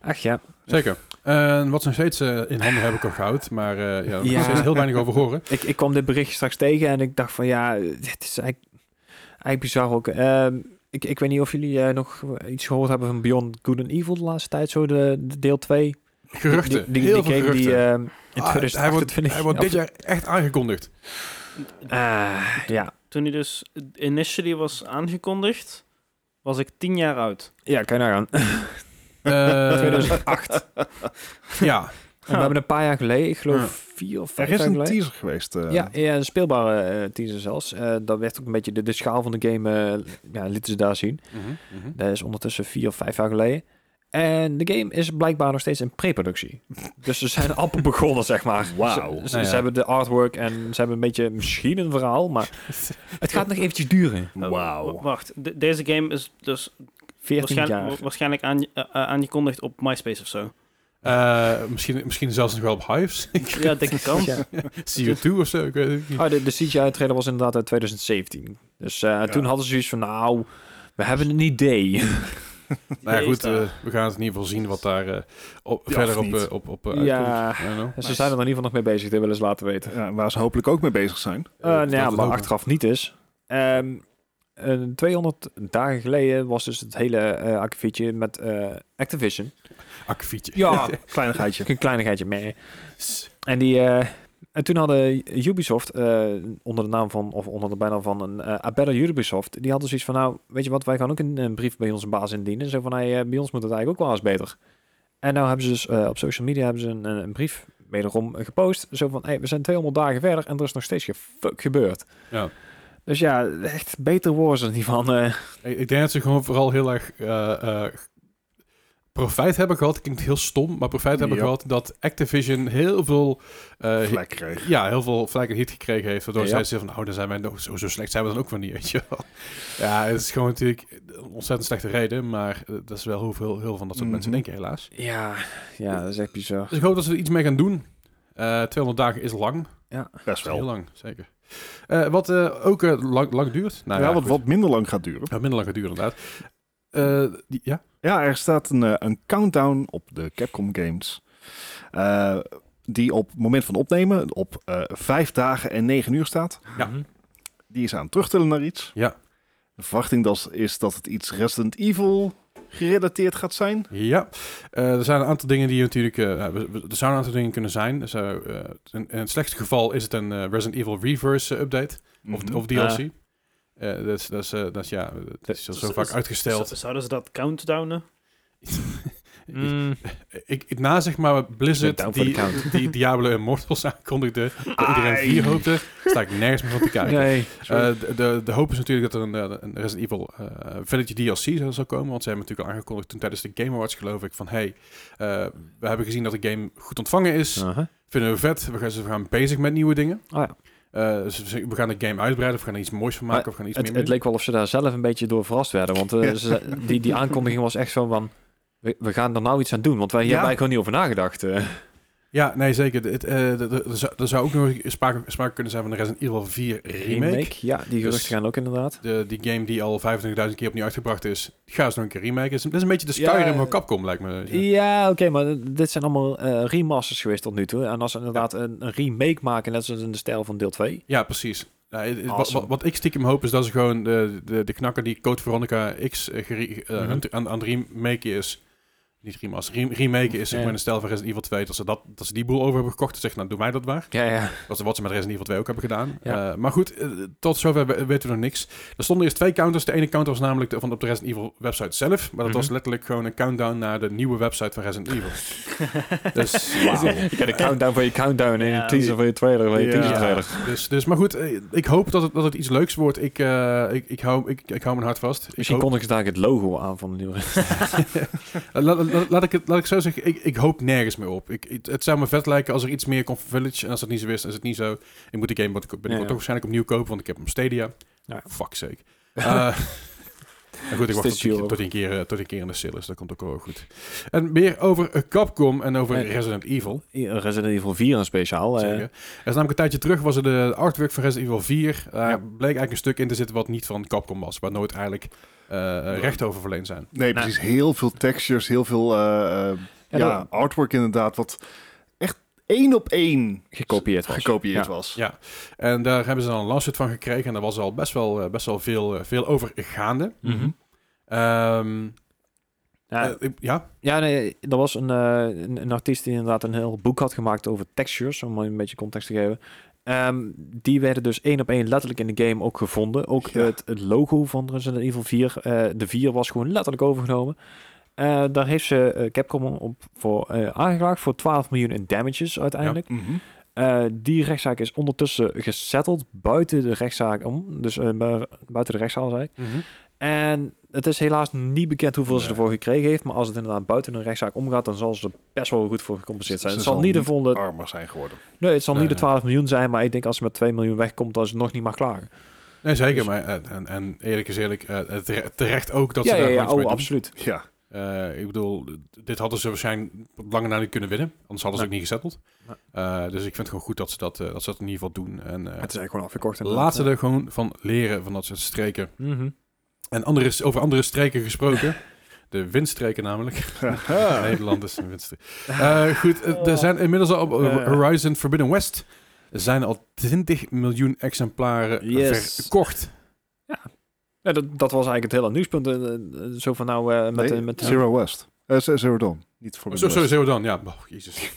Ach ja.
Zeker. En wat ze nog steeds eh, in handen hebben kan goud, maar eh ja, daar
Ja.
ja. steeds heel weinig over horen.
Ik, ik kwam dit bericht straks tegen en ik dacht van ja, dit is eigenlijk, eigenlijk bizar ook. Ehm, ik, ik weet niet of jullie eh, nog iets gehoord hebben van Beyond Good and Evil de laatste tijd, zo de, de deel 2.
Geruchten.
Die, die,
heel veel
die game die
geruchten.
ehm, in
Ah, hij, wordt,
2028...
hij
(laughs)
wordt dit jaar echt aangekondigd.
Ah, ja.
Toen hij dus initially was aangekondigd, was ik tien jaar oud.
ja, kan je nagaan.
Eh,
(laughs) 2008.
ja,
En we hebben een paar jaar geleden, ik geloof vier of vijf
Er is
jaar
een
geleden...
teaser geweest. eh,
Ja, ja, een speelbare eh, teaser zelfs. Eh dat werd ook een beetje de, de schaal van de game, eh, ja, lieten ze daar zien.
Mhm, mhm.
Dat is ondertussen vier of vijf jaar geleden. En de game is blijkbaar nog steeds in
(laughs)
pre-productie. Dus ze zijn amper begonnen, zeg maar.
Wauw.
Ze, ze-
Nou ja.
ze hebben de artwork en ze hebben een beetje misschien een verhaal, maar (laughs) het gaat nog eventjes duren.
Eh, w-
Oh,
Wauw.
wacht, de- deze game is dus
14
waarschijn- wa-
jaar.
waarschijnlijk aan, eh, eh, aangekondigd op MySpace of zo.
Eh, misschien, misschien zelfs nog wel op Hives. (laughs)
Ja, dikke kans.
Ja.
CO2 of zo, ik weet het niet.
Ah, de, de CGI-trailer was inderdaad uit 2017. Dus eh, toen hadden ze zoiets van, nou, we hebben een idee.
Nou ja,
Idee
goed,
is daar.
eh, we gaan het in ieder geval zien wat daar eh, op,
Ja,
verder
of
op,
niet.
eh, op, op eh, uitkomt.
ja,
I don't know.
ze zijn er in ieder geval nog mee bezig, dat willen ze laten weten.
Ja, waar ze hopelijk ook mee bezig zijn.
Eh, nou
laten
ja,
we
maar
hopen.
achteraf niet is. Ehm, een 200 dagen geleden was dus het hele eh akkefietje met eh, Activision.
Akkefietje.
Ja,
Kleinigheidje.
(laughs) een kleinigheidje mee. En, die, eh, en toen hadden Ubisoft, eh, onder de naam van, of onder de bijnaam van een eh A Better Ubisoft, die hadden zoiets van, nou, weet je wat, wij gaan ook een, een brief bij onze baas indienen. Zo van, hey, eh, bij ons moet het eigenlijk ook wel eens beter. En nou hebben ze dus eh, op social media hebben ze een, een, een brief wederom gepost. Zo van, hey, we zijn 200 dagen verder en er is nog steeds geen fuck gebeurd.
Ja.
Dus ja, echt beter woorden dan die van... eh,
Ik, ik denk dat ze gewoon vooral heel erg eh, eh, profijt hebben gehad. Klinkt heel stom, maar profijt hebben
Ja.
gehad dat Activision heel veel... eh,
Vlek kreeg.
ja, heel veel vlek en hit gekregen heeft. Waardoor
Ja.
zij zeiden van, oh, dan zijn wij nog zo, zo slecht zijn we dan ook weer niet, weet je wel. Ja, het is gewoon natuurlijk een ontzettend slechte reden, maar eh, dat is wel hoe veel heel veel van dat soort
Mhm.
mensen denken, helaas.
ja, ja, dat is echt bizar.
Dus ik hoop dat ze er iets mee gaan doen. Eh 200 dagen is lang.
Best
Heel
wel.
lang, zeker. Eh, wat eh, ook eh, lang, lang duurt. Nou,
ja,
ja,
wat,
goed.
wat minder lang gaat duren.
Ja, minder lang gaat duren, inderdaad. Eh, die, ja?
Ja, er staat een, eh, een countdown op de Capcom Games. eh, die op het moment van opnemen op eh vijf dagen en negen uur staat.
Ja.
Die is aan het terugtellen naar iets.
Ja.
De verwachting dat, is dat het iets Resident Evil gerelateerd gaat zijn.
Ja, Eh, er zijn een aantal dingen die natuurlijk... eh, nou, we- we- er zouden een aantal dingen kunnen zijn. Er zou, eh, in, in het slechtste geval is het een eh, Resident Evil Reverse eh, update. Of,
Mhm.
of DLC. Eh, dat is, dat is, eh, dat is, ja, dat is al zo
Z-
vaak
z-
uitgesteld.
Z- Zouden ze dat countdownen?
Mhm.
Ik, ik na zeg maar
Ik ben mm. down
Blizzard
voor de
die,
count.
die Diablo Immortals aankondigde, dat iedereen
Ai.
vier
(laughs)
hoopte, sta ik nergens meer van te kijken.
Nee.
Eh, de, de, de hoop is natuurlijk dat er een, eh, een Resident Evil eh, Village DLC zou- zou komen. Want ze hebben natuurlijk al aangekondigd toen tijdens de Game Awards geloof ik van hey, eh, we hebben gezien dat de game goed ontvangen is.
Aha.
Vinden we vet. We gaan, we gaan bezig met nieuwe dingen.
Oh ja.
Eh, dus we gaan de game uitbreiden. Of we gaan er iets moois van maken.
Maar
of we gaan er iets
Het,
meer
het leek wel of ze daar zelf een beetje door verrast werden. Want eh,
Ja.
ze- die, die aankondiging was echt zo van... We, we gaan er nou iets aan doen, want wij hier
Ja.
hebben eigenlijk gewoon niet over nagedacht. eh.
Ja, nee, zeker. Het- eh, de- de- Er zou- er zou ook nog sprake, sprake kunnen zijn van een Resident Evil 4 remake.
Ja, die geruchten
Dus-
gaan ook inderdaad.
De, die game die al 25.000 keer opnieuw uitgebracht is. Ga eens nog een keer remake. Dat is, dat is een beetje de
Ja,
Skyrim
eh,
van Capcom, lijkt me.
Ja, oké, maar dit zijn allemaal eh, remasters geweest tot nu toe. En als ze inderdaad een, een remake maken, net zoals in de stijl van deel 2.
Ja, precies. Nou, het- het- wat-
Awesome.
wat, wat ik stiekem hoop is dat ze gewoon de, de, de knakker die Code Veronica X eh, gere- eh, aan
Mhm.
het- aan, aan het remake is. Niet remaster, rem- remake is zeg
Ja.
maar in de stijl van Resident Evil 2. Dat ze, dat, dat ze die boel over hebben gekocht. en zeggen, nou doen wij dat maar.
Ja, ja.
Dat is wat ze met Resident Evil 2 ook hebben gedaan.
Ja.
Eh, maar goed, eh, tot zover we- weten we nog niks. Er stonden eerst twee counters. De ene counter was namelijk de, van op de Resident Evil website zelf. Maar dat
Mhm.
was letterlijk gewoon een countdown naar de nieuwe website van Resident Evil. dus
(laughs) Je krijgt een countdown voor je countdown en
Ja.
een teaser voor je trailer voor je
Ja.
teaser trailer.
Dus, dus, maar goed, eh, ik hoop dat het, dat het iets leuks wordt. Ik, eh, ik, ik, hou, ik, ik hou mijn hart vast. Ik
Misschien
hoop-
kondigen ze daar het logo aan van de nieuwe.
Eh, laat, laat, laat ik het, laat ik zo zeggen, ik, ik hoop nergens meer op. Ik, het, het zou me vet lijken als er iets meer komt van Village. En als dat niet zo is, dan is het niet zo. Ik moet de game binnenkort
Ja, ja.
toch waarschijnlijk opnieuw kopen, want ik heb hem op Stadia.
Ja.
Fuck
(laughs)
sake. Eh, maar goed, ik wacht tot,
Steeds
die-
duurder.
tot, die een keer, eh, tot die een keer in de sale is. Dat komt ook wel goed. En meer over eh, Capcom en over
Ja.
Resident Evil.
Resident Evil 4 een speciaal. eh.
Zeker. Er is namelijk een tijdje terug was er de artwork van Resident Evil 4. Daar bleek eigenlijk een stuk in te zitten wat niet van Capcom was. Waar nooit eigenlijk eh, recht over verleend zijn.
Nee, precies. Heel veel textures, heel veel eh, eh, Ja,
Nou. Ja, dat-
artwork inderdaad, wat echt één op één
Gekopieerd was.
gekopieerd
Ja.
was.
Ja. En daar hebben ze dan een lawsuit van gekregen. En daar was al best wel, eh, best wel veel, eh, veel over gaande.
Mhm.
Ehm,
Ja,
eh, ik- ja,
Ja, nee, er was een, eh, een, een artiest die inderdaad een heel boek had gemaakt over textures, om een beetje context te geven. Ehm, die werden dus één op één letterlijk in de game ook gevonden. Ook
Ja.
het, het logo van Resident Evil 4, eh, de 4 was gewoon letterlijk overgenomen. Eh, daar heeft ze eh, Capcom op voor eh, aangeklaagd voor 12 miljoen in damages uiteindelijk.
Mhm.
Eh, die rechtszaak is ondertussen gesetteld buiten de rechtszaak om. Dus eh, bu- buiten de rechtszaal, zei ik. En het is helaas niet bekend hoeveel ze
Nee.
ervoor gekregen heeft. Maar als het inderdaad buiten een rechtszaak omgaat, dan zal ze er best wel goed voor gecompenseerd zijn.
Ze
Het zal
zal
niet de
niet
volgende,
Armer zijn geworden.
nee, het zal
Ah. Nee,
niet de
nee.
12 miljoen zijn. Maar ik denk als ze met 2 miljoen wegkomt, dan is het nog niet mag klagen.
nee, zeker.
Dus-
Maar, en, en, en eerlijk is eerlijk, eh, het re- terecht ook dat
ja,
ze
ja,
daar
ja,
gewoon iets mee doen.
oh, absoluut.
Ja, (laughs)
Eh, ik bedoel, d- dit hadden ze waarschijnlijk langer na niet kunnen winnen. Anders hadden ze ook niet gezetteld.
Nee.
Eh, dus ik vind het gewoon goed dat ze dat, eh, dat, ze dat in ieder geval doen. En eh
Het is eigenlijk gewoon afgekocht. inderdaad.
laten ze er gewoon van leren, van dat soort streken.
Mhm.
En andere, over andere streken
(laughs)
gesproken. De windstreken namelijk. (laughs) Nederland is een windstreek. Eh, goed, eh, er zijn inmiddels al op eh,
Ja.
Horizon Forbidden West... zijn al 20 miljoen exemplaren
Yes.
verkocht.
Ja, dat, dat was eigenlijk het hele nieuwspunt. eh, eh, zo van nou eh, met,
Nee,
eh, met
Zero West. Eh, Z- Zero Dawn. Niet voor
Zo, sorry, Zero Dawn, ja. Oh, jezus.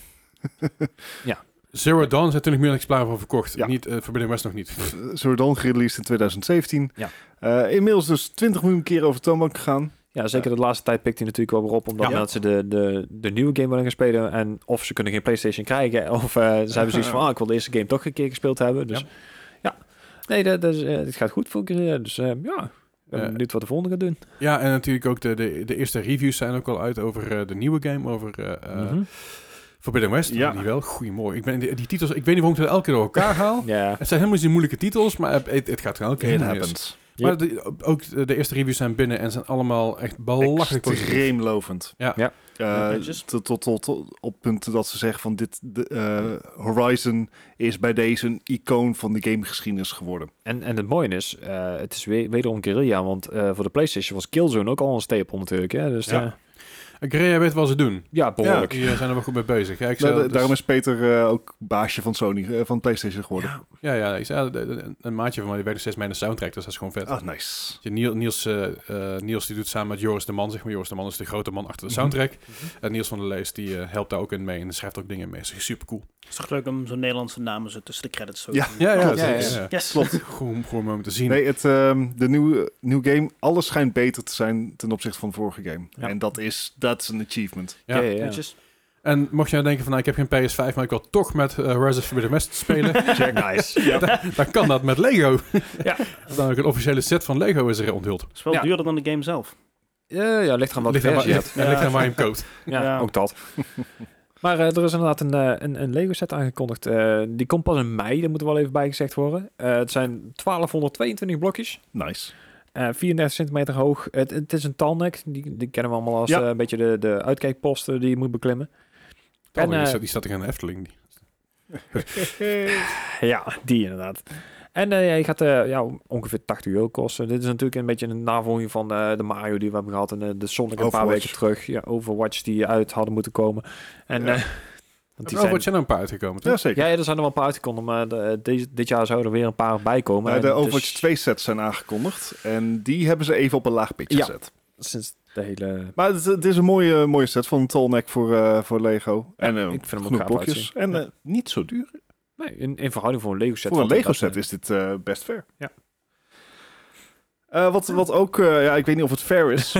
(laughs) Ja.
Zero Dawn zijn 20 miljoen exemplaren van verkocht.
Ja.
Niet, eh, Forbidden West nog niet.
Eh, Zero Dawn gereleased in 2017.
Ja.
Eh, inmiddels dus 20 miljoen keer over de toonbank gegaan.
Ja, zeker de laatste tijd pikt hij natuurlijk wel weer op. Omdat
Ja.
mensen de, de, de nieuwe game willen gaan spelen. En of ze kunnen geen PlayStation krijgen. Of eh, ze hebben
(laughs)
zoiets van, ah, ik wil de eerste game toch een keer gespeeld hebben. Dus
Ja.
ja. Nee, dat, dat is, eh, het gaat goed voor Guerrilla. Dus eh, ja, ik ben
Eh.
benieuwd wat de volgende gaat doen.
Ja, en natuurlijk ook de, de, de eerste reviews zijn ook al uit over eh, de nieuwe game, over eh, eh,
Mhm.
Forbidden West.
Ja.
Ja. Die wel, goeiemorgen. Ik ben die, die titels, ik weet niet waarom ik dat elke keer door
(laughs)
elkaar haal.
Ja.
Het zijn helemaal niet zo moeilijke titels, maar het, het- het gaat gewoon elke keer
It
mis.
happens.
Maar de- ook de eerste reviews zijn binnen en zijn allemaal echt belachelijk positief.
Extreem lovend.
Ja.
Ja.
Eh,
Netjes.
tot, tot, tot, tot op punten dat ze zeggen van dit de, eh, Horizon is bij deze een icoon van de gamegeschiedenis geworden.
En, en het mooie is, eh, het is weer, wederom Guerrilla. Want eh, voor de PlayStation was Killzone ook al een stapel natuurlijk. Hè? Dus
Ja.
ja,
Greya weet wat ze doen.
ja behoorlijk.
Die eh, zijn er wel goed mee bezig. Ja, ik zei
Nou, da-
dat dus-
Daarom is Peter eh, ook baasje van Sony, eh, van PlayStation geworden.
Ja, ja, ik zei, eh, een- een maatje van mij die werkt steeds mee aan de soundtrack, dus dat is gewoon vet.
Ah, nice.
Ja, Niel- Niels, eh, eh, Niels die doet samen met Joris de Man, zeg maar. Joris de Man is de grote man achter de soundtrack. En Niels van der Lees die eh, helpt daar ook in mee en schrijft ook dingen mee. Is super cool.
Het is toch leuk om zo'n Nederlandse namen zo tussen de credits zo
Ja.
te doen?
Ja, ja,
Klopt.
zeker,
Ja, ja.
ja.
Yes.
Klopt.
Gewoon, gewoon mooi om te zien.
Nee, het, ehm, de nieuwe, nieuwe game, alles schijnt beter te zijn ten opzichte van de vorige game.
Ja.
En dat is, dat is een achievement.
Ja.
Netjes.
En mocht je nou denken van, nou, ik heb geen PS5, maar ik wil toch met eh, Horizon Forbidden West spelen,
Check,
(laughs)
nice.
dan kan dat met Lego.
(laughs) Ja.
Dan ook een officiële set van Lego is er onthuld.
Het is wel
Ja.
duurder dan de game zelf.
Ja, ja, ligt eraan wat
Ligt
versie
aan,
je
waar-
hebt.
ligt, (laughs) ja, ligt aan waar je hem koopt.
Ja,
Ja.
ook dat. (laughs) maar eh, er is inderdaad een, eh, een, een Lego set aangekondigd. Eh, die komt pas in mei, dat moet er wel even bij gezegd worden. Eh, het zijn 1222 blokjes,
Nice.
eh, 34 centimeter hoog. Het, het is een talnek, die, die kennen we allemaal als
Ja.
eh, een beetje de, de uitkijkposten die je moet beklimmen.
En,
eh,
die staat er aan de Efteling. Die-
Ja, die inderdaad. En eh, hij gaat eh, ja, ongeveer 80 euro kosten. Dit is natuurlijk een beetje een navolging van eh, de Mario die we hebben gehad. En eh, de Sonic een paar
Overwatch.
weken terug. Ja, Overwatch die uit hadden moeten komen. En,
Ja.
eh, want
Oh, wat zijn er een paar uitgekomen, toch?
Jazeker.
Ja, ja, er zijn er wel een paar uitgekomen, maar de- deze, dit jaar zouden er weer een paar bij komen.
Maar
En
de
het is
Overwatch 2 sets zijn aangekondigd. En die hebben ze even op een laag pitje
Ja.
gezet.
Sinds de hele...
Maar het, het is een mooie, mooie set van een Tallneck voor, eh, voor Lego. en eh,
ik vind hem ook
genoeg
gaaf
blokjes.
uitzien.
En
Ja.
eh, niet zo duur.
Nee, in, in verhouding voor een Lego set.
voor een
valt het
Lego set
best
is dit eh, best fair.
Ja.
Eh, wat, wat ook, eh, ja, ik weet niet of het
(laughs)
fair is.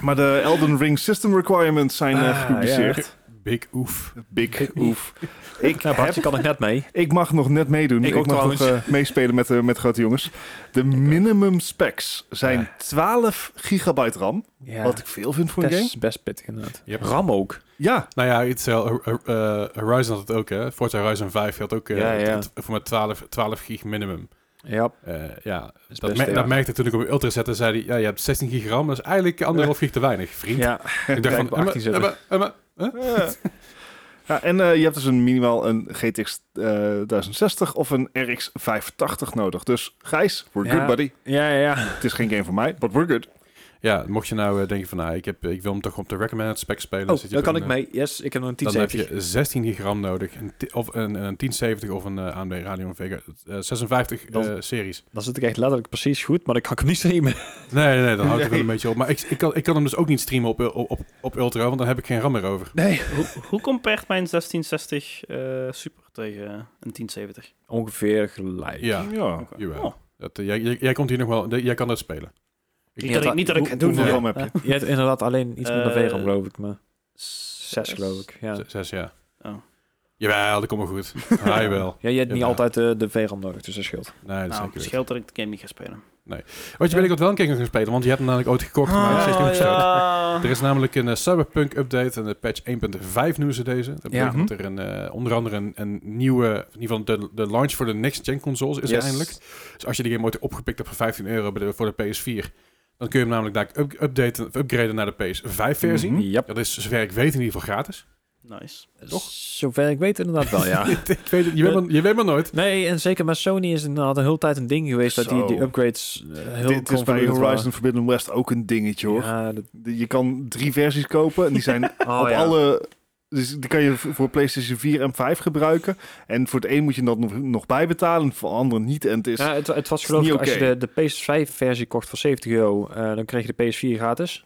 maar de Elden Ring System Requirements zijn eh,
Ah,
gepubliceerd.
Big oef.
Big, (laughs) oef.
mee. (laughs)
Ik,
Nou, Bartje
heb-
kan ik net mee.
ik mag nog net meedoen.
Ik
Ik,
ook
mag nog eh, meespelen met, de met grote jongens. De minimum specs zijn 12 gigabyte RAM.
Ja,
Wat ik veel vind voor een
best,
game.
best pittig inderdaad.
Yep.
Ram ook.
Ja,
Nou ja, het is wel- eh, eh, Horizon had het ook, hè. Forza Horizon 5 had ook eh,
Ja, ja.
het- voor met 12, 12 gig minimum.
Ja,
Eh, ja, dat,
is best
me-
pittig.
dat merkte ik toen ik op Ultra zette. zei hij, ja, je hebt 16 gig RAM. Dat is eigenlijk anderhalf gig te weinig, vriend.
Ja,
ik dacht van,
blijkbaar 18
Emma,
zetten.
Emma, Emma,
Ja. Ja, en eh, je hebt dus een minimaal een GTX eh, 1060 of een RX 580 nodig. Dus Gijs, we're
Ja.
good buddy.
ja, ja. ja.
(laughs)
Het is geen game voor mij, but we're good.
Ik Ja, mocht je nou eh, denken van, nou, ik, heb, ik wil hem toch op de recommended spec spelen.
Oh,
zit je
daar
op
kan
een,
ik
eh,
mee. Yes, ik heb nog een
Dan heb
1070.
je 16 gram nodig. Een, ti- of een, een 1070 of een eh, AMD Radeon Vega eh, 56
Dat-
eh, series.
Dan zit ik echt letterlijk precies goed, maar ik kan ik hem niet streamen. (laughs)
Nee, nee, nee, dan houdt het
Nee.
wel een beetje op. Maar ik, ik, kan, ik kan hem dus ook niet streamen op, op, op, op Ultra, want dan heb ik geen RAM meer over.
Nee.
Hoe, hoe compared mijn 1660 eh, Super tegen een 1070?
Ongeveer gelijk.
Ja,
Ja.
jawel.
Oh.
Dat, eh, jij, jij, jij komt hier nog wel, jij kan dat spelen.
Niet
Ja,
dat, ik,
dat-
niet dat ik
Hoe-
het doen
hoeveel
wil.
RAM heb je?
Je hebt inderdaad alleen iets met de
Eh,
VRAM, geloof ik. Maar zes, geloof ik. Ja,
Z- Zes jaar.
Oh.
Jawel, dat komt wel
(laughs)
goed. Hij wel.
ja je hebt niet
Ja.
altijd eh, de VRAM nodig, dus dat scheelt.
Nee, dat is
Nou,
zeker
het
niet.
scheelt dat ik de game niet ga spelen.
Wat je weet ik wat wel een keer kan gaan spelen, want je hebt hem namelijk ooit gekocht,
Ah,
maar het is
Ah,
niet gesteld.
(laughs)
Er is namelijk een eh, Cyberpunk update en de patch 1.5 noemen ze deze. Dat betekent
Mhm.
dat er een, eh, onder andere een, een nieuwe, in ieder geval de, de launch voor de next-gen consoles is er
Yes.
eindelijk. Dus als je die game ooit opgepikt hebt voor 15 euro bij de- voor de PS4, dan kun je hem namelijk daar up- updaten, of upgraden naar de PS5 versie.
Mhm.
Ja,
Dat is, zover ik weet, in ieder geval
(laughs)
gratis.
Nice.
toch? Zover ik weet inderdaad
Nou
wel, ja.
ik weet het, je, weet maar, je weet maar nooit.
(laughs) Nee, en zeker met Sony is het inderdaad een hele tijd een ding geweest dat die,
Zo.
die upgrades eh, heel
Dit is bij
convoluted
Horizon Forbidden West ook een dingetje hoor.
waren. Ja, dat-
De- Je kan drie versies kopen en die
(laughs)
zijn
oh,
op
ja.
alle... Dus die kan je voor PlayStation 4 en 5 gebruiken. En voor het een moet je dat nog, nog bijbetalen, voor het andere niet. En het is...
Ja, het, het was
is
geloof ik,
niet
als je
oké.
de, de PS5-versie kocht voor 70 euro, eh, dan kreeg je de PS4 gratis.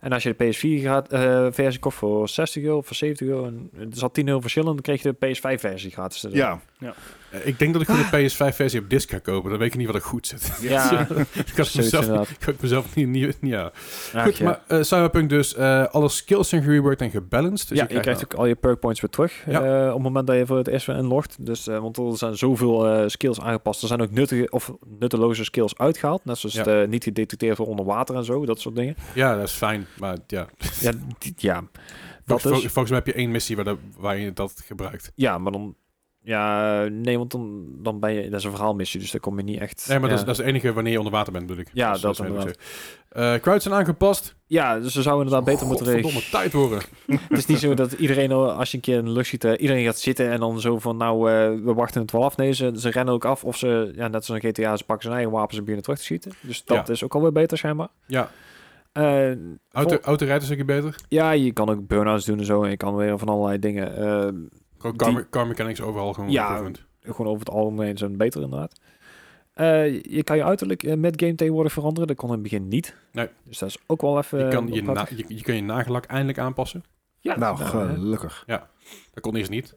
En als je de PS4-versie eh, kocht voor 60 euro, voor 70 euro, en er zat 10 euro verschil, en dan kreeg je de PS5-versie gratis. Dus-
ja.
Eh, Ik denk dat ik gewoon de PS5-versie op disc ga kopen. Dan weet ik niet wat er goed zit. (laughs)
ja.
ik kan het
(laughs)
zoiets
mezelf,
inderdaad.
ik kan het mezelf niet... niet ja.
Ach,
Goed,
ja.
maar eh, Cyberpunk dus. eh, alle skills zijn gereworked en gebalanced. Dus
ja, je krijgt ook al je perk points weer terug
Ja.
eh, op het moment dat je voor het eerst weer inlogt. Dus, eh, want er zijn zoveel eh, skills aangepast. Er zijn ook nuttige of nutteloze skills uitgehaald. Net zoals
Ja.
het eh, niet gedetecteerd voor onder water en zo, dat soort dingen.
Ja, dat is fijn. Maar ja,
Ja, die- ja.
Volgens,
Dat is-
vol- volgens mij heb je één missie waar, dat- waar je dat gebruikt.
ja, maar dan... Ja, nee, want dan, dan ben je... Dat is een verhaalmissie, dus daar kom je niet echt... eh,
Nee, maar
ja.
dat, is, dat is het enige wanneer je onder water bent, bedoel ik.
Ja,
Dus
dat
is
inderdaad.
redelijk zeker. Eh, crowds zijn aangepast. Oh,
Ja, dus ze zouden inderdaad beter moeten reageren.
Godverdomme, tijd worden.
Het is niet zo dat iedereen, eh, als je een keer in de lucht ziet, eh, iedereen gaat zitten en dan zo van, nou, eh, we wachten het wel af. Nee, ze, ze rennen ook af of ze, ja, net zoals een GTA, ze pakken zijn eigen wapens en beginnen terug te schieten. Dus dat
Ja.
is ook alweer beter, schijnbaar.
Ja,
Eh,
auto,
Vol-
autorijden is een keer beter.
ja, je kan ook burn-outs doen en zo en je kan weer van allerlei dingen. eh,
Gewoon
Die-
car, me- car mechanics overal gewoon
Ja.
improvement.
gewoon over het algemeen zijn beter inderdaad. Eh, je kan je uiterlijk eh, met game tegenwoordig veranderen. Dat kon in het begin niet.
Nee.
Dus dat is ook wel even...
Je kan
eh,
je,
prettig.
na- je, je kan je nagelak eindelijk aanpassen.
Ja,
Nou,
eh,
gelukkig.
Dat kon eerst niet.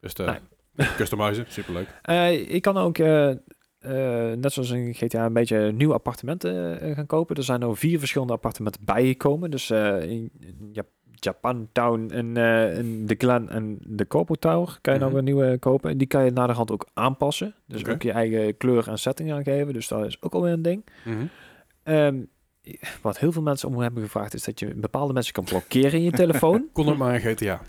Dus eh (laughs) customizen, superleuk.
Eh, je kan ook, eh, eh, net zoals in GTA, een beetje nieuwe appartementen eh, gaan kopen. Er zijn al vier verschillende appartementen bijgekomen. Dus eh, in, in Jap- Japantown en eh, in de Glen en de Corpo Tower kan je nou
Mhm.
weer nieuwe kopen. En die kan je naderhand ook aanpassen. Dus
Oké.
ook je eigen kleur en setting aangeven. Dus dat is ook alweer een ding.
Mhm.
Ehm, wat heel veel mensen om hebben gevraagd is dat je bepaalde mensen kan blokkeren in je
(laughs)
telefoon.
Kon ook maar in GTA.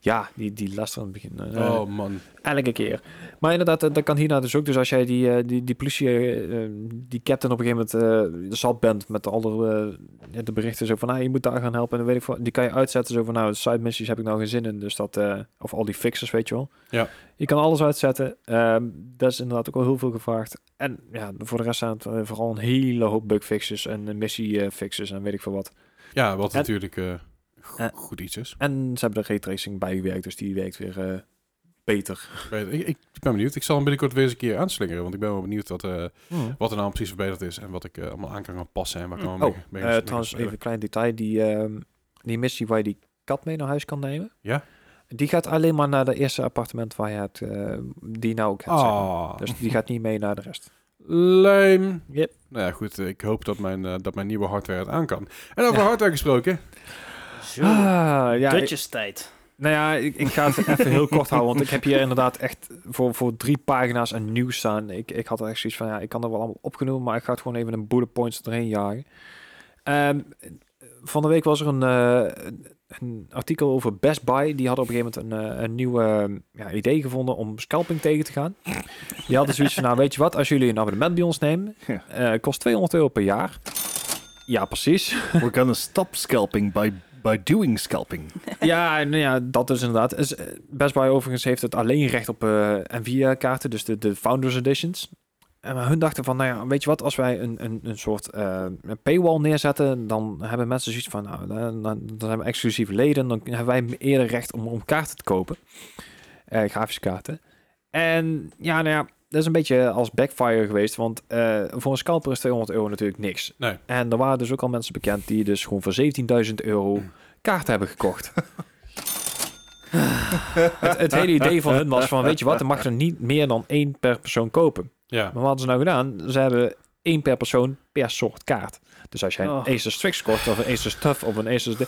Ja, die, die last aan het begin. eh,
Oh man.
Elke keer. Maar inderdaad, dat, dat kan hierna dus ook. Dus als jij die, eh, die, die politie, eh, eh, die captain op een gegeven moment eh, zat bent met alle eh, de berichten zo van, nou, je moet daar gaan helpen en dan weet ik wat. Die kan je uitzetten zo van, nou, side missies heb ik nou geen zin in. Dus dat, eh, of al die fixers, weet je wel.
Ja.
Je kan alles uitzetten. Ehm, dat is inderdaad ook wel heel veel gevraagd. En ja, voor de rest zijn het eh, vooral een hele hoop bugfixes en eh, missie eh, fixes en weet ik veel wat.
Ja, wat
En-
natuurlijk eh, go-
Eh.
goed iets is.
En ze hebben de raytracing bijgewerkt, dus die werkt weer eh, beter.
Ik, ik, ik ben benieuwd. Ik zal hem binnenkort weer eens een keer aanslingeren. Want ik ben wel benieuwd wat, eh, wat er nou precies verbeterd is en wat ik eh, allemaal aan kan gaan passen en waar ik
Mm.
allemaal
Oh,
mee-
eh,
mee mee- mee-
trouwens,
mee-
even een klein detail. Die, ehm, die missie waar je die kat mee naar huis kan nemen.
Ja.
Die gaat alleen maar naar de eerste appartement waar je hebt, eh, die nou ook hebt. zeg maar.
Ah,
Dus die gaat niet mee naar de rest.
lame.
Yep.
Nou ja, goed. eh, Ik hoop dat mijn, eh, dat mijn nieuwe hardware het aan kan. En over hardware gesproken.
Ah, ja, ik-
Dutjes tijd.
nou ja, ik, ik ga het even heel kort houden. Want ik heb hier inderdaad echt voor, voor drie pagina's een nieuws staan. Ik, ik had er echt zoiets van, ja, ik kan er wel allemaal opgenomen. Maar ik ga het gewoon even een bullet points erheen jagen. Ehm, van de week was er een, eh, een- een artikel over Best Buy. Die hadden op een gegeven moment een, eh, een nieuw eh, ja, idee gevonden om scalping tegen te gaan. Die hadden zoiets van, nou weet je wat, als jullie een abonnement bij ons nemen,
Ja.
eh, kost 200 euro per jaar. Ja, precies.
We're gonna stop scalping by, by doing scalping.
(laughs) Ja, nou ja, dat is inderdaad. Is, eh, dus Best Buy overigens heeft het alleen recht op eh, Nvidia-kaarten, dus de, de Founders Editions. Eh, En maar hun dachten van, nou ja, weet je wat, als wij een, een, een soort eh, een paywall neerzetten, dan hebben mensen zoiets van, nou, dan, dan, dan zijn we exclusief leden, dan hebben wij eerder recht om, om kaarten te kopen, Eh, grafische kaarten. En ja, nou ja, dat is een beetje als backfire geweest, want eh, voor een scalper is 200 euro natuurlijk niks.
Nee.
En er waren dus ook al mensen bekend die dus gewoon voor 17.000 euro kaarten hebben gekocht. het, het hele idee van hun was van, weet je wat, er mag er niet meer dan één per persoon kopen.
Ja.
Maar wat hadden ze nou gedaan? Ze hebben één per persoon per soort kaart. Dus als jij een
Oh.
Acer Strix kocht of een Acer Stuff of een Acer... Di-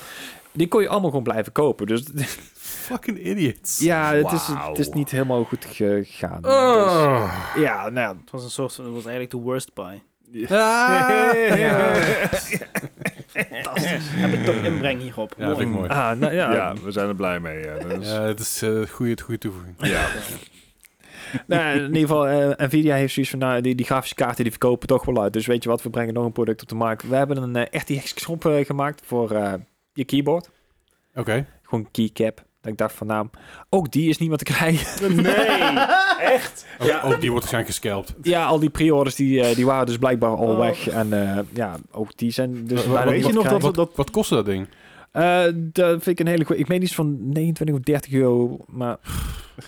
Die kon je allemaal gewoon blijven kopen. Dus (laughs)
Fucking idiots.
ja, het is,
Wauw.
het is niet helemaal goed gegaan.
Oh.
Dus, ja, nou ja.
Het was een soort van, het was eigenlijk de worst buy.
Dus- (laughs)
Ah.
Fantastisch. Heb ik toch inbreng hierop.
Ja, vind ik mooi.
Ah, nou ja.
Ja, we zijn er blij mee. Ja, dat is-
Ja, het is eh goede, het goede toevoeging.
ja.
Nou, in ieder geval, eh, Nvidia heeft zoiets van, nou, die, die grafische kaarten die verkopen toch wel uit. Dus weet je wat, we brengen nog een product op de markt. We hebben een eh, RTX-knop eh, gemaakt voor eh, je keyboard.
Oké.
Gewoon keycap. Dat ik dacht van, nou, ook die is niet meer te krijgen.
(laughs) Nee.
Ook, ook die wordt waarschijnlijk gescalpt.
(laughs) Ja, al die pre-orders die, eh, die waren dus blijkbaar al
Oh.
weg. En eh, ja, ook die zijn dus
Wat-
bijna
weet je
niet
nog
te
dat-
krijgen.
Wat, wat kostte dat
(laughs)
ding?
Eh, dat vind ik een hele goede... Ik meen iets van 29 of 30 euro, maar...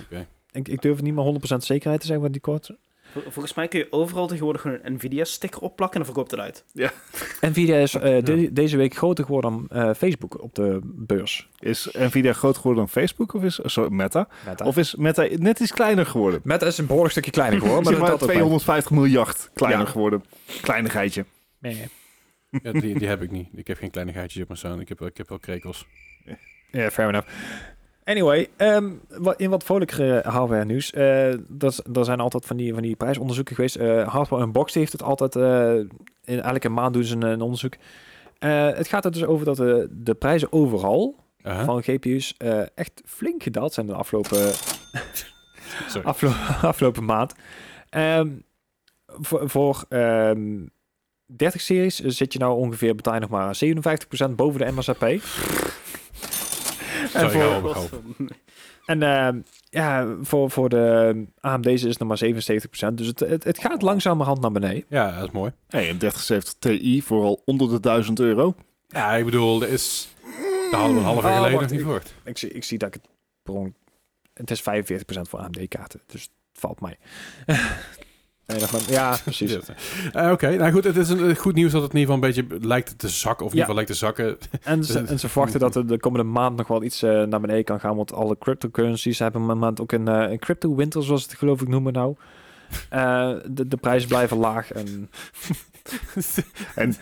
Oké.
Ik, ik durf het niet meer 100% zekerheid te zeggen van die kort.
Vol- Volgens mij kun je overal tegenwoordig gewoon een Nvidia-sticker opplakken en dan verkoopt het uit.
Nvidia is eh, de- deze week groter geworden dan eh, Facebook op de beurs.
Is Nvidia groot geworden dan Facebook of is eh, sorry, Meta?
Meta.
Of is Meta net iets kleiner geworden?
Meta is een behoorlijk stukje kleiner geworden, maar
zeg
dat
maar
had ook bij.
250 miljard kleiner
Ja.
geworden. Kleinigheidje.
Nee.
Ja, die, die heb ik niet. Ik heb geen kleinigheidjes op mijn zoon. Ik heb, ik heb wel krekels.
Ja, fair enough. Anyway, ehm, wa- in wat vrolijkere hardware nieuws. eh dat, er zijn altijd van die, van die prijsonderzoeken geweest. Eh, Hardware Unboxed heeft het altijd... eh, in elke maand doen ze een, een onderzoek. Eh, het gaat er dus over dat eh, de prijzen overal
Uh-huh.
van GPU's eh, echt flink gedaald zijn de afgelopen,
Sorry.
aflo- (laughs) afgelopen maand. Ehm, voor voor ehm, 30 series zit je nou ongeveer betaal je nog maar 57% boven de MSRP.
Sorry,
voor-
ik hou op, ik hou op.
En ehm, ja, voor, voor de AMD's is het nog maar 77%. Dus het, het, het gaat langzamerhand naar beneden.
Ja, dat is mooi.
Hey, een 3070 Ti voor al onder de 1000 euro.
Ja, ik bedoel, dat is... Daar hadden we een half jaar
Oh,
geleden nog
wacht,
niet
ik-
gehoord.
Ik zie, ik zie dat ik het per ongeluk- Het is 45% voor AMD-kaarten. Dus het valt mij. (laughs) Nee, dat maar- (laughs) ja, precies.
Dit. Eh, Oké, nou goed, het is een, eh, goed nieuws dat het in ieder geval een beetje lijkt te zakken. Of in ieder
Ja.
geval lijkt te zakken.
En ze, en ze verwachten dat er de komende maand nog wel iets eh, naar beneden kan gaan. Want alle cryptocurrencies hebben een maand ook een, eh, een crypto winter, zoals ze het geloof ik noemen (laughs) nou. Eh, de, de prijzen blijven laag. En,
En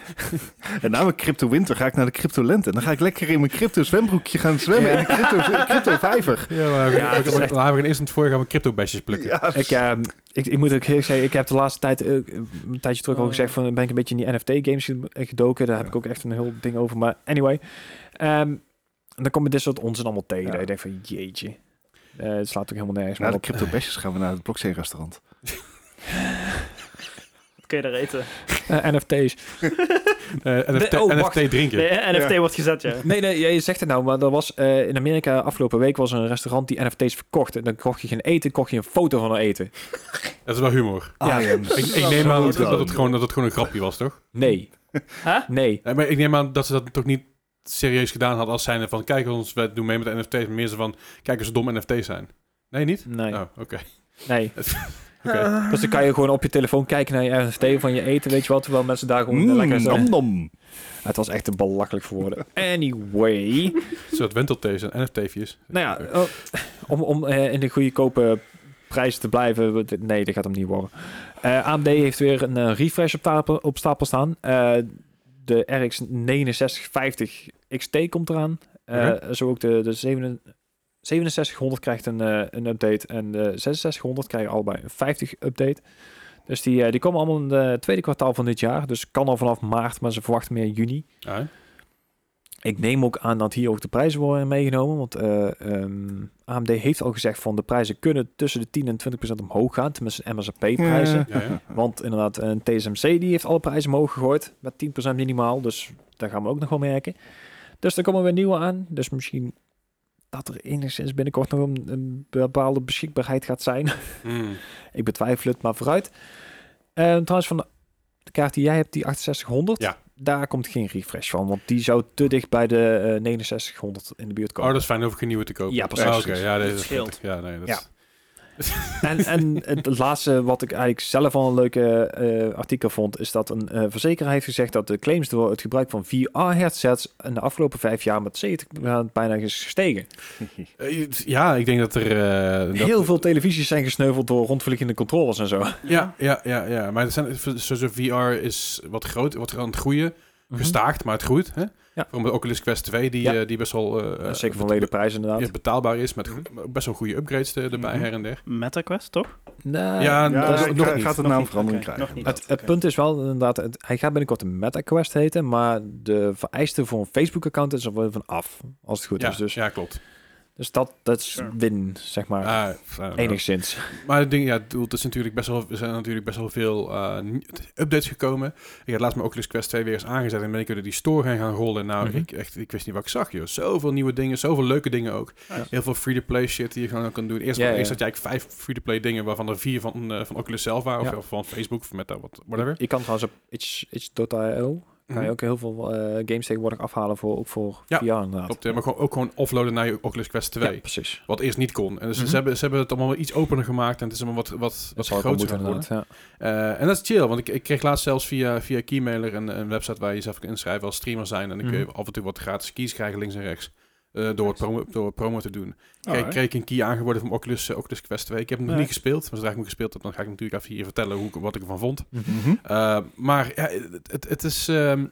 na mijn crypto winter ga ik naar de crypto lente. En dan ga ik lekker in mijn crypto zwembroekje gaan zwemmen. In de crypto, crypto vijver.
Ja, maar
(laughs) Ja, het
we
is
gaan
echt-
we gaan eerst aan het voor gaan we crypto-besjes plukken.
Ja,
ik, eh, ik, ik moet ook heel erg zeggen, ik heb de laatste tijd, eh, een tijdje terug al
Oh.
gezegd, van ben ik een beetje in die NFT-games gedoken. Daar heb ik ook echt een heel ding over. Maar anyway, ehm, dan kom je dit soort onzin allemaal tegen.
Ja.
dat Ik denk van, jeetje. Eh, het slaat ook helemaal nergens
Na
meer
de
op.
crypto besjes gaan we naar het blockchain restaurant.
Wat kun je daar eten?
Eh, NFT's.
Eh, NFT,
Nee, oh, wacht.
NFT drinken.
Nee, eh, NFT wordt gezet, ja.
(laughs) Nee, nee, jij zegt het nou, maar er was eh, in Amerika afgelopen week was er een restaurant die NFT's verkocht. En dan kocht je geen eten, kocht je een foto van een eten.
Dat is wel humor.
Ah, ja. Mm,
Ik, ik
Zo
neem aan dat,
dood.
dat het gewoon, dat het gewoon een grapje was, toch?
Nee.
Huh?
Nee.
Nee, maar ik neem aan dat ze dat toch niet serieus gedaan hadden als zijnde van... Kijk ons, we doen mee met de NFT's. Maar meer zo van, kijk eens hoe dom NFT's zijn. Nee, niet?
Nee.
Oh, oké.
nee.
Oké.
Dus dan kan je gewoon op je telefoon kijken naar je NFT van je eten, weet je wat. Terwijl mensen daar gewoon eh,
Mm,
lekker zijn.
nom, nom.
Het was echt een belachelijk voor woorden. (laughs) Anyway.
Zo, het wenteltjes en NFT'jes.
nou ja, oh, om, om eh, in de goede kopen prijzen te blijven. we- dit- Nee, dat gaat hem niet worden. Eh, AMD heeft weer een eh, refresh op stapel, op stapel staan. Eh, de RX 6950 XT komt eraan. Eh, Zo ook de, de 7 6700 krijgt een, eh, een update. En de 6600 krijgen allebei een 50 update. Dus die, eh, die komen allemaal in het tweede kwartaal van dit jaar. Dus kan al vanaf maart, maar ze verwachten meer juni.
Ah,
Ik neem ook aan dat hier ook de prijzen worden meegenomen. Want eh, ehm, AMD heeft al gezegd van de prijzen kunnen tussen de 10 en 20 omhoog gaan. Tenminste MSRP-prijzen.
ja, ja.
Want inderdaad, een TSMC die heeft alle prijzen omhoog gegooid. Met 10 minimaal. Dus daar gaan we ook nog wel merken. Dus er komen weer nieuwe aan. Dus misschien dat er enigszins binnenkort nog een, een bepaalde beschikbaarheid gaat zijn.
Hmm.
Ik betwijfel het, maar vooruit. Eh, Eh, trouwens, van de de kaart die jij hebt, die 6800,
Ja.
daar komt geen refresh van. Want die zou te dicht bij de eh, 6900 in de buurt
Oh,
komen.
dat is fijn, dan hoef ik geen nieuwe te kopen.
Ja, precies.
Ah, Oké, ja, dat is
scheelt.
prettig. Ja, nee, dat
Ja.
is-
En, en
(laughs)
het laatste wat ik eigenlijk zelf al een leuke eh, artikel vond, is dat een eh, verzekeraar heeft gezegd dat de claims door het gebruik van VR-headsets in de afgelopen vijf jaar met 70% bijna is gestegen.
Eh, het- ja, ik denk dat er... eh, dat-
Heel veel televisies zijn gesneuveld door rondvliegende controllers en zo.
Ja, ja, ja, ja. Maar er zijn, zo- zo- VR is wat groot, wat aan het groeien. Gestaagd, maar het groeit. Hè? Vooral met Oculus Quest 2, die,
Mhm. Ja.
eh, die best wel eh,
Eh, Zeker
eh,
voor de leden Mhm. prijs inderdaad.
ja, betaalbaar is. Met go- best wel goede upgrades eh, erbij,
Mhm.
her en der.
MetaQuest, toch?
Nou,
Ja,
Ja,
dat is
ik
nog
ga-
niet.
gaat de
Nog
naamverandering
niet, oké,
krijgen.
nog
Het, het punt is wel inderdaad, het- hij gaat binnenkort een MetaQuest heten, maar de vereisten voor een Facebook-account is er wel van af, als het goed
Ja,
is. Dus,
ja, klopt.
dus dat, dat is
Sure.
win, zeg maar.
Ah, I don't know.
Enigszins.
Maar het ding, ja, het doel, het is natuurlijk best wel, er zijn natuurlijk best wel veel eh, nie- updates gekomen. Ik had laatst mijn Oculus Quest 2 weer eens aangezet en ben ik er die store gaan gaan rollen. Nou,
Mhm.
ik, echt, ik wist niet wat ik zag, joh. Zoveel nieuwe dingen, zoveel leuke dingen ook.
Ja.
Heel veel free-to-play shit die je gewoon kan doen. Eerst,
Ja, ja.
eerst had jij eigenlijk vijf free-to-play dingen, waarvan er vier van, eh, van Oculus zelf waren, of,
Ja.
of van Facebook, of met dat, wat- whatever. Mhm.
Je kan trouwens op itch- itch.io kan je ook heel veel eh, games tegenwoordig afhalen voor, ook voor
Ja,
VR inderdaad.
Klopt, ja, maar gewoon, ook gewoon offloaden naar je Oculus Quest 2.
Ja, precies.
Wat eerst niet kon. En dus
Mhm.
ze, hebben, ze hebben het allemaal wel iets opener gemaakt en het is allemaal wat, wat, wat
Dat zal ook wel
groter
moeten
geworden.
inderdaad. Ja.
Eh, en dat is chill, want ik, ik kreeg laatst zelfs via, via Keymailer een, een website waar je jezelf kan inschrijven als streamer zijn. En dan kun je
Mhm.
af en toe wat gratis keys krijgen links en rechts. eh, door, het promo, door het promo te doen. Kreeg,
Alright.
kreeg ik een key aangeboden van Oculus, eh, Oculus Quest 2. Ik heb hem nog
Ja.
niet gespeeld, maar zodra ik hem gespeeld heb, dan ga ik natuurlijk even hier vertellen hoe, ik- wat ik ervan vond.
Mhm.
Eh, maar ja, het, het, het is... ehm,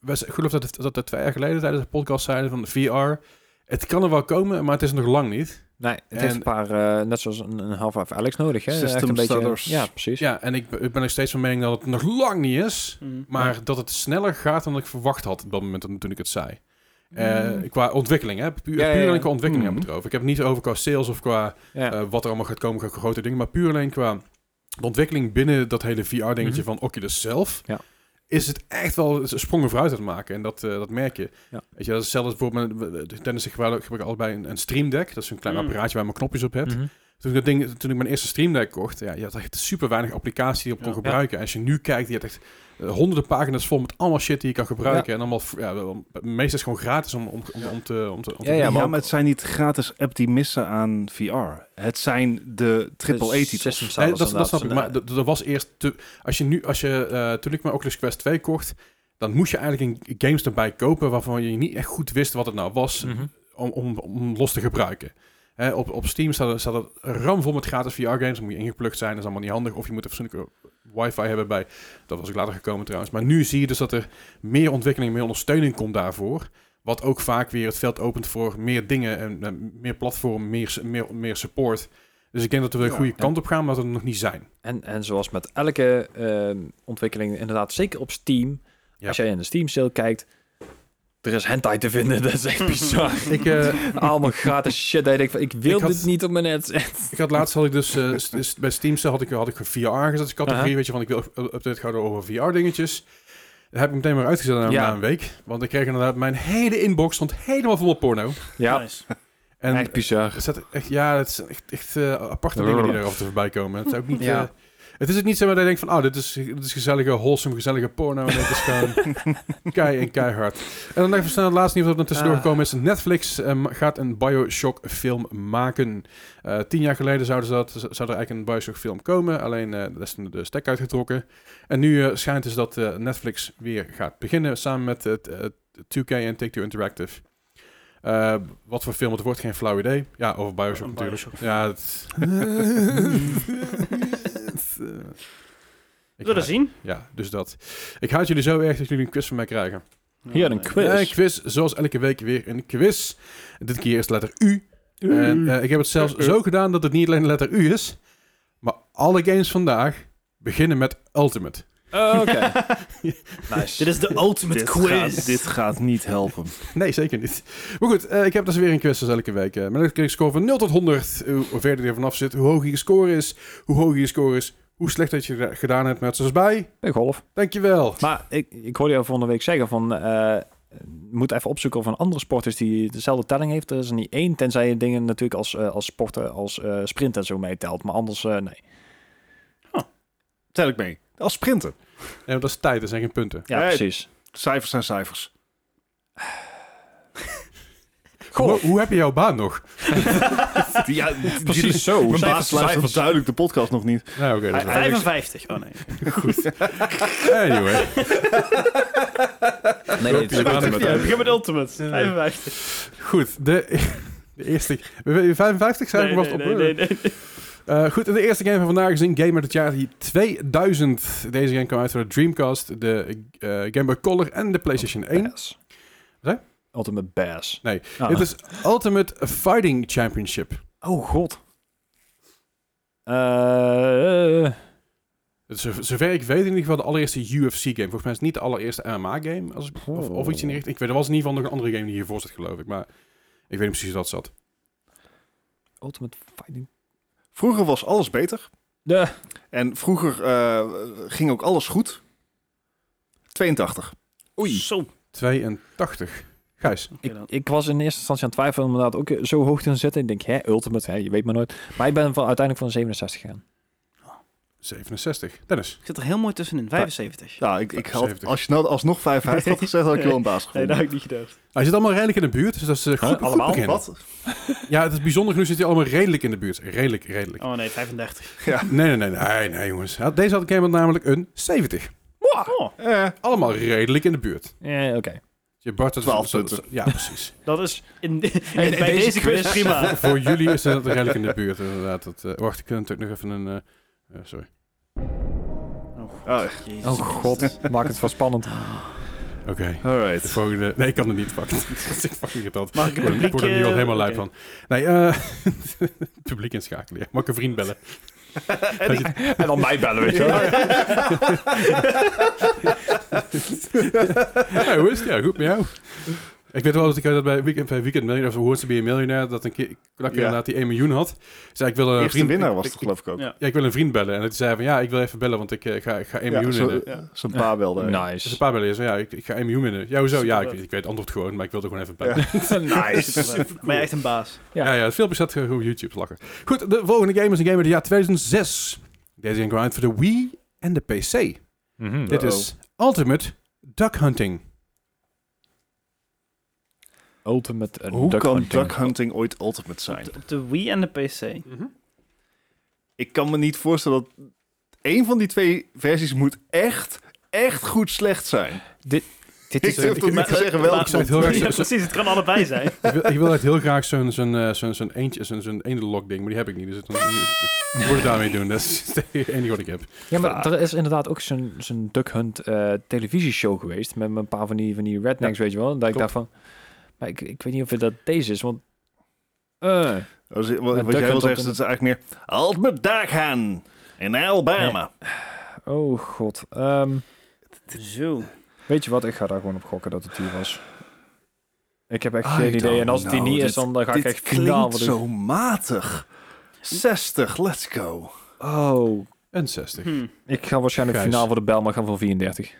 we, z- ik geloof dat, het- dat we twee jaar geleden tijdens de podcast zeiden van VR... Het kan er wel komen, maar het is er nog lang niet.
Nee, het
En-
heeft een paar, eh, net zoals een, een half-half Alex nodig. Hè? Echt
System
een
sellers.
beetje, Ja, precies.
Ja, en ik, ben- ik ben nog steeds van mening dat het nog lang niet is.
Mm.
Maar dat het sneller gaat dan ik verwacht had op dat moment toen- toen ik het zei. Eh, Qua ontwikkeling, hè? Puur,
Mm. Ja, ja, ja.
puur alleen qua ontwikkeling
Mhm.
hebben we het over. Ik heb het niet over qua sales of qua
Ja.
eh, wat er allemaal gaat komen, qua grote dingen. Maar puur alleen qua de ontwikkeling binnen dat hele VR-dingetje
Mhm.
van Oculus zelf.
Ja.
Is het echt wel sprongen vooruit aan het maken. En dat, eh, dat merk je.
Ja.
Weet je, dat is zelfs bijvoorbeeld... met- we- we- Dennis, ik gebruik gebruik allebei een, een Stream Deck. Dat is een klein
Mm.
apparaatje waar je mijn knopjes op hebt.
Mhm.
Toen ik, dat ding, toen ik mijn eerste Stream Deck kocht, ja, je had echt super weinig applicatie die je op kon
Ja.
gebruiken. En als je nu kijkt, je hebt echt eh, honderden pagina's vol met allemaal shit die je kan gebruiken. En allemaal, f- ja, wel- meestal is gewoon gratis om, om, om, om te... Om te, om te-
Ja, ja,
Ja,
maar
maar,
ook-
het zijn niet gratis app die missen aan VR. Het zijn de triple
Dus
A-titels.
System
Nee,
sellers
Eh, dat, dat snap ik, maar
inderdaad.
dat dat was eerst... Te, als je nu, als je, eh, toen ik mijn Oculus Quest 2 kocht, dan moest je eigenlijk een games erbij kopen waarvan je niet echt goed wist wat het nou was
Mhm.
om, om, om los te gebruiken. Hè, op, op Steam staat, er- staat het ramvol met gratis VR-games. Dan moet je ingeplukt zijn, dat is allemaal niet handig. Of je moet een fatsoenlijke wifi hebben bij. Dat was ik later gekomen trouwens. Maar nu zie je dus dat er meer ontwikkeling, meer ondersteuning komt daarvoor. Wat ook vaak weer het veld opent voor meer dingen en, en meer platform, meer, s- meer, meer support. Dus ik denk dat we de
Ja,
goede
en-
kant op gaan, maar dat we er nog niet zijn.
En, en zoals met elke ehm, ontwikkeling, inderdaad, zeker op Steam.
Ja.
Als jij in de Steam sale kijkt, er is hentai te vinden. (laughs) Dat is echt bizar.
(laughs) Ik, eh,
Allemaal gratis shit. Dat je denkt van, ik wil
Ik had-
dit niet op mijn net.
Ik had laatst had ik dus eh, s- s- bij Steam Sale had ik had ik een VR aangezet als categorie,
Aha.
weet je, van ik wil up- update houden over VR dingetjes. Dat heb ik meteen maar uitgezet na,
Ja.
na een week, want ik kreeg inderdaad mijn hele inbox stond helemaal vol met porno.
ja,
Nice.
En
echt bizar.
er zat echt, ja, het zijn echt, echt eh, aparte dingen die erover te voorbij komen. Het is ook niet.
(laughs) Ja.
eh, het is het niet zo dat je denkt van, oh, dit is, dit is gezellige, wholesome, gezellige porno. Nee, het is
(laughs)
gewoon kei en keihard. En dan even snel het laatste nieuws dat er tussendoor
Ah.
gekomen is. Netflix eh, gaat een Bioshock film maken. Eh, tien jaar geleden zouden ze dat, zou er eigenlijk een Bioshock film komen. Alleen eh dat is toen de stek uitgetrokken. En nu eh, schijnt dus dat eh, Netflix weer gaat beginnen. Samen met het eh, 2K en Take-Two Interactive. Eh, wat voor film het wordt, geen flauw idee. Ja, over Bioshock
Een
natuurlijk.
Bioshock.
Ja, het...
We
Ik
zullen
haat-
zien.
Ja, dus dat. Ik haat jullie zo erg dat jullie een quiz van mij krijgen.
Hier een
Nee.
quiz.
Ja, Een quiz, zoals elke week weer een quiz. Dit keer is de letter U. En eh, ik heb het zelfs zo gedaan dat het niet alleen de letter U is, maar alle games vandaag beginnen met Ultimate.
Oh,
(laughs)
Oké. (laughs) nice.
Dit is de ultimate
dit,
quiz.
Gaat, dit gaat niet helpen.
Nee, zeker niet. Maar goed, eh, ik heb dus weer een quiz zoals elke week. eh, met een keer score van 0 tot 100. Hoe verder je er vanaf zit, hoe hoger je score is, hoe hoger je score is, hoe slecht dat je er gedaan hebt met zoals bij.
Hey, golf.
Dankjewel.
Maar ik, ik hoorde jou van de week zeggen van... eh, moet even opzoeken of een andere sport is die dezelfde telling heeft. Er is er niet één, tenzij je dingen natuurlijk als, eh, als sporten, als eh, sprint en zo meetelt. Maar anders, eh, nee.
Tel ik mee. Als sprinten.
Nee, want dat is tijd, dat zijn geen punten.
Ja,
Ja,
precies.
Cijfers zijn cijfers.
Hoe, hoe heb je jouw baan nog?
Ja, die-
Precies zo.
Mijn baas
Cijfers,
luistert
cijfers.
duidelijk de podcast nog niet.
Nou, oké. dat is wel-
55. Oh nee.
anyway.
Nee, nee, het is
Ja,
ultimate.
dat-
begin met Ultimate.
Ja.
55.
Goed, de, e-, de eerste... 55 zijn
Nee,
we
nee,
vast op.
nee,
hoor.
nee, nee.
Eh, goed, en de eerste game van vandaag is een game uit het jaar 2000. Deze game kwam uit voor de Dreamcast, de eh, Game Boy Color en de PlayStation 1.
Bass.
Wat zei
Ultimate Bass.
Nee,
Ah.
Dit is Ultimate Fighting Championship.
Oh, god. Eh,
Z- Zover ik weet in ieder geval de allereerste UFC-game. Volgens mij is het niet de allereerste MMA-game. Als, ik-
oh.
of, of
Oh.
iets in die richting. Ik weet, er was in ieder geval nog een andere game die hiervoor zat, geloof ik. Maar ik weet niet precies wat zat.
Ultimate Fighting.
Vroeger was alles beter.
De,
En vroeger eh, ging ook alles goed. 82.
Oei.
Zo.
82. Gijs.
Oké
ik,
dan.
ik was in eerste instantie aan het twijfelen om inderdaad ook eh, zo hoog te zetten. Ik denk, hè, Ultimate, hè, je weet maar nooit. Maar ik ben van, uiteindelijk van 67 gegaan.
67. Dennis.
Ik zit er heel mooi tussenin. 75.
Nou, ik, ik had,
70.
als je nou alsnog 55 had gezegd, had ik je wel een
Nee,
baas
nou, dat
gevonden.
heb ik niet gedacht.
Nou, Hij zit allemaal redelijk in de buurt, dus dat is eh, goed, goed
allemaal?
beginnen.
Wat?
Ja, het is bijzonder genoeg zit hij allemaal redelijk in de buurt. Redelijk, redelijk.
Oh nee, 35.
Oh.
Nee, nee, nee, nee, nee, jongens. Hij had- Deze had Gamer namelijk een 70.
Oh,
Eh,
Allemaal redelijk in de buurt.
Eh, oké.
Je Bart, dat is-
12
dat is-
punten.
Ja, precies. (laughs)
dat is in, in-
in
bij
deze
deze quiz
quiz.
prima.
Voor jullie is dat redelijk in de buurt, inderdaad. Dat, eh, wacht, ik kan natuurlijk nog even een... eh, eh, sorry.
oh,
Jezus.
Oh
(laughs)
god, maak het wel spannend.
Oké. De
alright.
volgende... Nee, ik kan het niet, fuck. (laughs) Dat is fucking irritant.
Mag ik het
Ik word er- ik
publiek...
word er nu
eh,
al helemaal lui
oké.
van. Nee, eh (laughs) publiek inschakelen. Ja. Mag ik een vriend bellen?
En dan mij bellen, weet je wel.
ja, hoe is het? Ja, goed met jou. Ik weet wel dat ik eh, dat bij Weekend, bij weekend Millionaire, of Hoort to be a Millionaire, dat een keer, dat ik
Ja.
inderdaad die 1 miljoen had. Zei ik wil een
Eerste
vriend,
winnaar
ik-
was
ik-
het, geloof ik ook.
Ja.
Ja, ik wil een vriend bellen. En toen zei hij van, ja, ik wil even bellen, want ik eh, ga, ik ga 1 miljoen winnen.
Ja.
Zijn pa belde.
Dus
(laughs) Nice.
een paar bellen. Ik zei, ja, ik, ik ga 1 miljoen winnen. Ja, hoezo? Ja, ik,
Superleuk.
ik weet het antwoord gewoon, maar ik wilde gewoon even bellen. Ja,
nice.
Superleuk. Ben je echt een baas?
ja. het filmpje staat gewoon op YouTube lachen. Goed, de volgende game is een game uit het jaar 2006. Deze game kwam uit voor de Wii en de PC. Dit is Ultimate Duck Hunting.
Ultimate eh,
Hoe
duck
kan
hunting.
duck hunting ooit ultimate zijn?
Op de Wii en de PC.
Mhm. Ik kan me niet voorstellen dat één van die twee versies moet echt, echt goed slecht zijn.
Dit
Ik
is
durf toch niet te zeggen welke.
Ik
zou het heel erg-
Ja, precies, het kan (laughs) allebei zijn.
ik, wil, ik wil echt heel graag zo'n zo'n eh, zo'n zo'n eentje, zo'n zo'n ene lock ding, maar die heb ik niet. Dus ik ik moet het daarmee doen. Dat is (laughs) het enige wat ik heb.
Ja, maar er is inderdaad ook zo'n zo'n duck hunt eh, televisieshow geweest met een paar van die, van die rednecks, weet je wel. En Dat ik
klopt.
dacht van, maar ik, ik weet niet of het dat deze is, want... eh,
Als- wat-
duck
Wat jij wil
hunt
zeggen, is dat is eigenlijk meer ultimate duck hunt in Alabama.
oh god. Ehm,
Zo.
weet je wat, ik ga daar gewoon op gokken dat het hier was. Ik heb echt
I
geen idee. En
don't
als het die
know.
niet is, dan, dan ga ik
Dit
echt finaal
klinkt
wat
zo matig. 60, let's go.
Oh,
En 60.
Hm.
ik ga waarschijnlijk
Gijs.
finaal voor de bel, maar ik ga voor 34.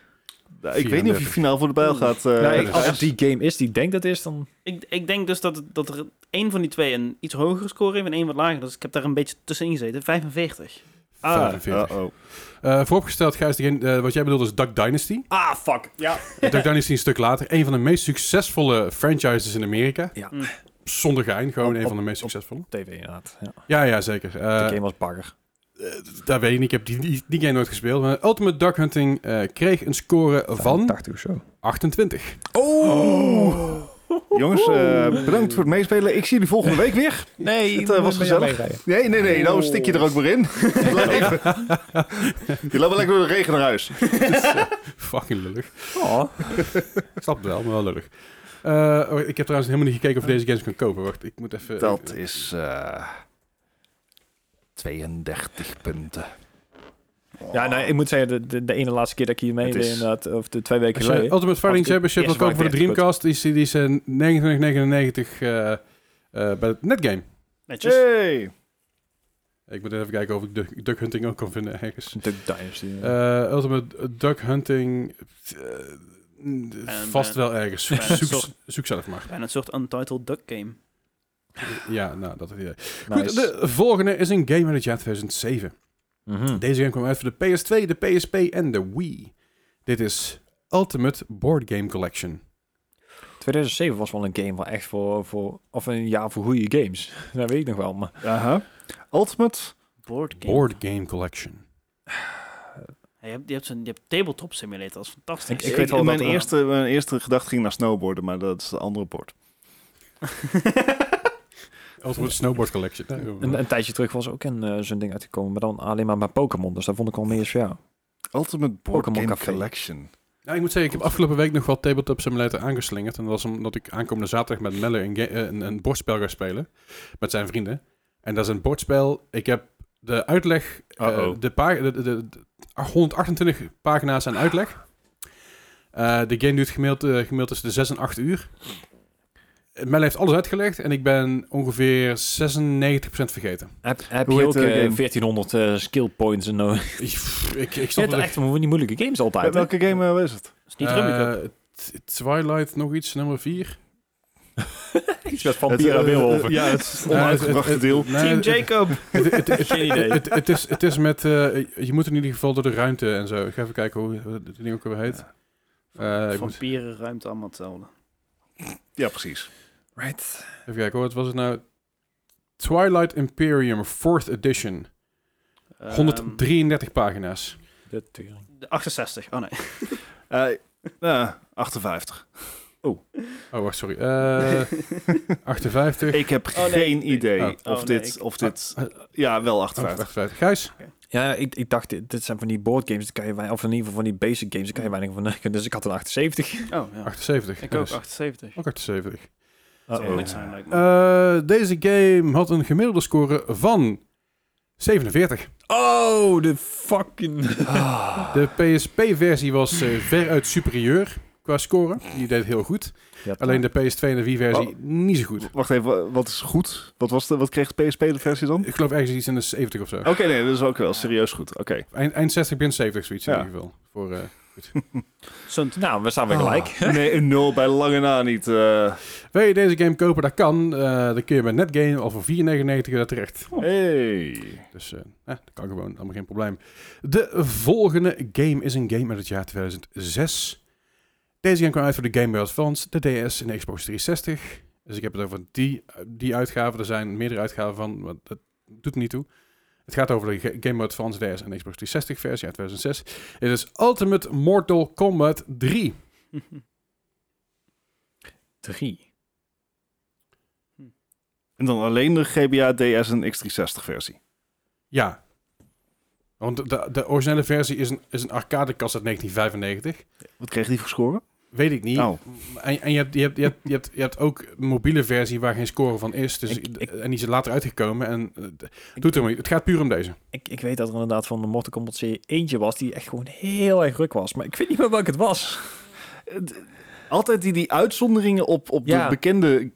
Eh,
ik weet niet of je
34.
finaal voor de bijl gaat. eh,
Nee,
dus-
Nou, als het die game is die ik denk dat het is, dan...
Ik, ik denk dus dat, het- dat er één van die twee een iets hogere score heeft en één wat lager. Dus ik heb daar een beetje tussenin gezeten. 45.
ah,
45.
uh-oh.
Eh, vooropgesteld, Gijs, degene, eh, wat jij bedoelt is Duck Dynasty.
Ah, fuck. Ja.
Duck Dynasty een stuk later. Een van de meest succesvolle franchises in Amerika.
Ja.
Mm.
Zonder gein, gewoon
Op-
een
op-
van de meest
op-
succesvolle.
TV inderdaad, ja.
Ja, ja, zeker. Eh,
de game was bagger.
eh, dat weet ik niet. Ik heb die, die, die game nooit gespeeld. Maar Ultimate Duck Hunting eh, kreeg een score van Oh.
80 of zo.
28.
Oh! Jongens, eh, bedankt voor het meespelen. Ik zie jullie volgende week
(laughs)
weer.
Nee,
Het, eh, was
ben jij
gezellig.
meerijden?
Nee, nee, nee. Nou stik je er
Oh.
ook maar in. (laughs) Blijf.
(laughs)
je loopt wel lekker door de regen naar huis.
(laughs) Fucking lullig.
Oh.
Ik snap het wel, maar wel lullig. Eh, oh, ik heb trouwens helemaal niet gekeken of ik deze games kan kopen. Wacht, ik moet even...
Dat is eh 32 punten.
Ja, nee, ik moet zeggen, de, de, de ene laatste keer dat ik hier mee
Het
deed,
is-
inderdaad, of de twee weken
Als je
geleden.
Ultimate Fighting
Als ik-
Championship wil
eerst
kopen voor de
maak ik echt
Dreamcast, die is, die is eh, 29,99 eh, eh, bij het netgame.
Netjes.
Hey.
Ik moet even kijken of ik duck, duck hunting ook kan vinden ergens.
Duck Dynasty. ja.
Eh, Ultimate Duck Hunting. eh, mm, vast
eh,
wel ergens. Zoek,
en, eh,
zoek,
soort-
zoek zelf maar.
Bijna een soort Untitled Duck Game.
Ja, nou, dat is het idee.
Nice.
Goed, de volgende is een game uit het jaar 2007.
Mhm.
Deze game kwam uit voor de PS2, de PSP en de Wii. Dit is Ultimate Board Game Collection.
2007 was wel een game waar echt voor, voor of een jaar voor goede games. (laughs) Dat weet ik nog wel. Maar
Aha. Ultimate.
Board game.
Board Game Collection.
Ja, je, hebt, je, hebt zo'n- je hebt tabletop simulator, dat is fantastisch.
Ik- ik weet wel
eh,
mijn,
dat er-
(laughs)
eerste, mijn eerste gedachte ging naar snowboarden, maar dat is de andere bord.
Ultimate Snowboard Collection. Nou,
een, een tijdje terug was ook een, eh, zo'n ding uitgekomen, maar dan alleen maar met Pokémon. Dus dat vond ik al meer zo ja.
Ultimate Board
Pokémon
Game
Café.
Collection.
Nou, ik moet zeggen, ik heb afgelopen week nog wel Tabletop Simulator aangeslingerd. En dat was omdat ik aankomende zaterdag met Melle een, ga- eh, een, een bordspel ga spelen. Met zijn vrienden. En dat is een bordspel. Ik heb de uitleg, eh,
Uh-oh.
de, pa- de, de, de- de 128 pagina's aan uitleg. Eh, de game duurt gemiddeld, eh, gemiddeld tussen de 6 en 8 uur. Melle heeft alles uitgelegd en ik ben ongeveer 96% vergeten.
Heb, heb
Hoe
je ook
heet de
eh,
game?
1400 eh, skill points en (laughs) nodig?
ik, ik, ik
Je
snap
hebt
het
echt een van die moeilijke games altijd. hè?
welke game eh, is het?
Dat is niet Rummy Cup.
Eh, T- Twilight nog iets, nummer 4.
Iets met
Het,
vampieren
eh,
en wilhoven.
eh, Ja, het
(laughs)
is het onuitgebrachte deel.
Team Jacob.
Het, het, het,
Geen idee.
het, het is, het is met... eh, je moet in ieder geval door de ruimte en zo. Ik ga even kijken hoe het ding ook weer heet. Eh, ik moet
Vampieren, ruimte, allemaal hetzelfde.
Ja, precies.
Right.
even kijken hoor. Wat was het nou? Twilight Imperium 4th Edition.
Ehm,
133 pagina's.
eh, De tering.
de 68, oh nee.
Eh, eh, 58.
Oh, wacht, sorry. Eh 58.
Ik heb
nee.
geen idee
Oh.
of
Oh, nee,
dit...
ik-
of dit
Ah,
ja, wel
Oh,
58.
58. Gijs?
Ja, ik, ik dacht, dit, dit zijn van die boardgames, daar kan je weinig, of in ieder geval van die basic games, daar kan je weinig van maken. Dus ik had een 78.
(laughs) Oh, ja.
78.
Ik ook,
Gijs.
78.
Ook 78.
Dat zou
Uh-oh.
goed zijn, lijkt me.
Oh, Eh, deze game had een gemiddelde score van 47.
Oh, de fucking...
De PSP-versie was eh, veruit superieur qua score. Die deed heel goed.
Ja,
Alleen de PS2 en de Wii-versie
Oh.
niet zo goed.
Wacht even, wa- wat is goed? Wat, was de, wat kreeg de PSP de versie dan?
Ik geloof ergens iets in de 70 of zo.
Oké, nee, dat is ook wel serieus goed. Oké.
Eind, eind 60, begin 70, zoiets in
Ja.
ieder geval. Voor, eh,
Sunt.
Nou, we staan
Oh. Ah.
weer gelijk.
(laughs) Nee, een nul bij lange na niet. eh.
wil je deze game kopen? Dat kan. Eh dan kun je bij Netgame al voor 4,99 daar terecht.
Oh. hey.
Dus eh, eh, dat kan gewoon, allemaal geen probleem. De volgende game is een game uit het jaar 2006. Deze game kwam uit voor de Game Boy Advance, de DS en de Xbox 360. Dus ik heb het over die, die uitgave. Er zijn meerdere uitgaven van, maar dat doet er niet toe. Het gaat over de Ga- Game Boy Advance, DS en Xbox 360 versie uit 2006. Het is Ultimate Mortal Kombat 3.
Drie.
En dan alleen de GBA, DS en X360 versie.
Ja. Want de, de originele versie is een, is een arcadekast uit 1995.
Wat kreeg die voor score?
Weet ik niet.
Nou,
En, en je, hebt, je, hebt, je, hebt, je, hebt, je hebt ook een mobiele versie waar geen score van is. Dus,
Ik- ik-
en die is er later uitgekomen. En eh, d- doet er maar niet. Het gaat puur om deze.
Ik, ik weet dat er inderdaad van de Mortal Kombat serie eentje was die echt gewoon heel erg ruk was. Maar ik weet niet meer welke het was.
altijd die, die uitzonderingen op, op
Ja.
de bekende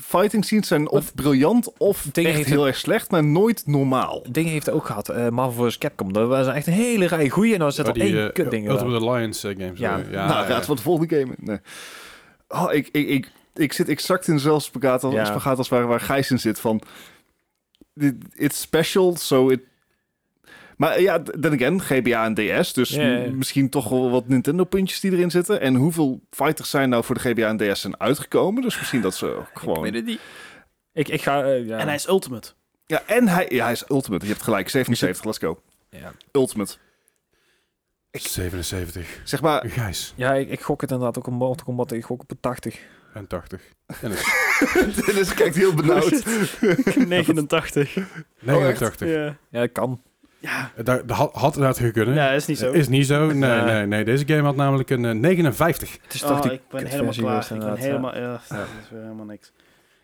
fighting scenes zijn of
Wat-
briljant of
Dingen
echt
heeft-
heel erg slecht, maar nooit normaal.
Ding heeft het ook gehad. eh Marvel vs. Capcom. Dat was echt een hele rij goeie. En dan zit
Oh,
er één
eh,
kut ding in.
Ultimate Alliance eh, games.
Ja.
eh,
nou,
eh,
raad wat de volgende game. Nee. Oh, ik, ik, ik, ik zit exact in dezelfde spagaat als,
Ja.
spagaat als waar, waar Gijs in zit. Van, dit- it's special, so it... Maar ja, dan again, GBA en DS, dus
Ja, ja.
m- misschien toch wel wat Nintendo-puntjes die erin zitten. En hoeveel fighters zijn nou voor de GBA en DS zijn uitgekomen? Dus misschien dat ze ook gewoon...
Ik, ik ga... eh, ja.
(laughs) En hij is ultimate.
Ja, en hij, ja, hij is Ultimate. Je hebt gelijk, 77, let's go.
Ja,
Ultimate.
77.
Zeg maar,
Gijs.
ja ik, ik gok het inderdaad ook op Mortal Kombat. Ik gok op een 80.
En
Oh,
80. En
(laughs)
het-
Dennis kijkt heel benauwd.
(laughs) 89.
89.
Ja.
Ja, dat kan.
Dat dat Eh, had, had inderdaad gekund.
ja, is niet zo.
Eh, Is niet zo. Nee,
Nee.
nee, nee. Deze game had namelijk een eh, 59.
Het is
Oh,
toch die...
ik ben
kutversie
helemaal klaar.
geweest
Ik ben
inderdaad, ja.
helemaal... Ja, dat is weer helemaal niks.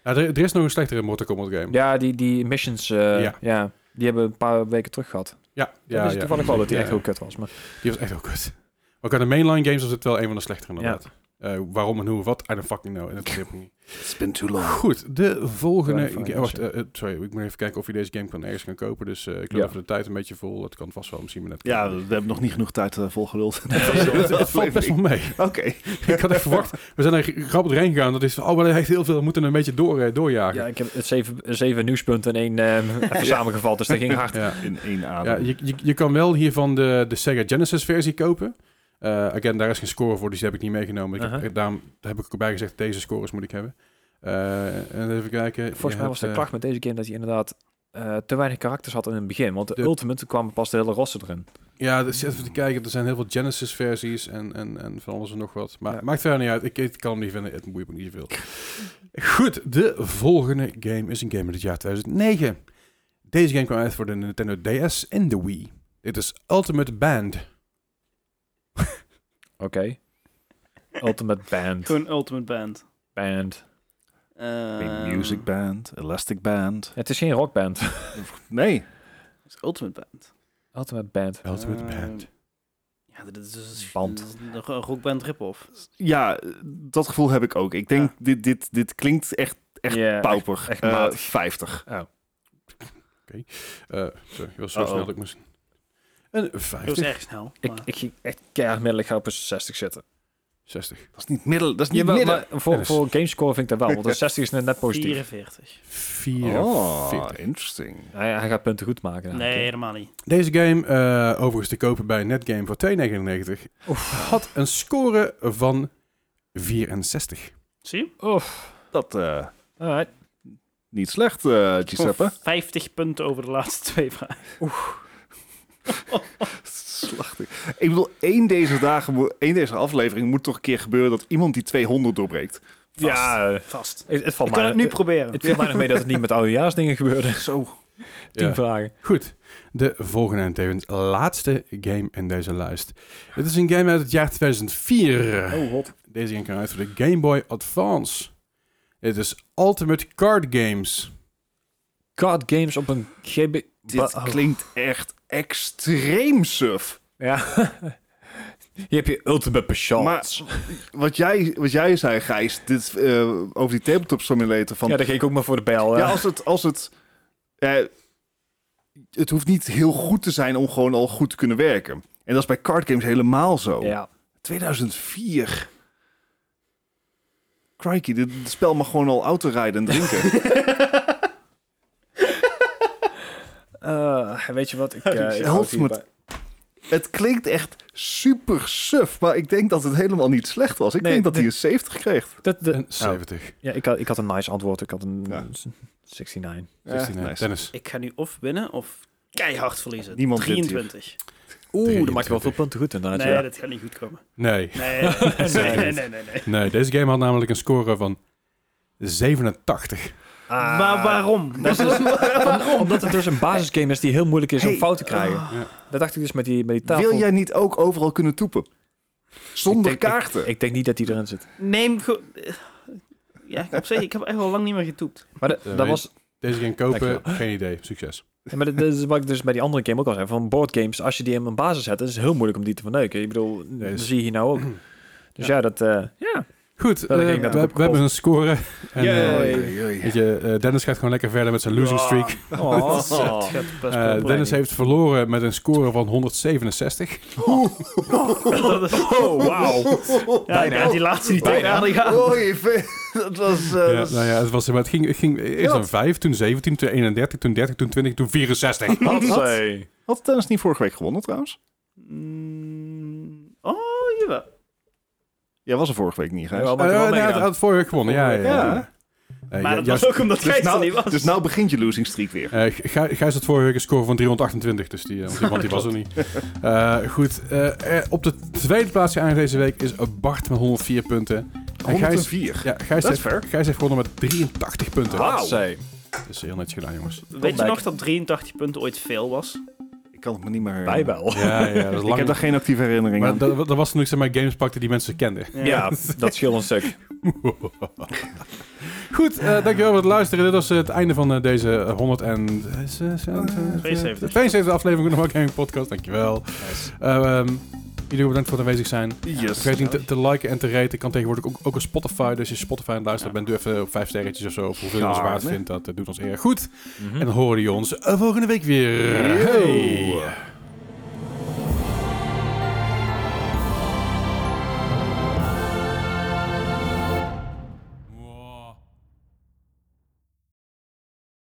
Nou, er, er is nog een slechtere Mortal Kombat game.
Ja, die, die missions... eh,
Ja.
ja. Die hebben we een paar weken terug gehad.
ja,
Ja,
ja,
dus
ja.
toevallig wel dat die
Ja,
echt
ja.
heel kut was. Maar
Die was echt heel kut. Maar qua de mainline games was het wel een van de slechtere inderdaad. Eh, waarom en hoe, wat, I don't fucking know. En dat begreep ik niet.
It's been too long.
Goed, de volgende...
Fine, fine,
ga- wacht,
ja.
eh, eh, sorry, ik moet even kijken of je deze game kan ergens gaan kopen. Dus eh, ik loop
Ja.
even de tijd een beetje vol. Het kan vast wel, misschien maar net.
Ja, we hebben nog niet genoeg tijd eh, volgeluld. (laughs)
het, (laughs) het valt best wel mee.
(laughs)
Oké.
ik had echt verwacht. We zijn er grappig doorheen gegaan. Dat is van, oh, maar hij heeft heel veel. We moeten een beetje door, eh, doorjagen.
Ja, ik heb het zeven, zeven nieuwspunten in één eh, (laughs) even samengevat, dus dat ging hard.
ja.
In één
Ja,
adem.
je, je, je kan wel hiervan de, de Sega Genesis versie kopen. Eh, again, daar is geen score voor, dus die heb ik niet meegenomen. Ik heb- eh,
Uh-huh.
daarom heb ik ook bij gezegd, deze scores moet ik hebben. Eh, en even kijken.
Volgens
Je
mij was de
hebt, eh,
klacht met deze game dat hij inderdaad eh, te weinig karakters had in het begin. Want de,
De-
Ultimate kwam pas de hele roster erin.
eh, ja, dus even te kijken. Er zijn heel veel Genesis versies en, en, en van alles en nog wat. Maar
Ja.
maakt verder niet uit. Ik, ik kan hem niet vinden. Het boeit me niet zoveel. Goed, de volgende game is een game uit het jaar 2009. Deze game kwam uit voor de Nintendo DS en de Wii. Dit is Ultimate Band. (laughs)
Oké. Ultimate Band.
Gewoon Ultimate Band.
Band.
Ehm,
Big Music Band, Elastic Band.
Het is geen rockband.
Nee.
is Ultimate Band.
Ultimate Band.
Ah.
Ultimate
Ehm,
Band.
Ja, dit is dus
Band.
dit is een ro- rockband rip-off.
Ja, dat gevoel heb ik ook. Ik denk, dit, dit, dit klinkt echt, echt
Ja,
pauper.
echt- echt
Eh,
matig.
50.
Eh sorry, ik was zo
Uh-oh.
snel dat ik moest... Een
Dat was
50.
erg snel.
Ik,
maar-
ik ging echt keihard middelen. Ik ga op een 60 zitten.
60.
Dat is niet middel. Dat is niet
Jawel,
midden.
maar voor, voor gamescore vind ik dat wel. Want een 60 is net, net positief.
44.
4.
Oh, interesting.
Nou Hij, hij gaat punten goed maken.
Nee, helemaal niet.
Deze game, eh, overigens te kopen bij Netgame voor 2,99, had een score van 64.
Zie je?
Dat eh,
Alright.
niet slecht, eh Giuseppe.
(laughs)
Gewoon 50 punten over de laatste twee (laughs) vragen.
Slachtig. Ik bedoel, één deze, dagen, moet- één deze aflevering moet toch een keer gebeuren dat iemand die 200 doorbreekt.
Ja, eh,
Vast.
het, het valt
Ik
mij...
kan eh, het nu
het,
proberen.
het viel mij nog mee dat het niet met oudejaarsdingen gebeurde.
Zo.
Tien
Ja.
vragen.
Goed, de volgende en tevens laatste game in deze lijst. Dit is een game uit het jaar 2004.
Oh, god.
Deze game kwam uit voor de Game Boy Advance. Dit is Ultimate Card Games.
Card games op een GB...
Dit
Oh.
klinkt echt extreem suf.
Ja. (laughs) Hier heb je ultimate passion.
Maar wat jij, wat jij zei, Gijs, dit, eh, over die tabletop simulator. Van,
ja,
ja,
daar ging ik ook maar voor de bel. Ja,
als het... Als het eh, het hoeft niet heel goed te zijn om gewoon al goed te kunnen werken. En dat is bij card games helemaal zo.
ja.
2004. Crikey, dit, dit spel mag gewoon al autorijden en drinken.
(laughs) Eh, weet je wat?
(laughs)
Ik, eh, ik
Ultimate-
houd hierbij.
het klinkt echt super suf, maar ik denk dat het helemaal niet slecht was. Ik
Nee,
denk dat
dit-
hij een 70 kreeg.
Dat, de, Oh.
En 70.
ja, ik, had, ik had een nice antwoord. Ik had een
Ja.
69.
16,
Eh,
eh,
nice.
Dennis.
Ik ga nu of winnen of keihard verliezen.
Niemand wint hier.
23.
Oeh, dan maak je
23.
wel veel punten goed inderdaad.
Nee,
Ah, ja.
dat gaat niet
(laughs)
goed komen.
Nee.
Nee, nee, nee, nee. nee, nee, nee.
Nee, deze game had namelijk een score van 87.
Ah.
Maar waarom?
(laughs)
Dat is
Om- Omdat het dus een basisgame is die heel moeilijk is om
Hey. Ah.
fout te krijgen. Dat dacht ik dus met die, met die tafel.
Wil jij niet ook overal kunnen toepen? Zonder
Ik denk-
kaarten.
Ik denk niet dat die erin zit.
Neem gewoon... Ja, ik, op zich, ik heb echt al lang niet meer getoept.
Maar dat-
Eh,
dat
weet-
was
Deze game kopen,
Dankjewel.
geen idee. Succes.
Ja, maar dat dat is wat ik dus bij die andere game ook al zei. Van boardgames, als je die in een basis zet, dan is het heel moeilijk om die te verneuken. Ik bedoel, dat
is-
zie je hier nou
(clears throat)
ook. Dus ja, dat... eh, ja.
Goed,
Dat
eh,
ging
we,
net op
we hebben een score. En, eh,
Yay.
(laughs)
weet je, eh, Dennis gaat gewoon lekker verder met zijn losing streak.
Oh.
Het gaat best
Eh,
wel
Dennis heeft verloren met een score van 167.
Eh, Oh.
Dat is-
Oh,
(laughs)
wauw.
ja, ja, die laatste die
Bijna.
tegen aan gaan.
Oei, dat was... eh,
Ja,
dat is-
nou ja, het, was, maar het ging, het ging eerst
Ja.
een 5, toen 17, toen 31, toen 30, toen 20, toen 64.
Hatsé.
Had Dennis niet vorige week gewonnen trouwens?
Mm, Oh, jawel.
Eh, Jij was er vorige week niet, Gijs.
Jawel, maar
Eh,
ik heb
nee,
wel
hij had, hij
meegedaan.
had vorige week gewonnen, ja. ja, ja.
Ja.
Eh,
Maar
ja,
dat
juist-
was ook omdat Gijs er niet was.
dus nou begint je losing streak weer.
Eh, Gij- Gijs had vorige week een score van 328, dus die, eh, want die, want die was er niet. Eh, goed, eh, eh, op de tweede plaats aan deze week is Bart met 104 punten. En Gijs,
104.
ja, Gijs,
Dat is
heeft,
fair.
Gijs heeft gewonnen met 83 punten.
Hatsé.
Dat is heel netjes gedaan, jongens.
Weet je
back.
nog dat 83 punten ooit veel was?
Ik kan het me niet meer...
Wij wel.
Ja, ja, dat is
Ik heb daar
lang.
geen actieve herinnering
Maar
aan.
dat, dat was toen ik zeg maar games pakte die mensen kenden.
Ja, dat scheelt een stuk.
Goed, eh, dankjewel voor het luisteren. Dit was eh, het einde van eh, deze 100 en... eh,
72.
72 aflevering van de Mark Gaming Podcast. Dankjewel. Ehm, Jullie bedankt voor het aanwezig zijn.
Yes.
Vergeet niet te, te liken en te raten. Kan tegenwoordig ook, ook op Spotify. Dus als je Spotify aan het luisteren bent, doe even vijf sterretjes of zo. Of hoeveel je ons waard
Gaarne.
vindt, dat eh, doet ons erg goed. En dan horen jullie ons eh, volgende week weer.
Yo.
Hey.